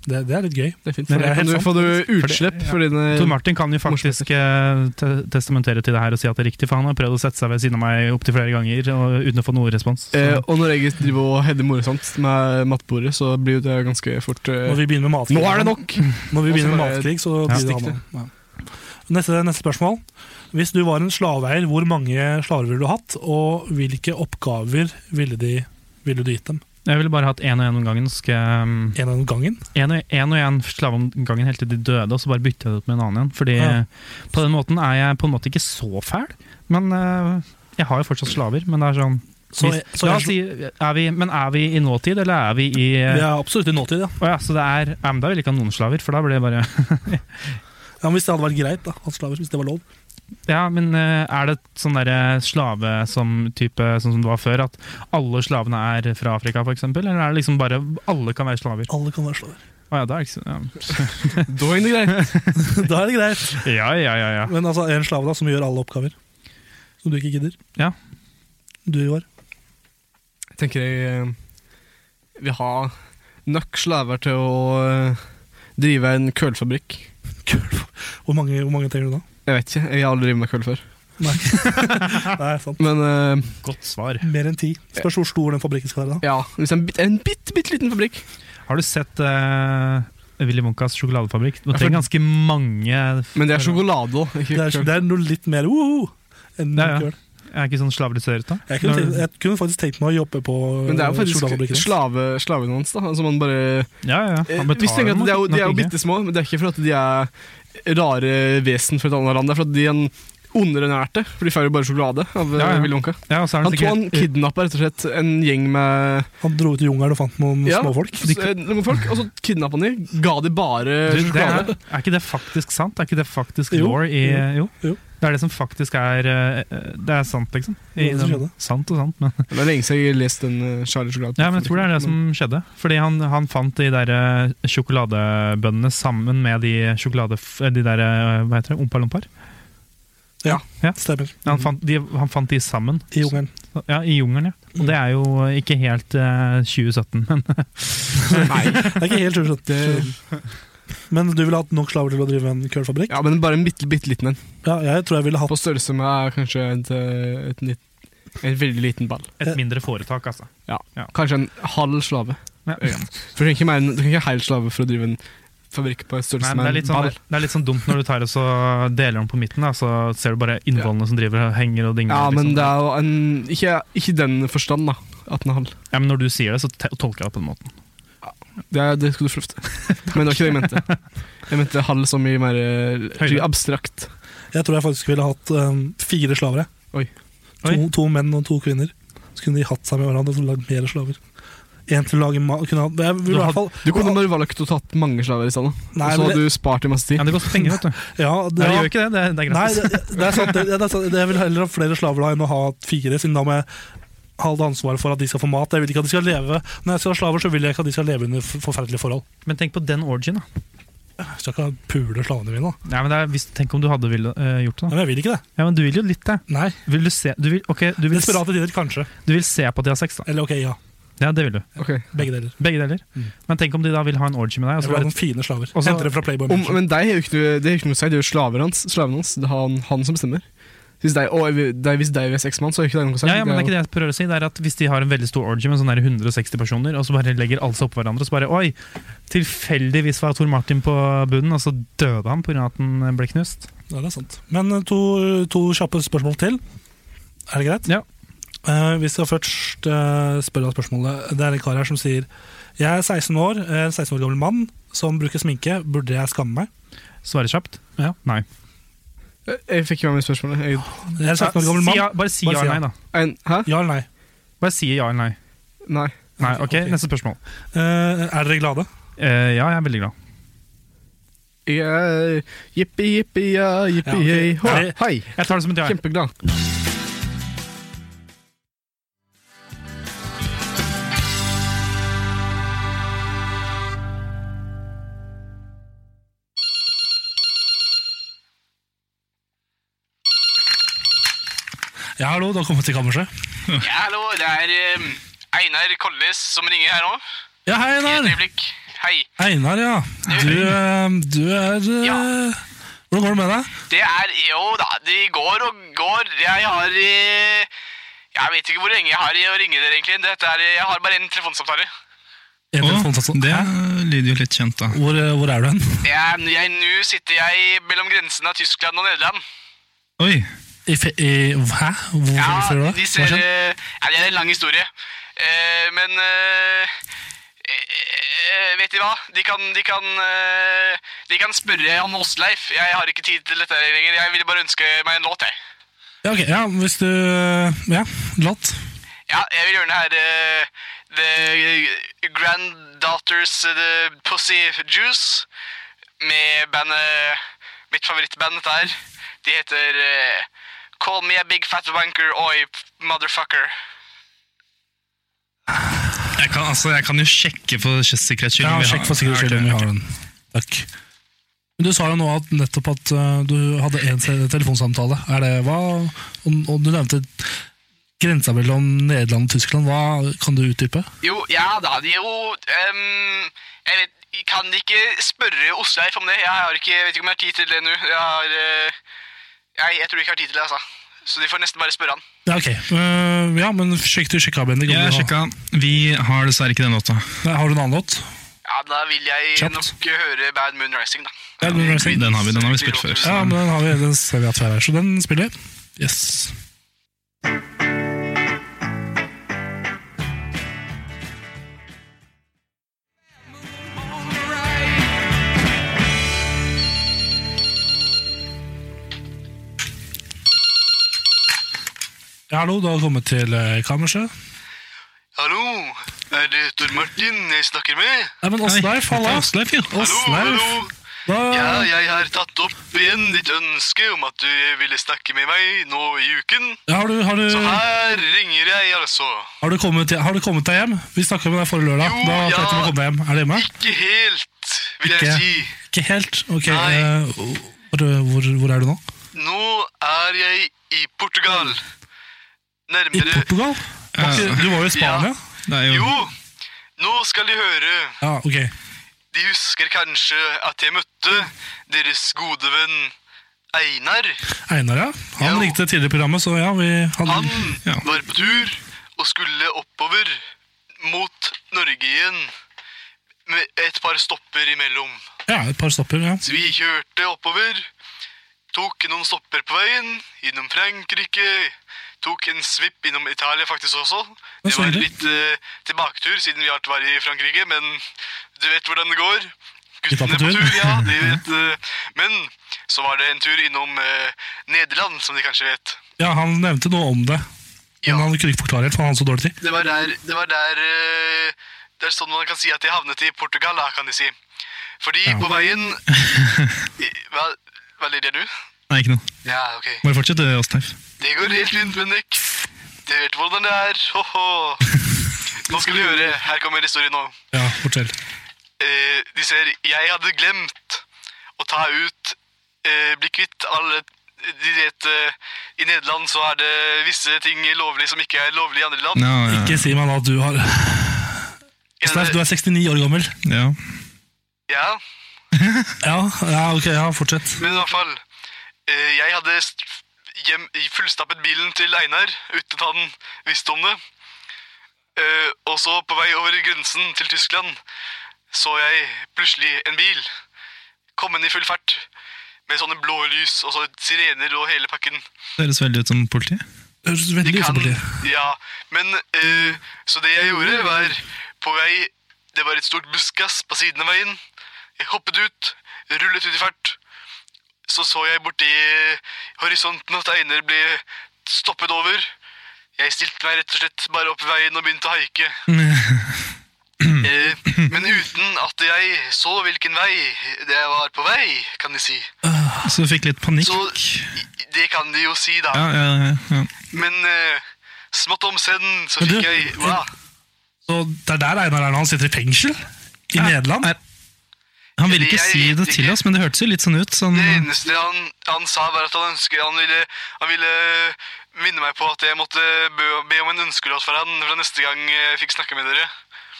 S2: Det, det er litt gøy.
S4: Det er fint.
S2: Men
S4: For
S2: det er
S4: da kan
S2: helt
S4: du få du utslipp
S3: Fordi- ja.
S4: fordi den
S3: Tor Martin kan jo faktisk eh, te testamentere til det her og si at det er riktig, for han har prøvd å sette seg ved siden av meg opptil flere ganger og, uten å få noe respons. Så.
S4: Eh, og når jeg driver og header morsomt med matbordet, så blir jo det ganske fort
S2: Når
S4: eh,
S2: vi begynner med matkrig,
S4: Nå er det nok!
S2: Når vi
S4: Og så
S2: begynner med
S4: bare
S2: matkrig, så
S3: Altså, Ja.
S2: blir det
S4: Stikk det.
S2: han ja. neste, neste spørsmål. Hvis du var en slaveeier, hvor mange slaver ville du hatt? Og hvilke oppgaver ville, de, ville du gitt dem?
S3: Jeg ville bare hatt én og én om gangen. så skal jeg, um,
S2: En av gangen?
S3: En og en, og en slave om gangen helt til de døde, og så bare bytter jeg det ut med en annen igjen. Fordi eh,
S2: Ja.
S3: på den måten er jeg på en måte ikke så fæl, men eh, jeg har jo fortsatt slaver. Men det er sånn
S2: Så,
S3: hvis-
S2: så
S3: La oss
S2: jeg-
S3: si, er vi, Men er vi i nåtid, eller er vi i
S2: vi
S3: ja.
S2: er absolutt i nåtid, ja.
S3: ja, Så det er ja, men Da vil jeg ikke ha noen slaver, for da blir det bare
S2: ja. Men hvis det hadde vært greit, da. At slaver, hvis det var lov.
S3: Ja, men eh, er det sånn derre slave som type sånn som det var før, at alle slavene er fra Afrika, f.eks.? Eller er det liksom bare alle kan være slaver?
S2: Alle kan være slaver.
S3: Å ja, da er det ikke så
S4: Da er det greit.
S2: da er det greit.
S3: Ja, ja, ja. ja, ja.
S2: Men altså, en slave da, som gjør alle oppgaver. Som du ikke gidder.
S3: Ja.
S2: Du, Ivar.
S4: Tenker jeg eh, vil ha nok slaver til å eh, drive en kølfabrikk.
S2: Hvor mange, hvor mange trenger du da?
S4: Jeg vet ikke, jeg har aldri drevet med køll før.
S2: Nei. Nei, sant.
S4: Men eh,
S3: Godt svar.
S2: Mer enn ti. Spørs hvor stor den fabrikken skal være. da.
S4: ja, hvis det er en bitte, en bitte, bitte liten fabrikk
S3: Har du sett eh, Willy Wonkas sjokoladefabrikk? Du
S4: Ja, for-
S3: trenger ganske mange
S4: Men det er sjokolade òg,
S2: Det
S4: ikke
S2: er,
S4: køll.
S2: det er noe litt mer woho enn
S3: Ja, ja.
S2: køl.
S3: Jeg er ikke sånn slaveriserert, da.
S2: Jeg kunne,
S3: Når-
S2: tenkt, jeg kunne faktisk tenkt meg å jobbe på
S3: Eh,
S4: Men det er jo faktisk
S2: sjokoladefabrikken.
S4: slave, slavene hans, da. Altså man bare
S3: ja, ja, ja. Han
S4: Eh, Hvis du tenker
S3: betaler
S4: at De er jo, de er jo
S3: nok ikke.
S4: bitte små, men det er ikke for at de er rare vesen fra et annet land. Det er for at de er en underernærte, for de får jo bare sjokolade av
S3: Ja,
S4: ja,
S3: ja.
S4: Willy Wonka.
S3: Ja, og så er
S4: Han
S3: han
S4: tror han
S3: sikkert
S4: kidnappa rett og slett en gjeng med
S2: Han dro ut i jungelen og fant noen
S4: Ja.
S2: småfolk.
S4: s- eh, noen folk, og så kidnappa han de, ga de bare
S3: Du, det er,
S4: sjokolade.
S3: er ikke det faktisk sant? Er ikke det faktisk
S2: Jo,
S3: law i jo.
S2: jo.
S3: Det er det som faktisk er eh, Det er sant, liksom. I,
S2: Det er det som
S3: den-
S2: skjedde.
S3: sant og sant, men
S4: Det er lenge siden jeg har lest den eh, Charlie Sjokolade.
S3: Ja, men jeg tror det er det som skjedde. Fordi han, han fant de der eh, sjokoladebønnene sammen med de sjokolade... De der, eh, hva heter det, ompalompar?
S2: Stemmer.
S3: Han fant, de, han fant de sammen.
S2: I jungelen.
S3: Ja, i jungelen, ja. Og det er jo ikke helt eh, 2017, men
S4: Nei,
S2: Det er ikke helt skjønt.
S4: det,
S2: Men du ville hatt nok slaver til å drive en kølfabrikk?
S4: ja, men bare en bitte, bitte liten en.
S2: Ja, jeg tror jeg ville hatt
S4: På størrelse med kanskje et, eh, et, nytt- en veldig liten ball.
S3: et mindre foretak, altså.
S4: Kanskje en halv slave.
S3: Ja.
S4: For Du trenger ikke mer enn- du trenger ikke en hel slave for å drive en fabrikk på
S3: Nei,
S4: størrelse
S3: men det, er
S4: med
S3: litt
S4: en
S3: sånn,
S4: ball.
S3: det er litt sånn dumt når du tar og så deler den på midten, da, så ser du bare innvollene som driver og henger og dingler.
S4: Ja, men
S3: liksom.
S4: det er jo en Ikke, ikke den forstand, da. At den er halv.
S3: ja, men når du sier det, så te tolker jeg det på den måten.
S4: Det, er- det skal du få lov til. Men det var ikke det jeg mente. Jeg mente halv som i mer eh,
S3: Høyde.
S4: abstrakt.
S2: Jeg tror jeg faktisk ville hatt um, fire slavere.
S4: Oi.
S2: To, to menn og to kvinner. Så kunne de hatt seg med hverandre og lagd mer slaver. En til å lage mat kunne ha, jeg vil
S3: Du
S2: i
S3: had-
S2: hvert fall,
S4: Du kunne bare valgt å tatt mange slaver i stedet. Og
S2: Nei, men
S4: så hadde
S2: det-
S4: du spart dem masse tid.
S3: Ja, det koster penger, vet du.
S2: ja,
S3: Nei,
S2: det,
S3: det
S2: ja.
S3: gjør ikke det. Det, det er
S2: Nei,
S3: gratis.
S2: det, det er sant. Det, det er sant. Jeg vil heller ha flere slaver da enn å ha fire, siden da må jeg ha alt ansvaret for at de skal få mat. Jeg vil ikke at de skal leve Når jeg skal ha slaver, så vil jeg ikke at de skal leve under for- forferdelige forhold.
S3: Men tenk på den origin, da.
S2: Jeg skal ikke pule slavene mine, da.
S3: Nei, men det er, hvis, tenk om du hadde ville, eh, gjort det, da.
S2: Men jeg vil ikke det.
S3: Ja, men du vil jo litt det.
S2: Nei.
S3: Vil du se du vil, ok, du vil, s-
S2: Desperate tider, kanskje.
S3: du vil se på at de har sex, da.
S2: Eller ok, ja.
S3: Ja, det vil du.
S4: Ok.
S2: Begge deler.
S3: Begge deler.
S2: Mm.
S3: Men tenk om de da vil ha en orgy med deg. Og
S2: Jeg
S3: så
S2: vil ha
S3: bare,
S2: noen fine slaver.
S3: Altså, Og så-
S2: Henter det fra Playboy
S4: Om,
S2: Mansion.
S4: men deg er jo ikke noe, det er jo ikke noe å si, det er jo slaver hans, slaven hans. Det er han, han som bestemmer. Hvis deg, og, deg, hvis deg er sexmann, så er ikke det noe å si.
S3: ja, ja, men det er ikke det jeg prøver å si. Det er at Hvis de har en veldig stor orgy med sånn der 160 personer, og så bare legger alle seg oppå hverandre, og så bare Oi! Tilfeldigvis var Tor Martin på bunnen, og så døde han pga. at han ble knust.
S2: Ja, det er sant. Men eh, to, to kjappe spørsmål til. Er det greit?
S3: Ja.
S2: Eh, vi skal først eh, spørre deg spørsmålet. Det er en kar her som sier Jeg er 16 år, jeg er en 16 år gammel mann som bruker sminke. Burde jeg skamme meg?
S3: Svare kjapt?
S2: Ja.
S3: Nei.
S4: Eh, Jeg, fikk ikke med meg spørsmålet. Jeg,
S2: Jeg er en 16 år gammel
S3: Si
S2: mann.
S3: ja, bare si
S2: Bare
S3: ja
S2: si
S3: eller
S2: ja.
S3: nei, da.
S4: en, hæ?
S2: Ja eller nei?
S3: Bare si ja eller nei.
S4: Nei.
S3: Nei,
S2: Ok,
S3: ok,
S2: ok.
S3: Neste spørsmål.
S2: Eh, er dere glade?
S3: Eh, ja, jeg er veldig glad.
S4: Jeg er jippi, jippi, ja, jippi,
S2: Ja,
S4: hei, hå,
S2: Nei.
S4: hei.
S3: Jeg tar det som et ja. jeg.
S4: Kjempeglad.
S2: Ja, hallo, du har kommet til kammerset.
S4: Ja, hallo, det er Einar Kollis eh, som ringer her nå.
S2: Ja, hei, Einar!
S4: øyeblikk.
S6: Hei.
S2: Einar, ja. Du, eh, du er eh,
S6: Ja.
S2: Hvordan går det med deg?
S6: Det er Jo da, de går og går. Jeg har eh, Jeg vet ikke hvor lenge jeg har i å ringe dere, egentlig. Dette er, jeg har bare én telefonsamtale.
S2: En telefonsats-
S3: det lyder jo litt kjent, da.
S2: sånn. Hvor, eh, hvor er du hen?
S6: Jeg, jeg, Nå sitter jeg mellom grensen av Tyskland og Nederland.
S3: Oi.
S2: I, fe- i, hæ? Hvorfor
S6: Ja,
S2: gjør du det?
S6: de
S2: Hva
S6: ser
S2: skjedde?
S6: eh, ja, Det er en lang historie. Eh, men eh, eh, Vet de hva? De kan, de, kan, eh, de kan spørre om Åsleif. Jeg har ikke tid til dette lenger. Jeg ville bare ønske meg en låt, jeg.
S2: Ja, ok, ja, hvis du eh, Ja, latt.
S6: Ja, jeg vil gjerne her eh, The Granddaughters eh, The Pussy Juice med bandet Mitt favorittband dette her. De heter eh, Call Me A Big Fat Wanker Oi Motherfucker.
S3: Jeg kan, altså, jeg kan jo sjekke for sikkerhets skyld.
S2: Ja,
S3: om vi
S2: sjekk for sikkerhets skyld om vi har den. Takk. Men Du sa jo nå at nettopp at eh, du hadde én se- telefonsamtale. Er det hva? Og, og du nevnte grensa mellom Nederland og Tyskland. Hva kan du utdype?
S6: Jo, ja da, de er jo ehm, Jeg vet jeg kan ikke spørre Osleif om det. Jeg har ikke, jeg vet ikke om jeg har tid til det nå. Jeg, har, eh, jeg, jeg tror ikke jeg har tid til det, altså. Så de får nesten bare spørre han.
S2: Ja, ok. Eh, ja, men sjekk du sjekka, Bendik. om
S3: Jeg
S2: du har-
S3: sjekka. Vi har dessverre ikke den låta.
S2: Nei, Har du en annen låt?
S6: Ja, Da vil jeg
S2: Kjapt.
S6: nok høre Bad Moon Rising, da.
S2: Ja, men,
S3: Den har vi, den har vi spilt før.
S2: ja, men den, har vi, den ser vi at vi har her, så den spiller vi. Yes. Ja, hallo, du har kommet til eh, kammerset.
S6: Hallo, er det Tor Martin jeg snakker med?
S2: Nei, men Åsleif, halla!
S3: Åsleif, jo.
S6: Hallo,
S2: Åsleif!
S6: hallo. Ja,
S2: Da-
S6: jeg har tatt opp igjen ditt ønske om at du ville snakke med meg nå i uken.
S2: Har du, har,
S6: Så
S2: du,
S6: her ringer jeg, altså.
S2: har, du kommet, til- har du kommet deg hjem? Vi snakka med deg forrige lørdag.
S6: Jo,
S2: Da
S6: ja.
S2: prøvde vi å komme deg hjem. Er du hjemme?
S6: Ikke helt, vil jeg
S2: Ikke.
S6: si.
S2: Ikke helt? Ok,
S6: Nei.
S2: eh, hvor, hvor, hvor er du nå?
S6: Nå er jeg i Portugal.
S2: I
S6: Nærmere
S2: Portugal? Var ikke- Du var jo i Spania?
S3: Det er jo
S6: Jo, nå skal de høre.
S2: Ja, ok.
S6: De husker kanskje at jeg møtte deres gode venn Einar.
S2: Einar, ja. Han
S6: Jo.
S2: likte tidligere programmet, så ja, vi hadde
S6: Han
S3: Ja.
S6: var på tur og skulle oppover mot Norge igjen. Med et par stopper imellom.
S2: ja, et par stopper. ja.
S6: Så vi kjørte oppover. Tok noen stopper på veien. Innom Frankrike. Tok en svipp innom Italia faktisk også. Det
S2: så
S6: var
S2: hyggelig.
S6: litt eh, tilbaketur siden vi alt var i Frankrike, men du vet hvordan det går.
S2: var
S6: Guttene
S2: på
S6: på
S2: tur.
S6: tur, ja. De vet, eh, men så var det en tur innom eh, Nederland, som de kanskje vet.
S2: Ja, Han nevnte noe om det, men
S6: Ja.
S2: han kunne ikke forklare helt, for han hadde så dårlig tid.
S6: Det var der, det var der eh, Det er sånn man kan si at jeg havnet i Portugal, da, kan de si. Fordi på veien I- Hva, hva ler jeg nå?
S3: Nei, ikke noe.
S6: Ja, ok.
S3: Bare fortsett, eh, du, Åsleif.
S6: Det går helt fint, Bendik. Du vet hvordan det er. Ho -ho. Nå skal du høre. Her kommer historien nå.
S2: Ja, fortell.
S6: Eh, de ser Jeg hadde glemt å ta ut eh, Bli kvitt alle De vet eh, I Nederland så er det visse ting lovlig som ikke er lovlig i andre land.
S3: Ja, ja,
S2: Ikke si meg da at du har Steff, du er 69 år gammel.
S3: ja.
S6: Ja,
S2: Ja, ja ok, ja, fortsett.
S6: Men i hvert fall eh, Jeg hadde st- hjem, fullstappet bilen til Einar uten at han visste om det. Eh, og så på vei over grensen til Tyskland så jeg plutselig en bil komme i full fart med sånne blå lys og så sirener og hele pakken.
S3: Det høres veldig ut som politi.
S2: Høres veldig ut som politiet.
S6: Ja, men eh, Så det jeg gjorde, var på vei Det var et stort buskas på siden av veien. Jeg hoppet ut, rullet ut i fart. Så så jeg borti horisonten at Einar ble stoppet over. Jeg stilte meg rett og slett bare opp i veien og begynte å haike. Eh, men uten at jeg så hvilken vei det var på vei, kan de si.
S3: Så du fikk litt panikk.
S6: Så det kan de jo si, da.
S3: Ja, ja, ja, ja.
S6: Men eh, smått om senn så
S2: Men du,
S6: fikk jeg hva?
S2: Så det er der Einar er nå, han sitter i fengsel? I
S3: Ja,
S2: Nederland?
S3: er- Han ville ikke
S6: Jeg
S3: si det
S6: vet
S3: til
S6: ikke.
S3: oss, men det hørtes jo litt sånn ut. Sånn,
S6: Det
S2: Mm.
S6: eneste han, han sa, var at han ønsket Han ville, han ville eh, minne meg på at jeg måtte be, be om en ønskelåt for han for neste gang jeg fikk snakke med dere.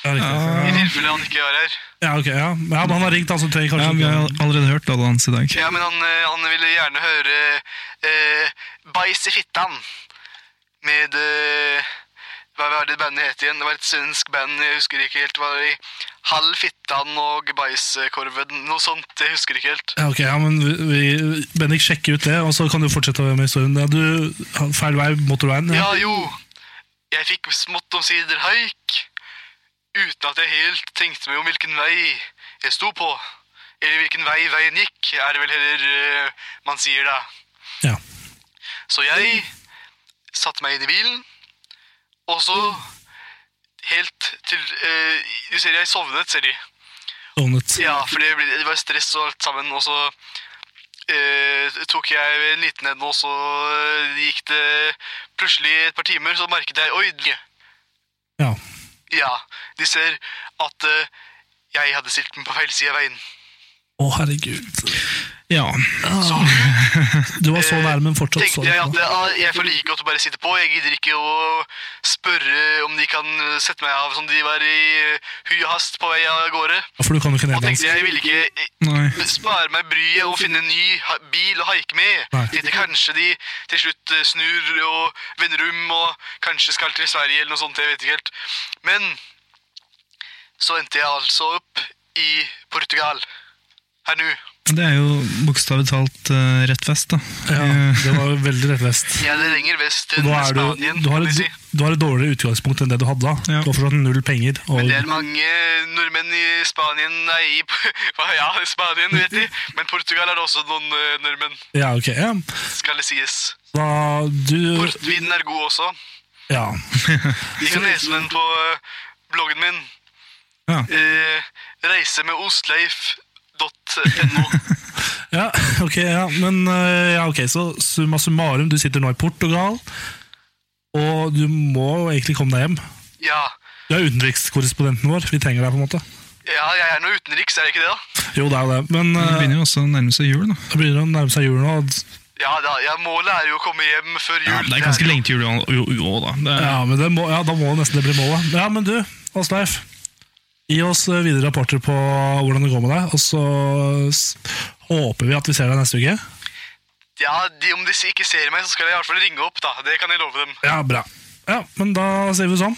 S2: Ja, riktig.
S6: I tilfelle han ikke er her.
S2: ja, ok, ja. Men han har ringt, han som trenger
S1: Ja,
S2: kanskje
S1: Vi har allerede hørt alle hans i dag.
S6: Ja, men han, eh, han ville gjerne høre eh, Bajs i fittan med eh, Hva var det bandet het igjen? Det var et svensk band, jeg husker ikke helt. Var det i Halv fittan og Bajskorven? Noe sånt, jeg husker ikke helt.
S2: Ja, ok, ja, men vi, vi, Bendik, sjekker ut det, og så kan du fortsette med historien. Ja, du, feil vei, motorveien.
S6: Ja, jo. Jeg fikk smått omsider haik, uten at jeg helt tenkte meg om hvilken vei jeg sto på. Eller hvilken vei veien gikk, er det vel heller eh, man sier da.
S2: Ja.
S6: Så jeg satte meg inn i bilen, og så helt til eh, Du ser jeg sovnet, ser de.
S2: Sovnet.
S6: Ja, for det, ble, det var stress og alt sammen, og så eh, tok jeg en liten en, og så eh, gikk det plutselig et par timer, så merket jeg Oi! d-
S2: Ja.
S6: Ja, de ser at eh, jeg hadde stilt meg på feil side av veien.
S2: Å, herregud.
S1: Ja.
S2: Ah, Du var så nærme, men fortsatt så
S6: Tenkte jeg at
S2: nærme.
S6: ah, jeg får like godt å bare sitte på. Jeg gidder ikke å spørre om de kan sette meg av som de var i eh, hui og hast på vei av gårde.
S2: Ja, for du kan jo ikke
S6: Og
S2: neddanse.
S6: tenkte jeg ville ikke
S1: Nei.
S6: spare meg bryet og finne en ny ha- bil å haike med.
S2: Nei.
S6: Tenkte kanskje de til slutt eh, snur og vender om og kanskje skal til Sverige eller noe sånt, jeg vet ikke helt. Men så endte jeg altså opp i Portugal. Her nå.
S1: Det er jo bokstavelig talt eh, rett vest, da.
S2: Ja,
S1: Eh,
S2: det var jo veldig rett vest.
S6: Jeg er lenger vest
S2: Og
S6: enn
S2: da er du,
S6: Spanien.
S2: du, har
S6: vil jeg
S2: et,
S6: si.
S2: du har et dårligere utgangspunkt enn det du hadde da.
S1: Ja.
S2: Du har fortsatt null penger. Og,
S6: Men det er mange nordmenn i Spanien Nei, i hva, ja, i Spanien, vet de. Men Portugal er det også noen eh, nordmenn,
S2: ja, ok. Ja.
S6: skal det sies.
S2: Da, du,
S6: Portvinen er god også.
S2: ja.
S6: De kan lese den på eh, bloggen min.
S1: Ja.
S6: Eh, reise med ostleif.no.
S2: ja, ok. Ja. Men eh, ja, ok, så summa summarum, du sitter nå i Portugal, og du må egentlig komme deg hjem.
S6: Ja.
S2: Du er utenrikskorrespondenten vår. Vi trenger deg, på en måte.
S6: ja, jeg er nå utenriks, er jeg ikke det, da?
S2: Jo, det er jo det. Men
S1: Det
S2: eh,
S1: begynner jo også å nærme seg jul, da.
S2: det begynner å nærme seg jul nå. og-
S6: Ja, da, ja, Målet er jo å komme hjem før jul.
S1: Ja, det er ganske lenge til jul òg, da. Det er,
S2: Ja, men det må, ja, da må nesten det bli målet. Ja, men du, Åsleif. Gi oss eh, videre rapporter på hvordan det går med deg, og så s- håper vi at vi ser deg neste uke.
S6: Ja, de, Om de ikke ser meg, så skal jeg i hvert fall ringe opp. da. Det kan jeg love dem.
S2: Ja, bra. Ja, men da sier vi sånn.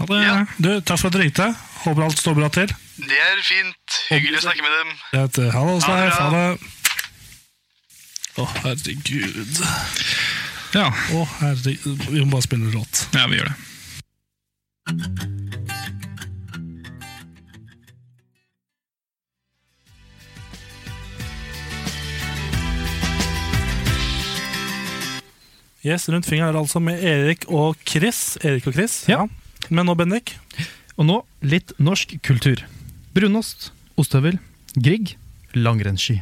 S1: ha det.
S6: Ja.
S2: Du, takk for at du ringte. Håper alt står bra til.
S6: Det er fint. Hyggelig å snakke med dem.
S2: Det heter Ha det,
S6: Ha det
S2: Åsleif.
S6: bra.
S2: Ha det. Å, herregud.
S1: Ja.
S2: Å, herregud. Vi må bare spille en låt.
S1: ja, vi gjør det.
S2: Yes, Rundt fingeren er det altså med Erik og Chris. Erik og Chris.
S3: Ja.
S2: Men nå, Bendik.
S3: Og nå litt norsk kultur. Brunost, ostehøvel, Grieg, langrennsski.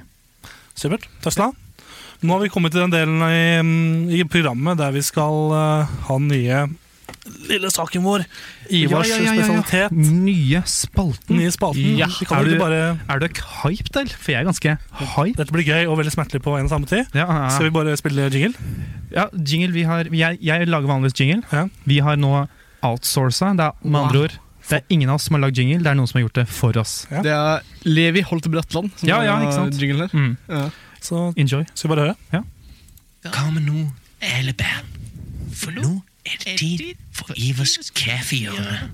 S2: Supert. Tesla. Nå har vi kommet til den delen i, mm, i programmet der vi skal eh, ha den nye lille saken vår. Ivars spesialitet.
S3: Nye spalten.
S2: Den nye spalten.
S3: Ja,
S2: Vi kan
S3: er
S2: jo
S3: du-
S2: ikke bare...
S3: Er du ikke hyped, eller? For jeg er ganske hyped.
S2: Dette blir gøy og veldig smertelig på en og samme tid.
S3: Ja, ja,
S2: Skal vi bare spille jingle?
S3: ja, jingle vi har jeg, jeg lager vanligvis jingle.
S2: Ja.
S3: Vi har nå outsourca. Det er med andre ord Det er ingen av oss som har lagd jingle, det er noen som har gjort det for oss.
S2: Ja.
S4: Det er Levi Holte Bratland som
S3: Ja, ja,
S4: er
S3: ikke sant?
S4: jinglen her.
S3: Mm.
S4: Ja.
S2: Så
S3: Enjoy.
S2: skal vi bare høre.
S7: Hva med nå, alle barn? For nå er det tid for Ivers kaffehjørne.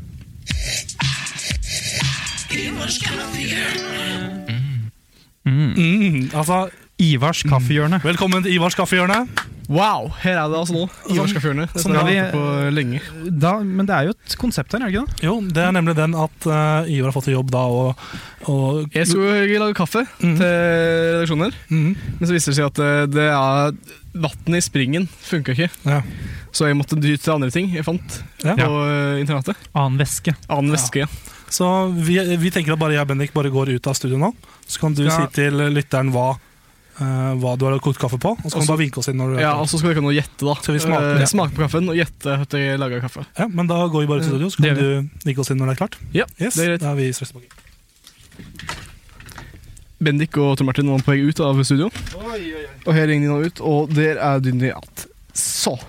S2: Mm, altså,
S3: Ivars kaffehjørne.
S2: velkommen til Ivars kaffehjørne.
S4: Wow, her er det altså nå. Ivarskafjørene.
S3: sånn
S4: Som har
S3: har
S4: vi
S3: vi-
S4: ventet på lenge.
S3: Da, men det er jo et konsept her, er det ikke det?
S2: Jo, det er nemlig den at eh, Ivar har fått i jobb da Mm. å å-
S4: Jeg skulle jo lage kaffe til redaksjonen her,
S2: Mhm.
S4: men så viste det seg at eh, det er vannet i springen funka ikke.
S2: Ja.
S4: Så jeg måtte ty til andre ting jeg fant
S2: Ja.
S4: på eh, internatet.
S3: Annen væske.
S4: Annen væske.
S2: Så vi, vi tenker at bare jeg og Bendik bare går ut av studio nå. Så kan du
S3: Ja.
S2: si til lytteren hva, eh, hva du har kokt kaffe på, og så kan
S4: Også-
S2: du bare vinke oss inn. når du er
S4: Ja,
S2: klar.
S4: og så skal dere nå gjette, da.
S2: Skal vi smake-
S4: Eh, smake på kaffen og gjette at jeg laga kaffe.
S2: ja, men da går vi bare ut
S4: Mm,
S2: av studio, så
S3: Det
S2: kan
S3: gjør
S2: du vinke oss inn når det er klart.
S4: Ja,
S2: Yes,
S4: det er greit.
S2: Da er vi straks tilbake.
S4: Bendik og Tor Martin var på vei ut av studio. Og her ringer de nå ut, og der er Dynni igjen. Så.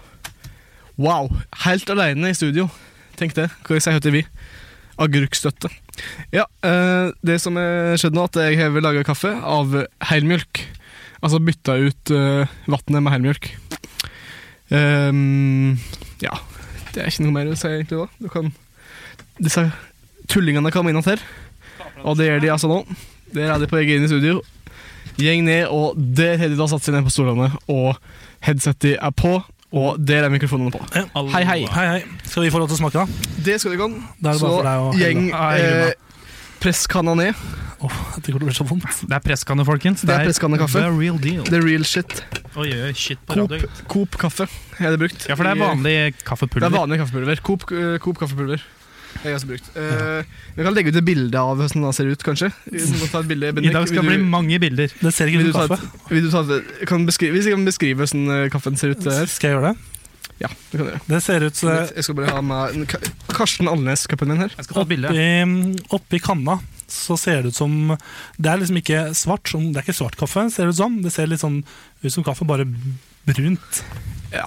S4: Wow. Helt alene i studio. Tenk det. Hva sier heter vi? Agurkstøtte. Ja, eh, det som er skjedd nå, at jeg har laga kaffe av helmjølk. Altså bytta ut uh, vannet med helmjølk. Ehm, ja, det er ikke noe mer å si egentlig da. Du kan Disse tullingene kom inn her, og det gjør de altså nå. Der er de på egen studio. Gjeng ned, og der har de da satt seg ned på stolene, og headsetet er på, og der er mikrofonene på. Hei, hei.
S2: Hei, hei. Skal vi få lov til å smake, da?
S4: Det skal du kan.
S2: Da er det
S4: Så
S2: bare for deg å
S4: gjeng
S2: Nei, Hilda.
S4: eh, presskanna ned.
S2: Åh, det kommer til å bli så vondt.
S3: Det er presskanne, folkens.
S4: Det er presskanne kaffe.
S3: The real deal.
S4: The real shit.
S3: Oi, oi, oi, shit på
S4: Coop,
S3: radio.
S4: Coop kaffe er det brukt.
S3: Ja, for det er
S4: I- eh,
S3: vanlig
S4: Det er
S3: kaffepulver.
S4: vanlig kaffepulver. Coop, eh, Coop kaffepulver. Det er også brukt. Eh, vi kan legge ut et bilde av hvordan det ser ut, kanskje. Vi må ta et bilde, Bendik.
S3: I dag skal det bli
S4: Vil du-
S3: mange bilder.
S2: Det ser ikke
S4: Vil
S2: ut
S4: du ta
S2: som
S4: et,
S2: kaffe.
S4: vil du ta et, kan beskrive, Hvis jeg kan beskrive hvordan eh, kaffen ser ut eh, her
S2: Skal jeg gjøre det?
S4: Ja, det kan du gjøre.
S2: Det ser ut eh, som
S4: Jeg skal bare ha med en Ka- Karsten Alnes-cupen min her.
S3: Jeg skal ta et bilde.
S2: Oppi, oppi mm, kanna så ser det ut som Det er liksom ikke svart, som- det er ikke svart kaffe, ser det ut som. Det ser litt sånn ut som kaffe, bare brunt.
S4: Ja.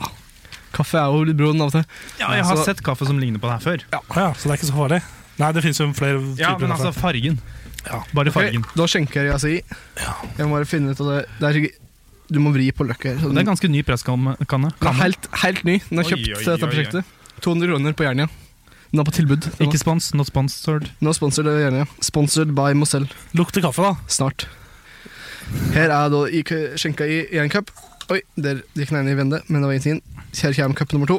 S4: Kaffe er jo litt brun av og til.
S3: Ja, jeg har
S4: Så-
S3: sett kaffe som ligner på den her før.
S2: Å Ja, så det er ikke så farlig. Nei, det finnes jo flere typer
S3: Ja, men altså
S2: kaffe.
S3: fargen. Bare
S4: Ok,
S3: fargen.
S4: da skjenker jeg seg i. Jeg må bare finne ut av det. det er, ikke- du må vri på løkka her. så
S3: Det er
S4: den-
S3: ganske ny presskanne. kanne.
S4: Den er helt, helt ny. Den er
S3: Oi,
S4: kjøpt
S3: oi,
S4: til dette
S3: oi, oi.
S4: prosjektet. 200 kroner på Jernia. Den er på tilbud. Den
S3: Ikke spons, not sponsored.
S4: Nå sponsorer det Jernia. Sponsored by Mozell.
S2: Lukter kaffe, da.
S4: Snart. Her er da i, skjenka i én cup. Oi, der gikk den ene i vende, men det var ingenting. Her kommer cup nummer to.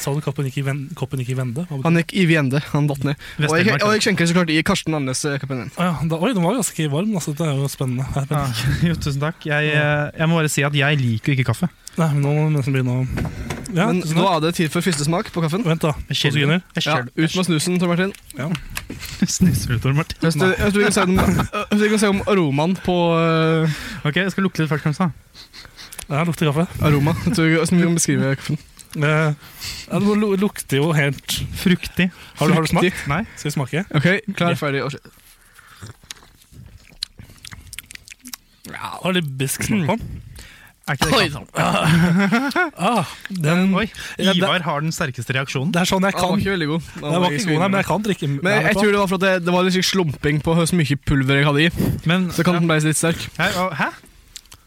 S2: Sa du koppen gikk i, ven, koppen gikk i vende? Hva betyr-
S4: Han gikk i vende. Han datt ned. Og jeg,
S3: Vest-Telemark,
S4: og jeg skjenker så klart i Karsten Andenes-cupen din.
S2: Å ja, da, oi, den var ganske varm. Altså, det er jo spennende. Det er
S3: Ja,
S2: spennende.
S3: jo, tusen takk. Jeg, eh, jeg må bare si at jeg liker jo ikke kaffe.
S2: Nei, men nå må vi nesten begynne å ja,
S4: Men
S2: tusen
S4: nå
S2: takk.
S4: er det tid for første smak på kaffen.
S2: Vent, da.
S3: Jeg
S2: To sekunder.
S4: Ja, ut med snusen, Tor Martin.
S3: Snuser du, Tor Martin?
S4: Hvis du, hvis du kan si om, hvis du kan si om aromaen på eh,
S3: Ok, jeg skal lukte litt først, kanskje. da.
S2: Ja, det lukter kaffe.
S4: Aroma. Hvis du hvis du kan beskrive kaffen.
S2: Eh, Ja, det lu- lukter jo helt
S3: Fruktig.
S2: Har du, har du smakt?
S4: Fruktig.
S3: Nei.
S2: Skal vi smake?
S4: Ok, klar, ferdig og Ah, skjøt.
S2: Ja, har litt bisk smak på den.
S3: Er ikke det kaffe?
S2: Ah, den,
S3: Oi,
S2: Ja, det-
S3: Ivar har den sterkeste reaksjonen.
S2: det er sånn jeg
S4: Den var
S2: kan
S4: ikke veldig god. Den
S2: Den var ikke god, nei, men jeg kan drikke
S4: Men jeg, jeg tror det var for at det, det var litt slik slumping på hvor mye pulver jeg hadde i.
S3: Men
S4: Så kan den ble litt sterk.
S3: Hæ? Å, Hæ?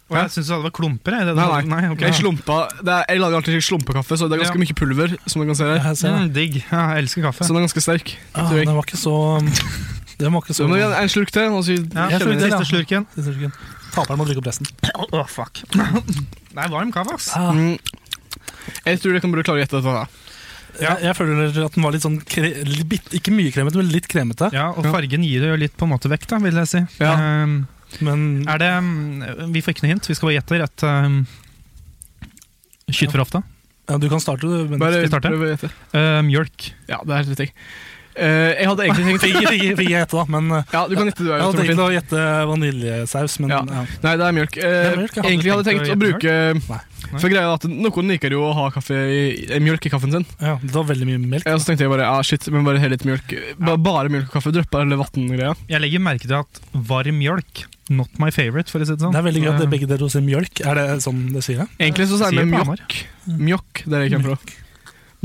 S3: Og
S4: Hæ?
S3: jeg syns alle var klumper. Jeg. Det,
S4: Nei, nei.
S3: ok.
S4: Jeg slumpa det er, Jeg lager alltid slik slumpekaffe, så det er ganske
S3: Ja.
S4: mye pulver. Som du kan se her
S2: Jeg ser det.
S3: Mm, digg. Ja, jeg elsker kaffe.
S4: Så den er ganske sterk.
S2: Ah,
S4: tror jeg.
S2: den var ikke så Den var ikke så
S4: Så må vi ha en slurk til. Og så
S3: Ja,
S2: jeg tror
S4: kjenner vi
S2: det-
S4: det.
S3: Siste slurken.
S2: Taperen må drikke opp resten.
S3: Å, fuck. Det er varm kaffe, ass.
S2: Ah,
S4: Mm. Jeg tror jeg kan bare klare å gjette dette. da.
S2: jeg, jeg føler at den var litt sånn kre, litt, bit- Ikke mye kremete, men litt kremete.
S3: Ja, og fargen gir det jo litt på en måte vekk, da, vil jeg si.
S4: Ja.
S3: Ehm,
S2: Men
S3: er det mm, Vi får ikke noe hint, vi skal bare gjette rett. ehm, Skyt for hofta.
S2: ja, du kan starte, du. Men,
S4: Bare
S3: vi starte?
S4: prøv å gjette.
S3: Eh, mjølk.
S4: Ja, det er helt riktig. Eh, jeg hadde egentlig tenkt
S2: fikk, fikk, fikk jeg gjette, da. Men eh,
S4: Ja, du kan gjette du er
S2: jeg
S4: jo,
S2: hadde
S4: Tor
S2: tenkt
S4: Martin.
S2: å gjette vaniljesaus, men
S4: Ja.
S2: ja.
S4: Nei, det er mjølk. Eh,
S2: Det er mjølk, ja.
S4: egentlig hadde jeg tenkt å
S3: Hadde du tenkt
S4: bruke
S2: Nei.
S4: For greia er at Noen liker jo å ha kaffe i, eh, mjølk i kaffen sin.
S2: Ja, det var veldig mye melk.
S4: Ja, så tenkte jeg bare ah, shit, men bare hell litt mjølk. Ba, bare mjølk og kaffe. Dryppa eller vanngreia.
S3: Jeg legger merke til at varm mjølk Not my favorite, for å si det sånn.
S2: Det er veldig gøy
S3: Eh,
S2: at det begge dere sier mjølk. Er det sånn det sier? jeg?
S4: Egentlig så sier vi
S3: Sier på
S4: mjokk. Mjokk, der jeg kommer fra.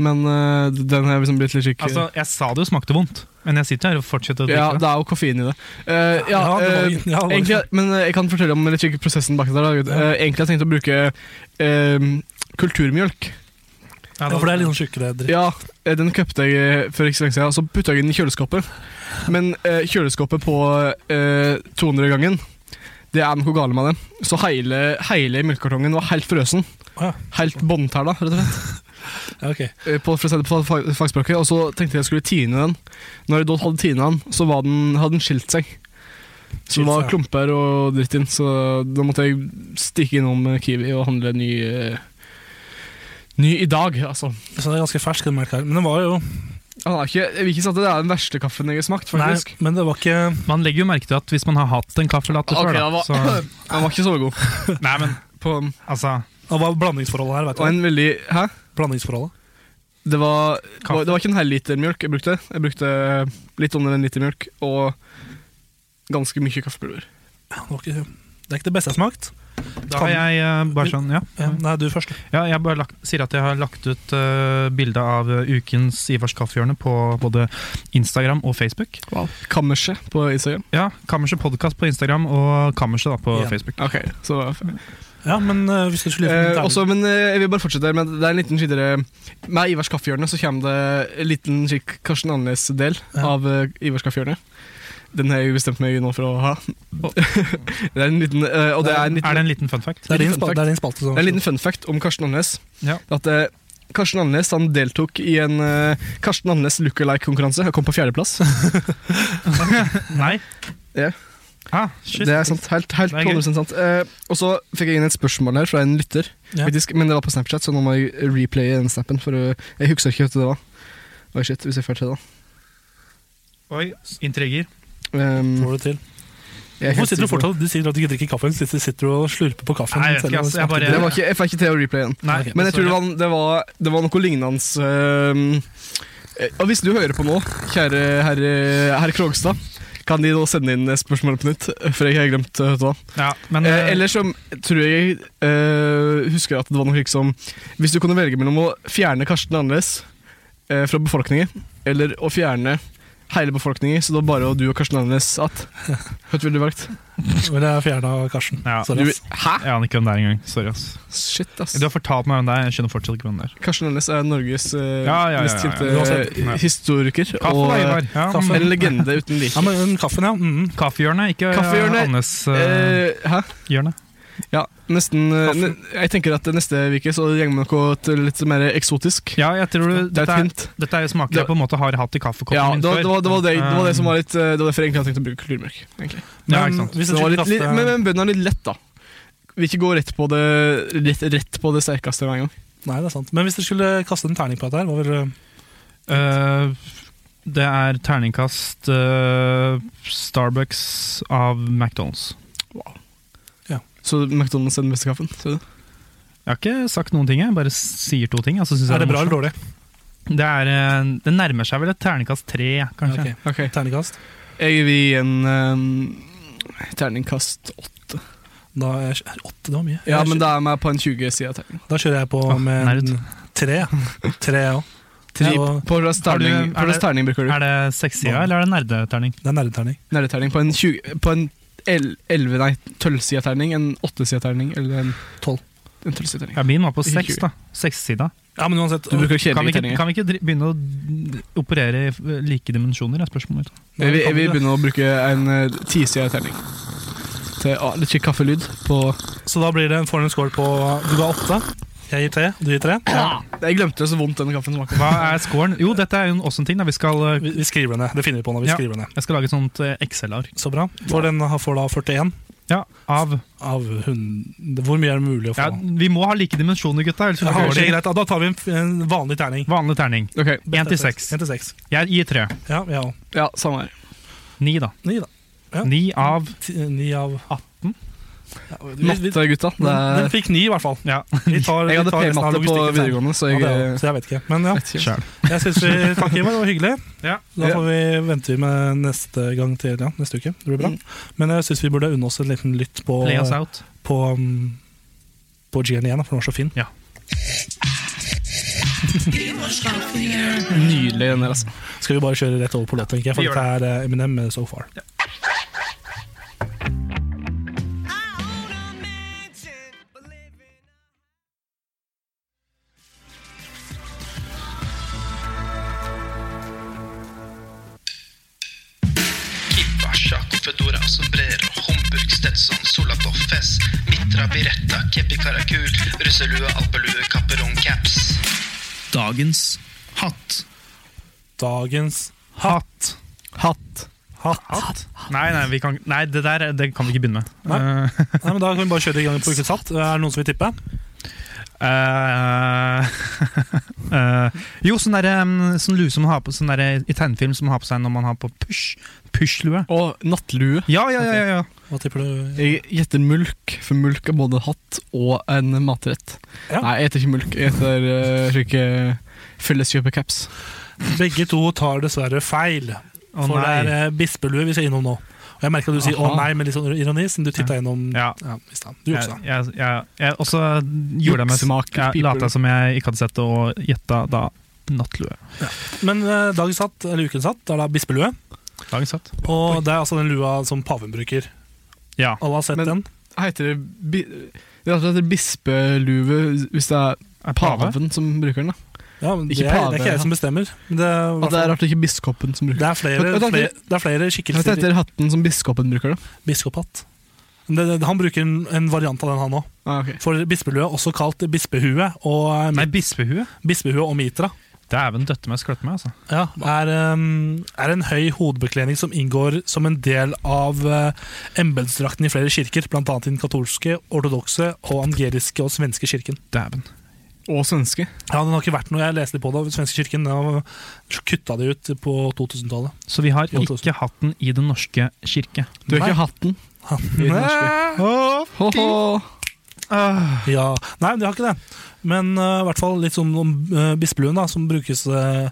S4: Men eh, den har liksom blitt litt skikkelig
S3: Altså, Jeg sa det jo smakte vondt, men jeg sitter her og fortsetter å drikke
S4: Ja,
S3: det.
S4: det er jo koffein i det. Eh, ja,
S2: Ja, det var-
S4: eh,
S2: ja, det var-
S4: egentlig, men eh, jeg kan fortelle om litt skikkelig prosessen bak det. der, Da. Eh, egentlig har jeg tenkt å bruke eh, kulturmjølk.
S3: Ja,
S2: Ja, for det er litt sånn tjukkere drikk.
S4: Ja, eh, den kjøpte jeg for ikke så lenge siden, og så putta jeg den i kjøleskapet. Men eh, kjøleskapet på eh, 200-gangen, det er noe galt med det. Så hele, hele melkekartongen var helt frøsen.
S2: Å ja.
S4: Helt båndtæla, rett og slett.
S2: Ja, ok.
S4: Eh, På, for å si det på fag, fagspråket. Og så tenkte jeg jeg skulle tine den. Når jeg da hadde tina den, så var den, hadde den skilt seg. Så det
S2: Skilt
S4: var
S2: seg, ja.
S4: klumper og dritt inn, så da måtte jeg stikke innom eh, Kiwi og handle ny eh, Ny i dag, altså.
S2: Så det er ganske fersk, den melka her. Men det var jo
S4: Han er ikke, jeg vil ikke si at det er den verste kaffen jeg har smakt,
S2: Nei,
S4: faktisk.
S2: men det var ikke
S3: Man legger jo merke til at hvis man har hatt en kaffelatte
S4: Ok,
S3: før, da,
S4: den, var,
S3: så
S4: den var ikke så god.
S3: Nei, men
S4: På,
S3: altså
S2: Det var blandingsforholdet her, vet
S4: og
S2: du.
S4: en veldig Hæ?
S2: Blandingsforholdet.
S4: Det var, det var- det var ikke en hel liter mjølk jeg brukte. Jeg brukte eh, litt under en liter mjølk og ganske mye kaffepulver.
S2: Ja, Det, var ikke, det er ikke det beste jeg har smakt.
S3: Da har jeg eh, bare sånn, ja.
S2: Ja, Nei, du først.
S3: ja jeg bare lagt, sier at jeg har lagt ut uh, bilde av eh, ukens Ivars kaffehjørne på både Instagram og Facebook.
S4: Wow. Kammerset på Instagram.
S3: Ja, Kammerset podkast på Instagram og Kammerset da på
S2: Ja.
S3: Facebook.
S4: Ok, så det var
S2: Ja, men eh, hvis du skulle
S4: Eh, også, men eh, jeg vil bare fortsette med at det er en liten skittere Med Ivars kaffehjørne så kommer det en liten slik Karsten Andenes del
S2: Ja.
S4: av eh, Ivars kaffehjørne. Den har jeg bestemt meg nå for å ha. det er en liten, eh, og det er
S3: Er
S4: en liten,
S3: det en liten fun fact?
S2: Det er din
S4: fun
S2: spalte.
S4: fact.
S2: Det er din spalte som-
S4: det er en liten fun fact om Karsten Andenes.
S3: Ja.
S4: At eh, Karsten Andenes han deltok i en eh, Karsten Andenes look-alike-konkurranse og kom på fjerdeplass.
S3: Nei?
S4: Ja.
S3: Ah, shit.
S4: Det er sånn- sant, helt, helt
S3: Det er gøy.
S4: 100% sant. Eh, og så fikk jeg inn et spørsmål her fra en lytter,
S2: Ja.
S4: faktisk, men det var på Snapchat, så nå må jeg replaye den snappen, for eh, jeg husker ikke hva det var. Oi, shit, hvis jeg får til det.
S3: Oi, intriger.
S4: Um,
S2: Får du til.
S4: jeg er
S2: Hvorfor
S4: helt
S2: sitter du
S4: sikker på det.
S2: fortsatt Du sier at du ikke drikker kaffe, men sitter, sitter du og slurper på kaffen.
S3: Nei, jeg vet
S2: selv
S3: ikke,
S2: om
S3: ass. Jeg
S2: smaker
S3: bare-
S2: dritt.
S4: Det var ikke, jeg fikk ikke til å replaye den.
S3: Nei,
S4: Men jeg tror det var, det var, det var noe lignende eh, eh, Og hvis du hører på nå, kjære herre herr Krogstad, kan de nå sende inn spørsmålet på nytt? For jeg har glemt eh, hva.
S3: Ja, men
S4: Eh, Eller så tror jeg eh, husker at det var noe slikt som Hvis du kunne velge mellom å fjerne Karsten Andenes eh, fra befolkningen, eller å fjerne hele befolkningen, så da bare du og Karsten Andenes att, hva ville du valgt?
S2: Men jeg fjerna Karsten.
S3: Ja.
S2: Sorry,
S4: Du,
S2: ass.
S4: hæ?
S3: Jeg aner ikke hvem det er engang. Sorry, ass.
S4: Shit, ass.
S3: Du har fortalt meg hvem det er. Jeg skjønner fortsatt ikke hvem det er.
S4: Karsten Andenes er Norges eh,
S3: Ja, ja, ja,
S4: mest
S3: ja, ja.
S4: kjente
S3: Uansett.
S4: eh,
S3: Nei.
S4: historiker.
S3: Kaffe, da,
S4: eh,
S3: Ivar. Ja,
S2: Kaffe.
S3: men-
S4: en legende uten like.
S2: Ja, men mm, kaffen, ja. Mm.
S3: Kaffehjørnet, ikke eh,
S4: Kaffehjørnet.
S3: Annes-hjørnet.
S4: Eh, hæ? Ja, nesten eh,
S3: Kaffe.
S4: ne- Jeg tenker at neste uke så går vi noe til litt mer eksotisk.
S3: ja, jeg tror du,
S4: Det er
S3: dette,
S4: et
S3: er,
S4: hint.
S3: dette er jo smaker jeg på en måte har hatt i kaffekoppen
S4: Ja,
S3: min
S4: det var det,
S3: før.
S4: var, det, var det, det var det som
S3: Um,
S4: var litt eh, Det var derfor jeg egentlig hadde tenkt å bruke kulturmørk. egentlig.
S2: Men
S3: Ja, ikke sant.
S2: hvis
S4: Så
S2: du
S4: det var
S2: skulle
S4: litt, litt,
S2: kaste-
S4: men, men bøndene er litt lett, da. Vil ikke gå rett på det, rett, rett på det sterkeste med en gang.
S2: Nei, det er sant. Men hvis du skulle kaste en terning på dette her, hva ville
S3: eh, Det er terningkast eh, Starbucks av McDonald's.
S4: Så McDonald's er den beste kaffen. Så.
S3: Jeg har ikke sagt noen ting, jeg bare sier to ting. Altså, synes jeg
S2: Er det bra eller
S3: morsomt.
S2: dårlig?
S3: Det, er, eh, det nærmer seg vel et terningkast tre,
S2: Ja,
S3: kanskje.
S2: ok.
S4: Ok.
S2: Terningkast.
S4: Jeg vil gi en eh, terningkast åtte.
S2: Da er jeg åtte, det var mye.
S4: Ja,
S2: Jeg-
S4: men da er vi på en 20-side av terningen.
S2: Da kjører jeg på
S3: Åh,
S2: med
S3: nerd.
S2: en tre. ja. Tre, jeg òg.
S4: Tri,
S2: Ja, og-
S4: på hvilken
S3: Har du-
S4: terning,
S3: er
S4: på hvilken
S3: det-
S4: terning bruker du?
S3: Er det sexsida, eller er det nerdeterning?
S2: Det er nerdeterning.
S4: Nerdeterning på en, 20, på en 11, nei, 12-side terning, en 8-side terning eller en
S2: Tolv.
S4: En 12-side terning.
S3: Ja, min var på
S4: Ikke
S3: seks,
S4: tjue.
S3: da. Sexsida.
S2: Ja, men uansett.
S4: Du bruker
S3: Kan vi ikke,
S4: kjedelige terninger.
S3: kan vi ikke dri- begynne å d- operere i f- like dimensjoner, er spørsmålet mitt.
S2: Nei,
S4: Jeg vil, jeg
S2: kan
S4: vil
S2: du det?
S4: begynne å bruke en eh, 10-sida terning. Til ah, litt kjekk kaffelyd på
S2: Så da blir det en fornem score på Du ga åtte, jeg gir tre, og du gir tre.
S4: Jeg glemte så vondt den kaffen smaker.
S3: Hva er scoren? Jo, dette er jo også en ting. Da. Vi skal, eh,
S2: Vi, vi skriver det ned. Det finner vi på når vi
S3: Ja.
S2: skriver det ned.
S3: jeg skal lage et sånt eh, Excel-ark.
S2: Så bra. For den har- får da 41
S3: Ja, av
S2: av 100 Hvor mye er det mulig å få?
S3: ja, Vi må ha like dimensjoner, gutta. Ellers
S2: Ja,
S3: går
S2: ok,
S3: det ikke.
S2: greit. Da tar vi en, en vanlig terning.
S3: Vanlig terning.
S4: Ok,
S3: Én til seks.
S2: En til seks.
S3: Jeg gir tre.
S2: Ja, jeg òg.
S4: ja, samme her.
S3: Ni, da.
S2: Ni, da. Ja.
S3: Ni av
S2: Ti- Ni av
S3: 18.
S2: ja, vi, vi,
S4: Matte, gutta.
S2: den,
S4: Det
S2: den
S4: er,
S2: fikk ni, i hvert fall.
S3: Ja.
S2: Vi tar,
S4: jeg
S2: vi
S4: hadde
S2: tar resten av
S4: P-matte på
S2: logistikken senere.
S4: videregående, så
S2: Ja,
S4: jeg eh,
S2: det er jo- så jeg vet ikke. Men ja,
S4: vet ikke.
S3: Sjæl.
S2: jeg synes vi takk Ivar, det var hyggelig.
S3: Ja.
S2: Da
S4: Ja.
S2: får vi vente med neste gang til ja, neste uke. Det blir bra.
S4: Mm.
S2: Men jeg syns vi burde unne oss en liten lytt på
S3: Play us out.
S2: på, um, på Gian igjen, da, for den var så fin.
S4: Nydelig, den der, altså.
S2: Skal vi bare kjøre rett over på låt, tenker jeg, for
S3: Vi gjør
S2: dette er eh, Eminem med So Far.
S8: Kibasha, Fedora, Sombrero, Homburg, Stetson, Solaboff, Fess, Mitra, Biretta, Keppi Karakul, russelue, alpelue, kapperong, caps.
S7: Dagens hatt.
S2: Dagens
S3: Hatt.
S4: Hatt.
S2: hatt.
S3: Nei, nei, vi kan, nei, det der det kan vi ikke begynne med.
S2: Nei.
S3: Eh,
S2: Nei, men Da kan vi bare kjøre i gang på ukens hatt. Er det noen som vil tippe?
S3: eh, eh, jo, sånn derre mm, sånn lue som man har på sånn derre i tegnefilm som man har på seg når man har på push. Push-lue.
S4: Og nattlue.
S3: Ja, ja, ja, ja, ja.
S2: Hva tipper du?
S4: Jeg gjetter mulk, for mulk er både hatt og en matrett.
S2: Ja.
S4: Nei, jeg gjetter ikke mulk. Jeg gjetter uh, slike felleskjøpecaps.
S2: Begge to tar dessverre feil,
S3: Å,
S2: for det
S3: nei.
S2: er eh, bispelue vi skal innom nå. Og Og jeg merker at du sier 'å
S3: Aha.
S2: nei' med litt sånn ironi, siden du titta gjennom
S3: Ja.
S2: i stad. Du juksa.
S3: Jeg, jeg, jeg, jeg også gjorde jeg meg
S4: Juksemaker,
S3: Jeg
S4: people.
S3: lata som jeg ikke hadde sett det, og gjetta da nattlue.
S2: Men eh, dagen satt, eller uken satt, det er da bispelue.
S3: Dagen satt.
S2: Og det er altså den lua som paven bruker.
S3: Ja.
S2: Alle har sett
S4: Men-
S2: den.
S4: Heter det bi Det er altså heter bispelue hvis det er
S3: Er pave?
S4: paven som bruker den. da
S2: Ja, men det,
S4: Ikke
S2: er, det er
S4: pave,
S2: ikke jeg som bestemmer. Men Det, er i hvert
S4: At det er
S2: fall-
S4: rart det ikke er biskopen som bruker
S2: det
S4: den.
S2: er flere,
S4: Men- men-
S2: flere, det er flere
S4: Hva
S2: skikkelser i
S4: heter hatten som biskopen bruker, da?
S2: biskophatt. Men Det, det, han bruker en, en variant av den, han òg.
S4: Ah, ok.
S2: For bispelue er også kalt bispehue og, eh,
S3: Nei, bispehue.
S2: bispehue og mitra.
S3: Dæven døtte meg skløtte meg, altså.
S2: Ja, er, um, er en høy hodebekledning som inngår som en del av uh, embetsdrakten i flere kirker, bl.a. i den katolske, ortodokse og angeriske og svenske kirken.
S3: Dæven.
S4: Og svenske.
S2: Ja, Den har ikke vært noe jeg leste litt på det, svenske kirken. Den har kutta det ut på 2000-tallet.
S3: Så vi har
S2: Jo,
S3: ikke hatt den i Den norske kirke.
S4: Du har
S2: Nei.
S4: ikke hatten. i den norske. Ho, ho.
S2: Ja, Nei, de har ikke det. Men uh, i hvert fall litt sånn om uh, bispeluen, da, som brukes uh,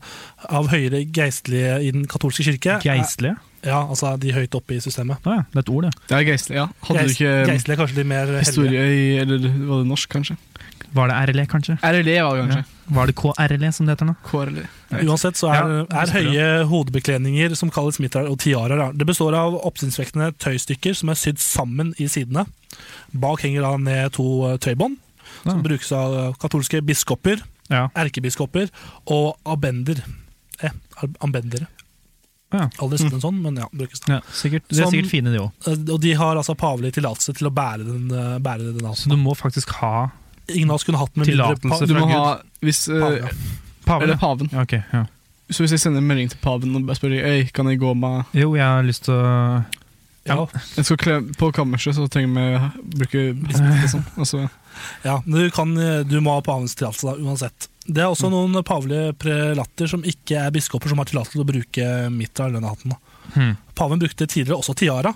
S2: av høyere geistlige i den katolske kirke.
S3: Geistlige?
S2: Er- Ja, altså de høyt oppe i systemet.
S3: Å ja, det er et ord, det.
S4: Det er geistlig, ja. Hadde du
S2: Geist,
S4: ikke um,
S2: geistlige er kanskje de mer hellige.
S4: historie i Eller var det norsk, kanskje?
S3: Var det RLE, kanskje?
S4: RLE var det kanskje.
S3: Var det KRLE E, som det heter nå?
S4: KRLE.
S2: Uansett så er,
S3: Ja,
S2: er høye hodebekledninger som kalles mitrar og tiarer. da. Det består av oppsynsvekkende tøystykker som er sydd sammen i sidene. Bak henger da ned to eh, tøybånd, som
S3: Ja.
S2: brukes av eh, katolske biskoper,
S3: Ja.
S2: erkebiskoper og abender. Eh, ab- ambendere.
S3: Ja.
S2: Aldri sett en sånn, men ja, brukes da.
S3: Ja, sikkert, det er
S2: Som-
S3: sikkert fine, de òg.
S2: Eh, Og de har altså pavelig tillatelse til å bære den. eh, Bære den altså.
S3: Så du må faktisk ha
S2: Ingen av oss kunne hatt den med mindre pa-
S3: Tillatelse
S4: Du må
S3: Fra
S4: ha hvis eh,
S2: pave.
S3: paven.
S4: Eller paven.
S3: Ja, ok, ja.
S4: Så hvis jeg sender en melding til paven og bare spør Øy, kan jeg gå med
S3: Jo, jeg har lyst til å
S2: Ja.
S4: Jeg skal kle På kammerset så trenger vi bruke bispen, liksom. Altså,
S2: Ja, men du, kan, du må ha pavens tillatelse da, uansett. Det er også noen pavelige prelater som ikke er biskoper, som har tillatelse til å bruke mitra eller denne hatten. Da.
S3: Hmm.
S2: Paven brukte tidligere også tiara.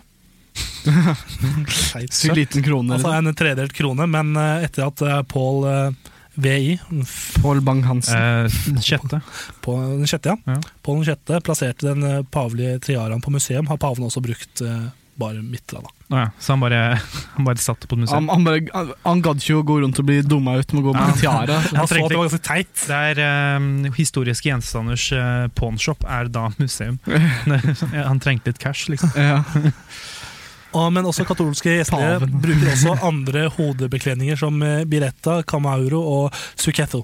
S2: Feit
S4: Sykt
S2: søtt.
S4: liten krone. liksom.
S2: altså
S4: eller?
S2: en tredelt krone, men eh, etter at eh, Paul eh, VI, f-
S4: Pål Bang-Hansen.
S3: eh, Sjette.
S2: på den sjette, ja.
S3: Ja.
S2: Paul den sjette plasserte den eh, pavelige tiaraen på museum, har paven også brukt eh, bare mitra. Da.
S3: Å ja, så han bare, han bare satt på et museum.
S4: Han, han, bare- han, han gadd ikke å gå rundt og bli dumma ut med å gå med tiara.
S2: Han så
S3: trengte
S2: at det var ganske teit.
S3: Det er eh, historiske gjenstanders eh, pawnshop er da museum. han trengte litt cash, liksom.
S4: Ja.
S2: Og, men også katolske gjestlige
S4: Paven.
S2: bruker også andre hodebekledninger som eh, biretta, camauro og succhetto.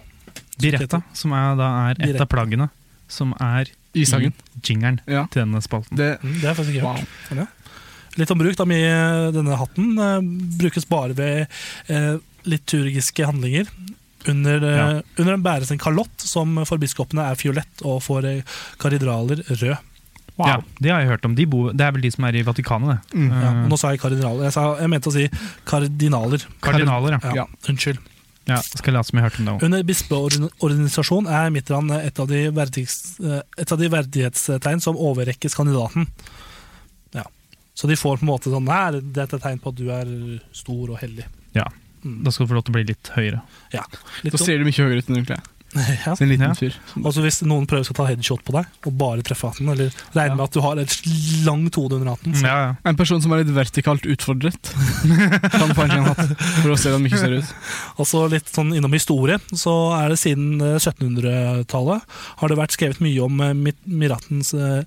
S3: Biretta, som er, da er et
S2: Biretta.
S3: av plaggene som er
S4: Ishagen.
S3: i jingeren
S4: Ja.
S3: til denne spalten.
S4: Det,
S2: Mm, Det har jeg faktisk ikke
S4: wow.
S2: hørt. Sånn, ja. Litt om bruk. da, mye- Denne hatten eh, brukes bare ved eh, liturgiske handlinger. Under, eh,
S3: Ja.
S2: under den bæres en kalott, som for biskopene er fiolett, og for eh, kardinaler rød.
S3: Ja, det har jeg hørt om. De bor, det er vel de som er i Vatikanet, det.
S4: Mm.
S3: Eh,
S2: Ja, og nå sa jeg kardinaler. Jeg, sa, jeg mente å si kardinaler.
S3: kardinaler, ja.
S2: Ja,
S4: Ja.
S2: Unnskyld.
S3: ja. Skal late som jeg hørte om det òg.
S2: Under bispeorganisasjon er Mitterrand et av de, verdighets, eh, et av de verdighetstegn som overrekkes kandidaten. Ja. Så de får på en måte sånn Nei, dette er tegn på at du er stor og hellig.
S3: Ja. Da skal du få lov til å bli litt høyere.
S2: Ja. Litt
S4: da ser de mye høyere ut enn egentlig.
S2: dumt. ja.
S4: Så en liten
S3: Ja.
S4: fyr.
S2: Altså Hvis noen prøver å ta headshot på deg, og bare treffe hatten, eller regner med at du har et langt hode under hatten så-
S3: Ja, ja.
S4: En person som er litt vertikalt utfordret, kan få en sånn hatt for å se hvordan de ikke ser ut.
S2: Og så litt sånn innom historie, så er det siden eh, 1700-tallet har det vært skrevet mye om eh, mit, Miratens eh,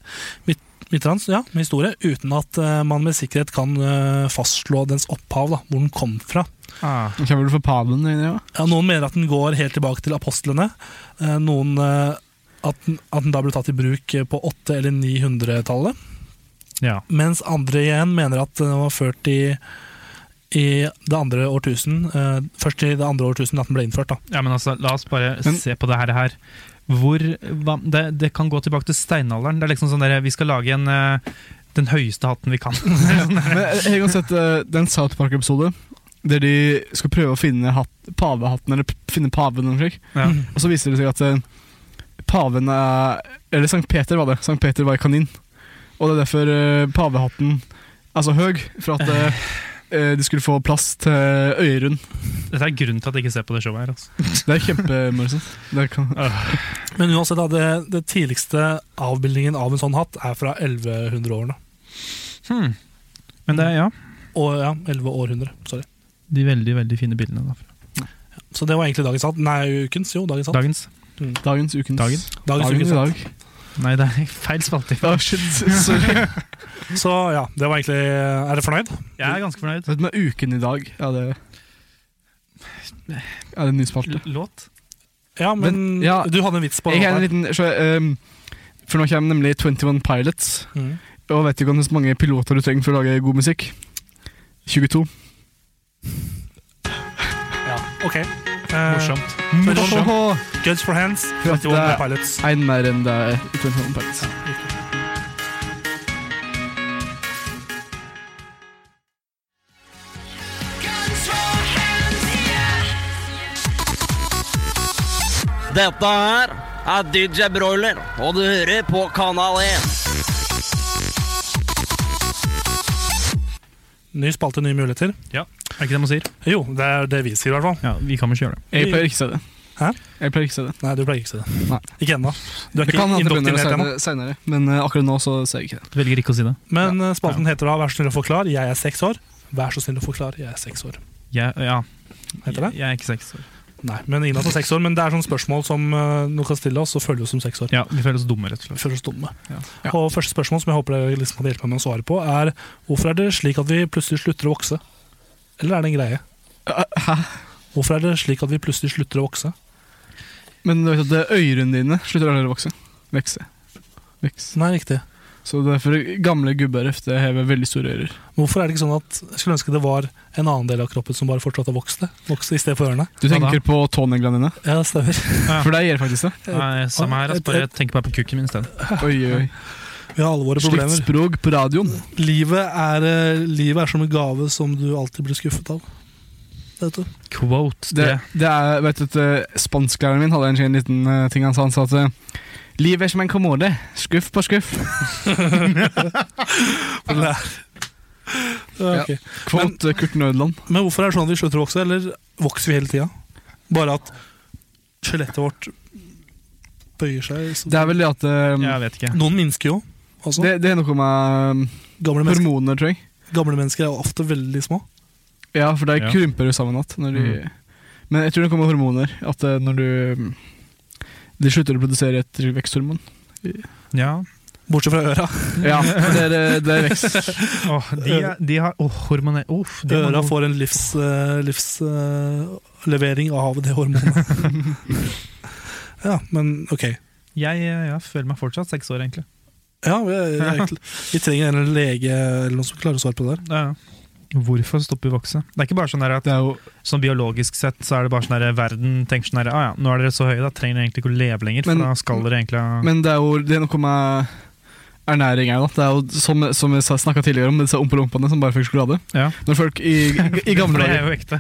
S2: mit, Mitrans, ja, med historie, uten at eh, man med sikkerhet kan eh, fastslå dens opphav, da, hvor den kom fra.
S3: Ah.
S4: Den Kommer du for paven inni òg?
S2: Ja, noen mener at den går helt tilbake til apostlene, eh, noen eh, at, den, at den da ble tatt i bruk eh, på 800- eller 900-tallet,
S3: ja.
S2: mens andre igjen mener at den var ført i, i det andre årtusen, eh, først i det andre årtusen at den ble innført. da.
S3: ja, men altså, la oss bare
S4: Men-
S3: se på det her. her. Hvor, hva, det, det kan gå tilbake til steinalderen. Det er liksom sånn der, Vi skal lage en, eh, den høyeste hatten vi kan.
S4: Men jeg har uansett, eh, det er en South Park-episode der de skal prøve å finne hatt, pavehatten, eller p- finne paven, eller noe slikt.
S3: Ja.
S4: Og så viser det seg at eh, paven er Eller Sankt Peter var det. Sankt Peter var en kanin. Og det er derfor eh, pavehatten er så høy, for at eh, eh, de skulle få plass til øyerund.
S3: Dette er grunnen til at jeg ikke ser på det showet her. Altså.
S4: Det er kjempemorsomt. Det kan-
S2: Men uansett, da, det, det tidligste avbildningen av en sånn hatt er fra 1100-årene.
S3: Hmm. Men det er, ja,
S2: Og ja, 11 århundre. Sorry.
S3: de veldig, veldig fine bildene derfra.
S2: Så det var egentlig dagens sant. Nei, ukens. Jo, dagens sant.
S3: Dagens.
S4: Dagens, ukens.
S3: Dagen.
S2: Dagens
S4: Dagen i
S2: ukens sant.
S4: dag.
S3: Nei, det er feil spalte.
S4: Oh, shit, sorry.
S2: Så ja, det var egentlig Er dere fornøyd?
S3: Jeg er ganske fornøyd.
S4: Vet du med uken i dag? Er det, er det en ny spalte?
S3: L- Låt.
S2: Ja, men
S4: Men, ja.
S2: du hadde en vits på
S4: Jeg har en
S2: det.
S4: liten så, ehm, For nå kommer nemlig 21 Pilots.
S2: Mhm.
S4: Og vet du hvor mange piloter du trenger for å lage god musikk? 22.
S2: Ja, ok.
S3: Morsomt.
S2: Morsomt.
S4: Åhå!
S2: Guns for hands,
S4: Ja,
S2: 21
S4: det er-
S2: pilots.
S4: En mer enn det er 21 Pilots.
S7: Dette her er DJ Broiler, og du hører på Kanal E. 1.
S2: Ny spalte, nye muligheter.
S3: Er det ikke det man sier?
S2: Jo, det er det vi sier, i hvert fall.
S3: Ja, vi kan vel ikke gjøre det.
S4: Jeg pleier ikke å si det.
S2: Hæ?
S4: Jeg pleier ikke å si det.
S2: Nei, du pleier ikke å si det.
S4: Nei.
S2: Ikke ennå. Du er
S4: Det
S2: ikke
S4: kan hende jeg begynner
S2: indoktrinert
S4: å si
S2: ennå.
S4: det senere, men eh, akkurat nå så sier jeg ikke det.
S3: Du velger ikke å si det.
S2: Men eh, spalten heter da 'Vær så snill å forklare, jeg er seks år'. Vær så snill å forklare, jeg er seks år.
S3: Jeg, ja,
S2: Heter det?
S3: jeg er ikke seks år.
S2: Nei, men ingen av oss er seks år. Men det er sånne spørsmål som eh, noen kan stille oss, og føler vi oss som seks år.
S3: Ja, Vi føler oss dumme, rett og
S2: Vi
S3: slett.
S2: føler oss dumme.
S3: Ja.
S2: Og første spørsmål som jeg håper dere liksom kan hjelpe meg med å svare på, er hvorfor er det slik at vi plutselig slutter å vokse? Eller er det en greie?
S4: Hæ?
S2: Hvorfor er det slik at vi plutselig slutter å vokse?
S4: Men du vet at det er øyrene dine slutter aldri å vokse. Vekse. Vekse.
S2: Nei, riktig.
S4: Så derfor gamle gubber ofte har veldig store ører.
S2: Hvorfor er det ikke sånn at jeg skulle ønske det var en annen del av kroppen som bare fortsatte å vokse, vokse i stedet for ørene?
S3: Hva
S4: Du
S3: da?
S4: tenker på tåneglene dine,
S2: Ja, det stemmer.
S3: Ja.
S4: for det gjør faktisk det.
S2: Eh,
S3: Nei, samme her, ass, bare tenk bare på kukken min i stedet.
S4: Oi, oi, oi.
S2: Vi har alle våre
S4: Slikt
S2: problemer.
S4: språk på radioen.
S2: Livet er, eh, livet er som en gave som du alltid blir skuffet av. Det vet du.
S3: Quote
S4: Det,
S3: det.
S4: det er, vet du, at, eh, Spansklæreren min hadde en sånn liten eh, ting han sa. Han sa at eh, livet er som en kommode. Skuff på skuff.
S2: Ja, ok.
S4: Kvot eh, Kurt Nødland.
S2: Men hvorfor er det sånn at vi slutter å vokse, eller vokser vi hele tida? Bare at skjelettet vårt bøyer seg. Så.
S4: Det er vel det at eh,
S3: Jeg vet ikke.
S2: Noen minsker jo. Altså,
S4: det, det er noe med eh,
S2: gamle, mennesker,
S4: hormoner, tror jeg.
S2: gamle mennesker er ofte veldig små.
S4: Ja, for de
S3: Ja. Mm.
S4: krymper jo sammen igjen. når de- Men jeg tror det kommer hormoner. At eh, når du mm, De slutter å produsere et veksthormon.
S3: Ja.
S2: Bortsett fra øra.
S4: Ja, det er, eh, det er vekst.
S3: Åh, de, er- de har Åh, hormonell Uff. de har
S2: Øra
S3: noe-
S2: får en livslevering livs, eh, levering av det hormonet. ja, men ok.
S3: Jeg, eh, jeg føler meg fortsatt seks år, egentlig.
S2: Ja, vi, vi, vi trenger en lege eller noen som klarer å svare på det der.
S3: Ja, ja. Hvorfor stopper vi å vokse? Det er ikke bare sånn der at
S4: Det er jo,
S3: sånn biologisk sett så er det bare sånn der verden tenker sånn der, ah, ja, nå er dere så høye, da trenger dere egentlig ikke å leve lenger,
S4: Men-
S3: for da skal dere egentlig ha
S4: men det er jo det er noe med ernæring her. da. Det er jo som, som jeg snakka tidligere om, disse ompelompene som bare fikk sjokolade.
S3: Ja.
S4: Når folk i, i, i
S3: For
S4: gamle
S3: det
S4: dager
S3: er jo ekte.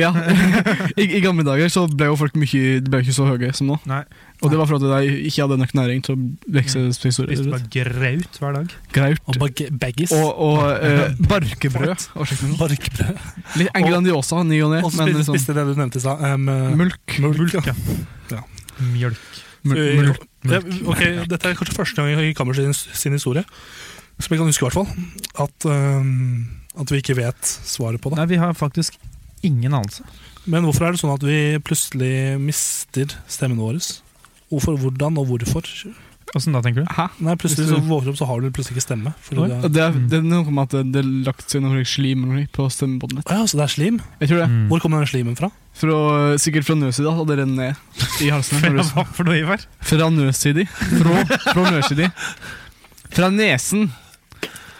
S4: Ja, I, I gamle dager så ble jo folk mye, de ble jo ikke så høye som nå.
S3: Nei. Mm.
S4: Og det var fordi de ikke hadde nok næring til å vokse så
S3: Spiste
S4: store.
S3: bare graut hver dag.
S2: Og
S4: Graut.
S2: bag baggies.
S4: Og, og eh, barkebrød. Å, sjekk den.
S2: barkbrød.
S4: Litt Engrandiosa, ny og ne.
S2: Og så
S4: Men
S2: spiste,
S4: liksom,
S2: spiste det du nevnte i stad. em, eh,
S4: mulk.
S2: mulk. ja.
S3: Mjølk.
S4: Mul-
S2: Eh,
S4: mulk.
S2: ja, ok, Dette er kanskje første gang i Kammers sin, sin historie, som jeg kan huske i hvert fall, at, em, at vi ikke vet svaret på det.
S3: Nei, vi har faktisk ingen anelse.
S2: Men hvorfor er det sånn at vi plutselig mister stemmen vår? Hvorfor, hvordan og hvorfor?
S3: Åssen da, tenker du?
S4: Hæ?
S2: Nei, plutselig
S4: Hvis
S2: så
S4: du-
S2: våkner du opp, så har du plutselig ikke stemme. Fordi
S3: Oi. Mm.
S2: det er,
S4: Det er, det er noe med at det- det er lagt seg noe slim eller noe på stemmebåndet ditt.
S2: Å ja, så det er slim?
S4: Jeg tror det.
S3: Mm.
S2: Hvor kom den slimen fra?
S4: Fra, sikkert fra nødsida, og det renner ned i halsen. når du-
S3: Hva for noe, Ivar?
S4: Fra nødsida. Fra, fra nødsida. Fra nesen.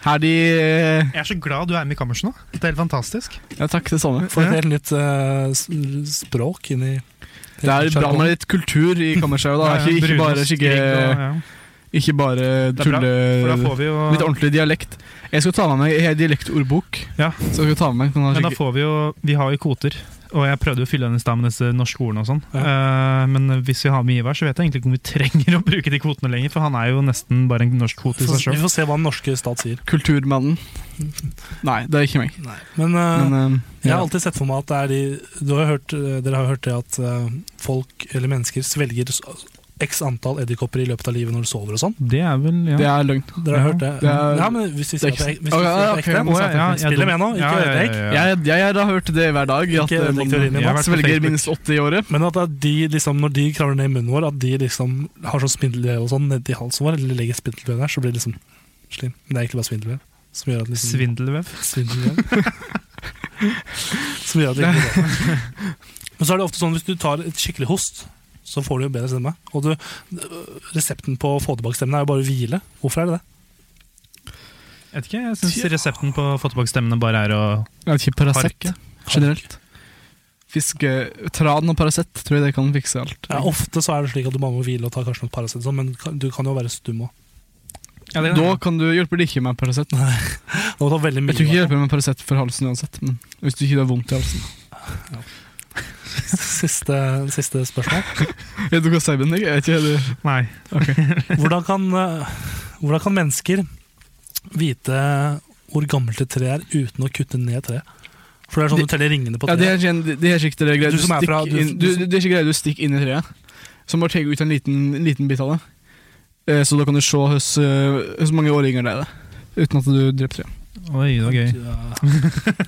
S4: Her de eh,
S3: Jeg er så glad du er med i kammerset nå. Det er helt fantastisk.
S4: Ja, takk, det samme.
S2: For et helt nytt eh, s- språk inni
S4: Det er bra med litt kultur i kammerset. Da. Ikke, ikke
S3: Brunost,
S4: bare,
S3: greg og-
S4: skikke,
S3: ja.
S4: ikke bare
S3: Det er bra, For da
S4: tulle
S3: får vi jo
S4: Litt ordentlig dialekt. Jeg skal ta med meg Jeg har dialektordbok.
S3: Ja.
S4: Så jeg skal ta med meg den her
S3: Men da
S4: skikke-
S3: får vi jo Vi har jo kvoter. Og jeg prøvde jo å fylle den i stad med disse norske ordene og sånn. Eh, men hvis vi har med Ivar, så vet jeg egentlig ikke om vi trenger å bruke de kvotene lenger, for han er jo nesten bare en norsk kvote i seg
S2: Vi
S3: sjøl.
S2: får se hva den norske stat sier.
S4: Kulturmannen. Nei, det er ikke meg.
S2: Men, eh,
S4: Men eh,
S2: Jeg
S4: ja.
S2: har alltid sett for eh, meg at det er de du har jo hørt, Dere har jo hørt det at eh, folk eller mennesker svelger s- x antall edderkopper i løpet av livet når du sover og sånn.
S3: Det er vel ja.
S4: Det er løgn.
S2: Dere har hørt det?
S4: det er-
S2: ja, men hvis vi sier at det er hvis vi
S4: Å,
S2: sier
S4: ja,
S2: at det er
S4: ok,
S2: ekte, så
S4: nå
S3: ja,
S2: er det
S3: ja,
S2: ikke- spiller
S3: ja,
S2: med nå, ikke
S3: ja, ja,
S2: ødelegg.
S3: ja, ja.
S4: Jeg, jeg har hørt det hver dag, at
S2: Ikke
S4: eh,
S2: direktøren din,
S4: man
S3: Mats.
S4: svelger minst 80 i året.
S2: Men at de, liksom, når de kravler ned i munnen vår, at de liksom har sånn spindelvev og sånn nedi halsen vår, eller legger spindelvev der, så blir det liksom slim. Men det er egentlig bare spindelvev. Som gjør at liksom
S3: Svindelvev.
S2: Svindelvev. som gjør at det ikke blir bra. Men så er det ofte sånn hvis du tar et skikkelig host, så får du jo bedre stemme. Og du, resepten på å få tilbake stemmen er jo bare å hvile. Hvorfor er det det?
S3: Vet ikke, jeg syns resepten på å få tilbake stemmene bare er å
S4: Jeg vet ikke, Paracet
S3: Park.
S4: generelt. Fiske, tran og Paracet tror jeg det kan fikse alt.
S2: Ja, ofte så er det slik at du bare må hvile og ta kanskje nok Paracet, og sånn, men kan- du kan jo være stum òg.
S3: ja, det,
S4: Da kan du hjelpe det ikke med Paracet. Jeg
S2: Og ta veldig mye.
S4: tror ikke det hjelper med Paracet for halsen uansett. Men hvis du ikke har vondt i halsen.
S2: Siste, siste spørsmål.
S4: Vet du hva Seiben er? Jeg vet ikke, det-
S3: Nei.
S2: Hvordan kan, eh, hvordan kan mennesker vite hvor gammelt et tre er uten å kutte ned treet? For det er sånn du teller ringene på
S4: Ja, det
S2: treet.
S4: er ikke en- det- det er ikke det greia
S2: Du
S4: du,
S2: som er
S4: stikk
S2: fra- du-
S4: inn- du, du, det er ikke greia du stikker inn i treet. Så må du ta ut en liten, liten bit av det. Eh, Så da kan du se hvor mange år yngre det er. Uten at du dreper treet.
S3: Oi, det var gøy.
S2: Ja.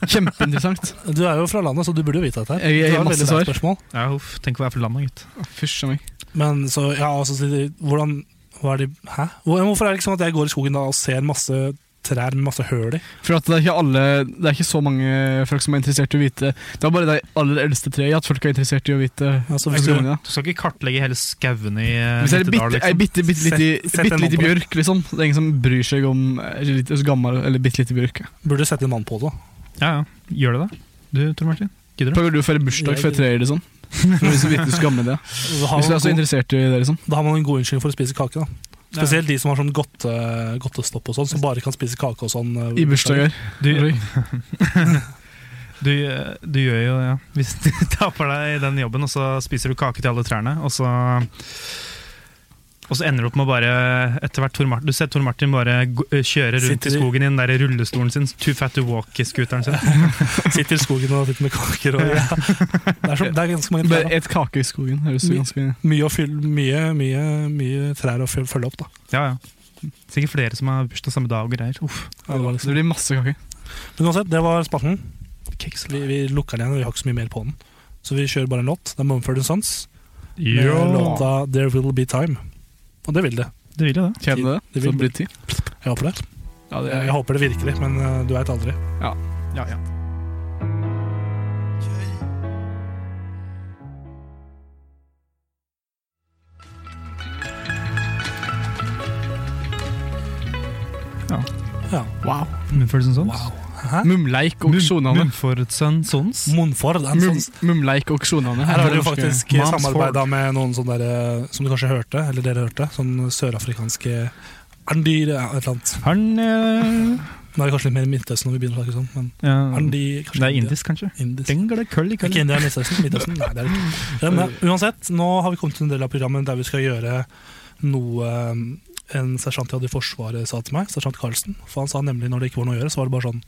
S4: Kjempeinteressant.
S2: Du er jo fra landet, så du burde jo vite dette. her.
S4: Jeg- jeg
S2: Det
S4: har
S2: var et
S4: masse
S2: veldig bra
S4: svar.
S2: spørsmål.
S3: Ja, uff, tenk å være fra landet, gitt.
S4: Fysj a meg.
S2: Men så, ja, altså, så de- hvordan hva er de, Hæ? Hvor- Hvorfor er det ikke sånn at jeg går i skogen da og ser masse trær med masse høl i?
S4: For at det er ikke alle Det er ikke så mange folk som er interessert i å vite Det er bare de aller eldste treet at folk er interessert i å vite.
S2: Altså, hvis
S4: Hvis,
S2: du-
S4: du,
S3: Du skal ikke kartlegge hele skauen i eh,
S4: hvis det er ei
S3: Nittedal,
S4: bitte, ei
S3: liksom.
S4: bitte, bitte, lite-
S2: Sett- sett
S4: bitte
S2: en
S4: lite
S2: hånd på
S4: bjørk, liksom. Det er ingen som bryr seg om eh, litt- så gammel eller bitte lite bjørk.
S2: Burde sette en mann på det.
S3: Ja, ja. Gjør det, da. Du, Tor Martin? Gidder du?
S4: Pleier du å feire bursdag for et tre, liksom? Hvis du vet du skal gamle det er.
S2: Da har,
S4: Hvis du er så
S2: man, god,
S4: interessert i det, liksom.
S2: da har man en god unnskyldning for å spise kake. da Spesielt de som har sånn godte, godtestopp og sånn, som bare kan spise kake og sånn. eh,
S4: I bursdager.
S3: Du, du, eh, du gjør jo ja. Hvis du taper deg i den jobben, og så spiser du kake til alle trærne, og så og så ender du opp med å bare etter hvert Tor Martin, Du ser Tor Martin bare gå- eh, kjøre rundt
S2: Sitter i-
S3: i skogen i den der rullestolen sin. Too fat to walk-scooteren sin.
S2: Sitter i skogen og sitter med kaker og ja. det, er så, det er ganske mange
S4: Bare
S2: trær. da.
S4: et kake i skogen høres jo
S2: Mye.
S4: ganske
S2: Mye, å fylle, mye, mye, mye trær å fylle, følge opp, da.
S3: Ja, ja. Sikkert flere som har bursdag samme dag og greier. Uff.
S2: Ja, det var
S4: Det
S2: liksom.
S4: blir masse kake.
S2: Men uansett, det var spalten. Vi, vi lukker den igjen, vi har ikke så mye mer på den. Så vi kjører bare en låt. Det er Mumford Sons med låta 'There Will Be Time'. Og det vil det.
S3: Det vil jeg, det.
S4: Kjenner du det?
S2: Det
S4: Så
S2: vil
S4: det blir tid.
S2: Jeg håper det.
S4: Ja, det
S2: Jeg,
S4: er,
S2: jeg håper det virkelig, men eh, du veit aldri.
S4: ja, ja.
S2: Ja.
S4: Wow.
S3: Mumford Sons.
S4: Mumleik og Sjonane.
S3: Mumford Sons.
S2: Monford, en sånn
S4: Mum- Mumleik og Sjonane.
S2: Her har du
S4: norske-
S2: faktisk eh,
S4: Moms
S2: samarbeida
S4: Ford.
S2: med noen sånne der, eh, som du kanskje hørte, eller dere hørte, sånn sørafrikanske Andyr, ja, et eller annet.
S3: Han eh,
S2: Nå er det kanskje litt mer Midtøsten når vi begynner å snakke sånn, men
S3: ja.
S2: Andyr kanskje
S3: Det er
S2: India?
S3: Mm. indisk, kanskje?
S2: Indisk.
S3: Dengle, curly,
S2: Ikke
S3: curly.
S2: India, Midtøsten. Midtøsten. Nei, det er det ikke. Men eh, uansett, nå har vi kommet til en del av programmet der vi skal gjøre noe eh, en sersjant jeg hadde i Forsvaret sa til meg, sersjant Karlsen. For han sa nemlig når det ikke var noe å gjøre, så var det bare sånn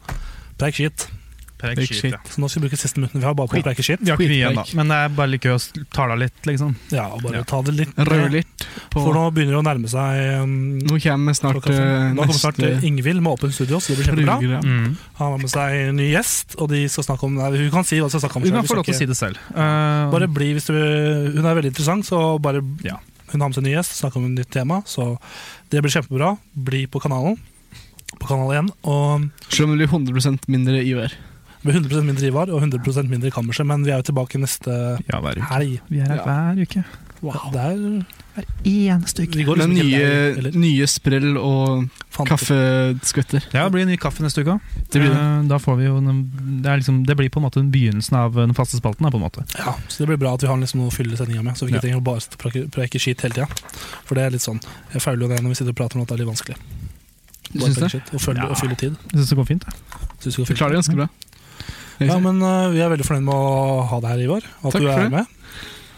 S2: preik shit.
S3: Preg,
S4: Preg,
S3: shit,
S4: shit.
S3: ja.
S2: Så nå skal vi bruke siste minuttene vi har bare på å preike shit.
S3: Vi har ikke mye igjen, da.
S4: Skitpreik.
S3: Men det er bare litt gøy å s- tale litt, liksom.
S2: Ja, og bare ta det litt eh,
S4: Rødlitt. på-
S2: For nå begynner det å nærme seg eh,
S4: Nå kommer snart
S2: klokka fem.
S4: eh,
S2: Nå kommer snart
S4: neste
S2: Ingvild med Åpen studio, så det blir kjempebra.
S4: program.
S3: Mm.
S2: Han har med seg en ny gjest, og de skal snakke om Nei, hun kan si hva de skal snakke om.
S3: Du
S2: selv,
S3: kan
S2: vi
S3: få
S2: skal
S3: lov til å
S2: ikke-
S3: si det selv. Eh,
S2: Bare bli hvis du Hun er veldig interessant, så bare
S3: Ja.
S2: Hun har med seg en ny gjest, snakker om et nytt tema, så det blir kjempebra. Bli på kanalen, på kanal 1, og
S4: Selv om det blir 100 mindre IVR.
S2: det blir 100 mindre Ivar og 100 mindre Kammerset, men vi er jo tilbake neste
S3: ja, hver uke.
S2: helg.
S3: Vi er her
S4: Ja.
S3: hver uke.
S2: Det er
S3: Eneste uke.
S2: Vi går
S4: Med
S2: liksom ikke helt der,
S4: nye,
S2: eller
S4: nye sprell og
S2: fant-
S4: kaffeskvetter.
S3: Ja, det blir en ny kaffe neste uke òg.
S4: Det blir det.
S3: Da får vi jo den- det, er liksom, det blir på en måte den begynnelsen av den faste spalten. da, på en måte.
S2: Ja, så det blir bra at vi har liksom noe å fylle sendinga med, så vi ikke trenger å bare sitte og prake- preike skit hele tida. For det er litt sånn Jeg fauler jo det når vi sitter og prater om at det er litt vanskelig.
S4: Du
S2: Bare
S4: syns
S2: preike
S4: det?
S2: skit og følge,
S3: Ja.
S2: og fylle tid.
S3: Jeg synes det går fint. da.
S2: Synes vi skal
S4: Du klarer det ganske bra.
S2: eh, Ja, men øh, Vi er veldig fornøyd med å ha deg her, Ivar. At
S4: Takk
S2: du
S4: for
S2: er
S4: det.
S2: med.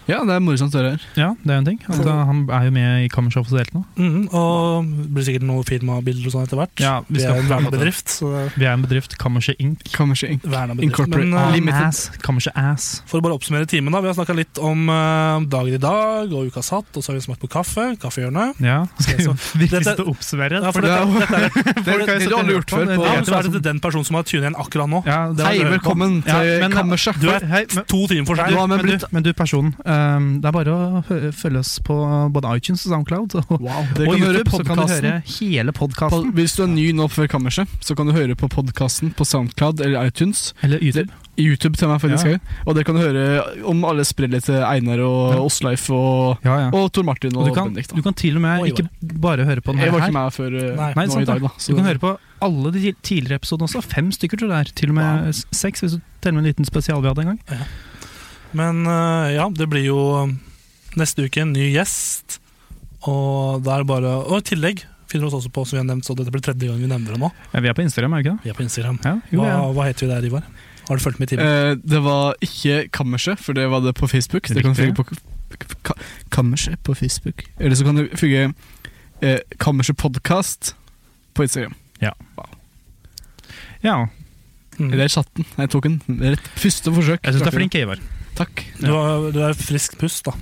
S4: Ja, det er morsomt å høre her.
S3: Ja, det er jo en ting. Altså, han er jo med i Kammerset offisielt nå.
S2: Mhm, og det blir sikkert noen firmabilder og sånn etter hvert.
S3: Ja, vi
S2: vi
S3: skal
S2: er en
S3: prate om-
S2: vernebedrift, så
S3: Vi er en bedrift, Kammerset Inc.
S4: Kammerset Inc.
S2: verna bedrift.
S4: Incorporate-
S2: Men
S4: Ah,
S2: eh,
S4: Limited.
S3: Ass. Kammerset Ass.
S2: for å bare oppsummere timen, da. Vi har snakka litt om eh, om dagen i dag og ukas hatt, og så har vi smakt på kaffe. Kaffehjørnet.
S3: Ja. Skal vi virkelig
S2: Dette-
S3: sitte og oppsummere?
S2: Ja, for
S4: det
S2: dette,
S4: er jo-
S2: dette er,
S4: Det har du aldri gjort før.
S2: ja,
S4: På.
S2: men så er det til den personen som har tunet inn akkurat nå.
S3: Ja, det var
S4: Hei,
S3: det.
S4: velkommen
S3: Ja,
S4: til
S3: men-
S4: Kammerset.
S3: Du er, hei, men,
S2: To timer for
S4: Du
S2: seg.
S4: har med
S3: men,
S4: blitt
S3: du, men du, personen. ehm, det er bare å hø- følge oss på både iTunes og Soundcloud. Og,
S4: Wow, det
S3: og
S4: kan du høre
S3: YouTube, så kan du
S4: podcasten.
S3: høre hele
S4: Pod-
S3: podkasten.
S4: Hvis du er ny nå før Kammerset, så kan du høre på podkasten på Soundcloud eller iTunes.
S3: Eller YouTube.
S4: I YouTube til meg faktisk
S3: Ja.
S4: også. Og der kan du høre om alle sprellet til Einar og
S3: Ja.
S4: Åsleif og,
S3: Ja, ja.
S4: og Tor Martin og,
S3: Og du kan,
S4: Bendik.
S3: du
S4: Da.
S3: kan til og med
S2: Oi,
S3: ikke bare høre på den her.
S4: Jeg var ikke med før eh,
S2: Nei.
S3: Nei,
S4: nå
S3: sant
S4: i dag,
S3: det.
S4: da.
S3: Du kan høre på alle de tidligere episodene også. Fem stykker, tror jeg det er. Til og med s- seks, hvis du teller med en liten spesial vi hadde en gang.
S2: Men eh, ja, det blir jo eh, neste uke en ny gjest. Og det er bare Og i tillegg finner du oss også på, som vi har nevnt, så dette blir tredje gang vi nevner det nå.
S3: Ja, vi er på Instagram, er vi ikke det?
S2: Vi er på Instagram.
S3: Ja, jo, ja.
S2: Hva, hva heter vi der, Ivar? Har du fulgt med i timen?
S4: Eh, det var ikke Kammerset, for det var det på Facebook. Det kan du
S3: Riktig.
S4: følge på Ka- Kammerset på Facebook. Eller så kan du følge eh, Kammerset podkast på Instagram.
S3: ja.
S2: Mm.
S4: Eller chatten. Jeg tok den rett første forsøk.
S3: Jeg syns du er flink, Ivar.
S4: Takk.
S2: Du, har, du er frisk pust, da.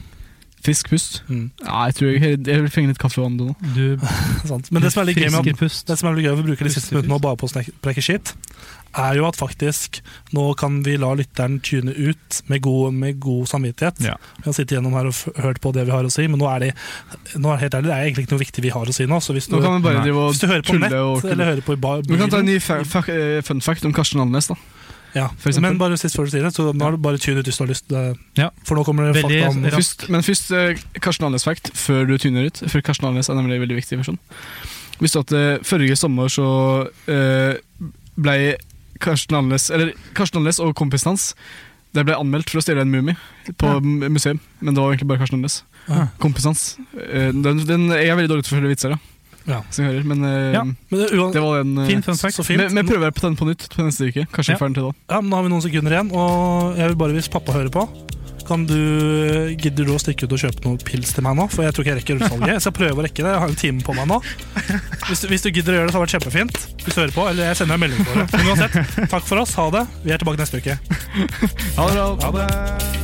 S4: Frisk pust.
S2: Mm.
S4: Ja, jeg tror jeg, jeg vil fenge litt kaffe og nå.
S3: Du
S2: Sant. Men det som er litt gøy med
S3: frisker pust.
S2: det som er litt gøy med å bruke de siste
S3: Pustefrisk.
S2: minuttene nå bare på å snek- preke shit, er jo at faktisk nå kan vi la lytteren tune ut med god, med god samvittighet.
S3: Ja.
S2: Vi har sittet gjennom her og f hørt på det vi har å si, men nå er det, nå er det helt ærlig, det er egentlig ikke noe viktig vi har å si nå. Så hvis du,
S4: Nå kan vi bare
S3: Nei.
S4: drive
S2: hvis du hører
S4: og
S2: på
S4: tulle og
S2: nett,
S4: tulle.
S2: eller hører på i bar
S4: Vi kan ta en
S2: bilen,
S4: ny fa fa eh, fun fact om Karsten Alnes. da
S2: ja.
S4: for eksempel.
S2: Men bare sist før du sier det, så nå er det bare tune ut hvis du har lyst. eh,
S3: Ja.
S2: For nå kommer det
S3: Veldig
S2: fakta om
S3: Rask.
S4: først, Men først eh, Karsten Alnes fact før du tuner ut. For Karsten Alnes er nemlig en veldig viktig person. Visste du at eh, forrige sommer så eh, ble Karsten Alnes Eller Karsten Alnes og kompisen hans De ble anmeldt for å stjele en mumie på m- museum. Men det var egentlig bare Karsten Alnes.
S2: Ja.
S4: Kompisen hans. Eh, den, den, jeg er veldig dårlig til å fortelle vitser, da.
S2: Ja.
S4: Som jeg hører, men eh,
S3: Ja.
S2: Men det, uan-
S4: det var en eh,
S3: Fin fun fact.
S2: Eh, Så fint.
S4: Vi prøver på den på nytt på neste uke. Kanskje
S3: Ja.
S4: vi får den til da.
S2: Ja, men Nå har vi noen sekunder igjen, og jeg vil bare hvis pappa hører på kan du, Gidder du å stikke ut og kjøpe noen pils til meg nå? For jeg tror ikke jeg rekker utsalget. Jeg skal prøve å rekke det. Jeg har en time på meg nå. Hvis du, hvis du gidder å gjøre det, så har det vært kjempefint. Hvis du hører på, eller jeg sender deg en melding på det. Men uansett, takk for oss. Ha det. Vi er tilbake neste uke.
S4: Ha det bra. Ha det.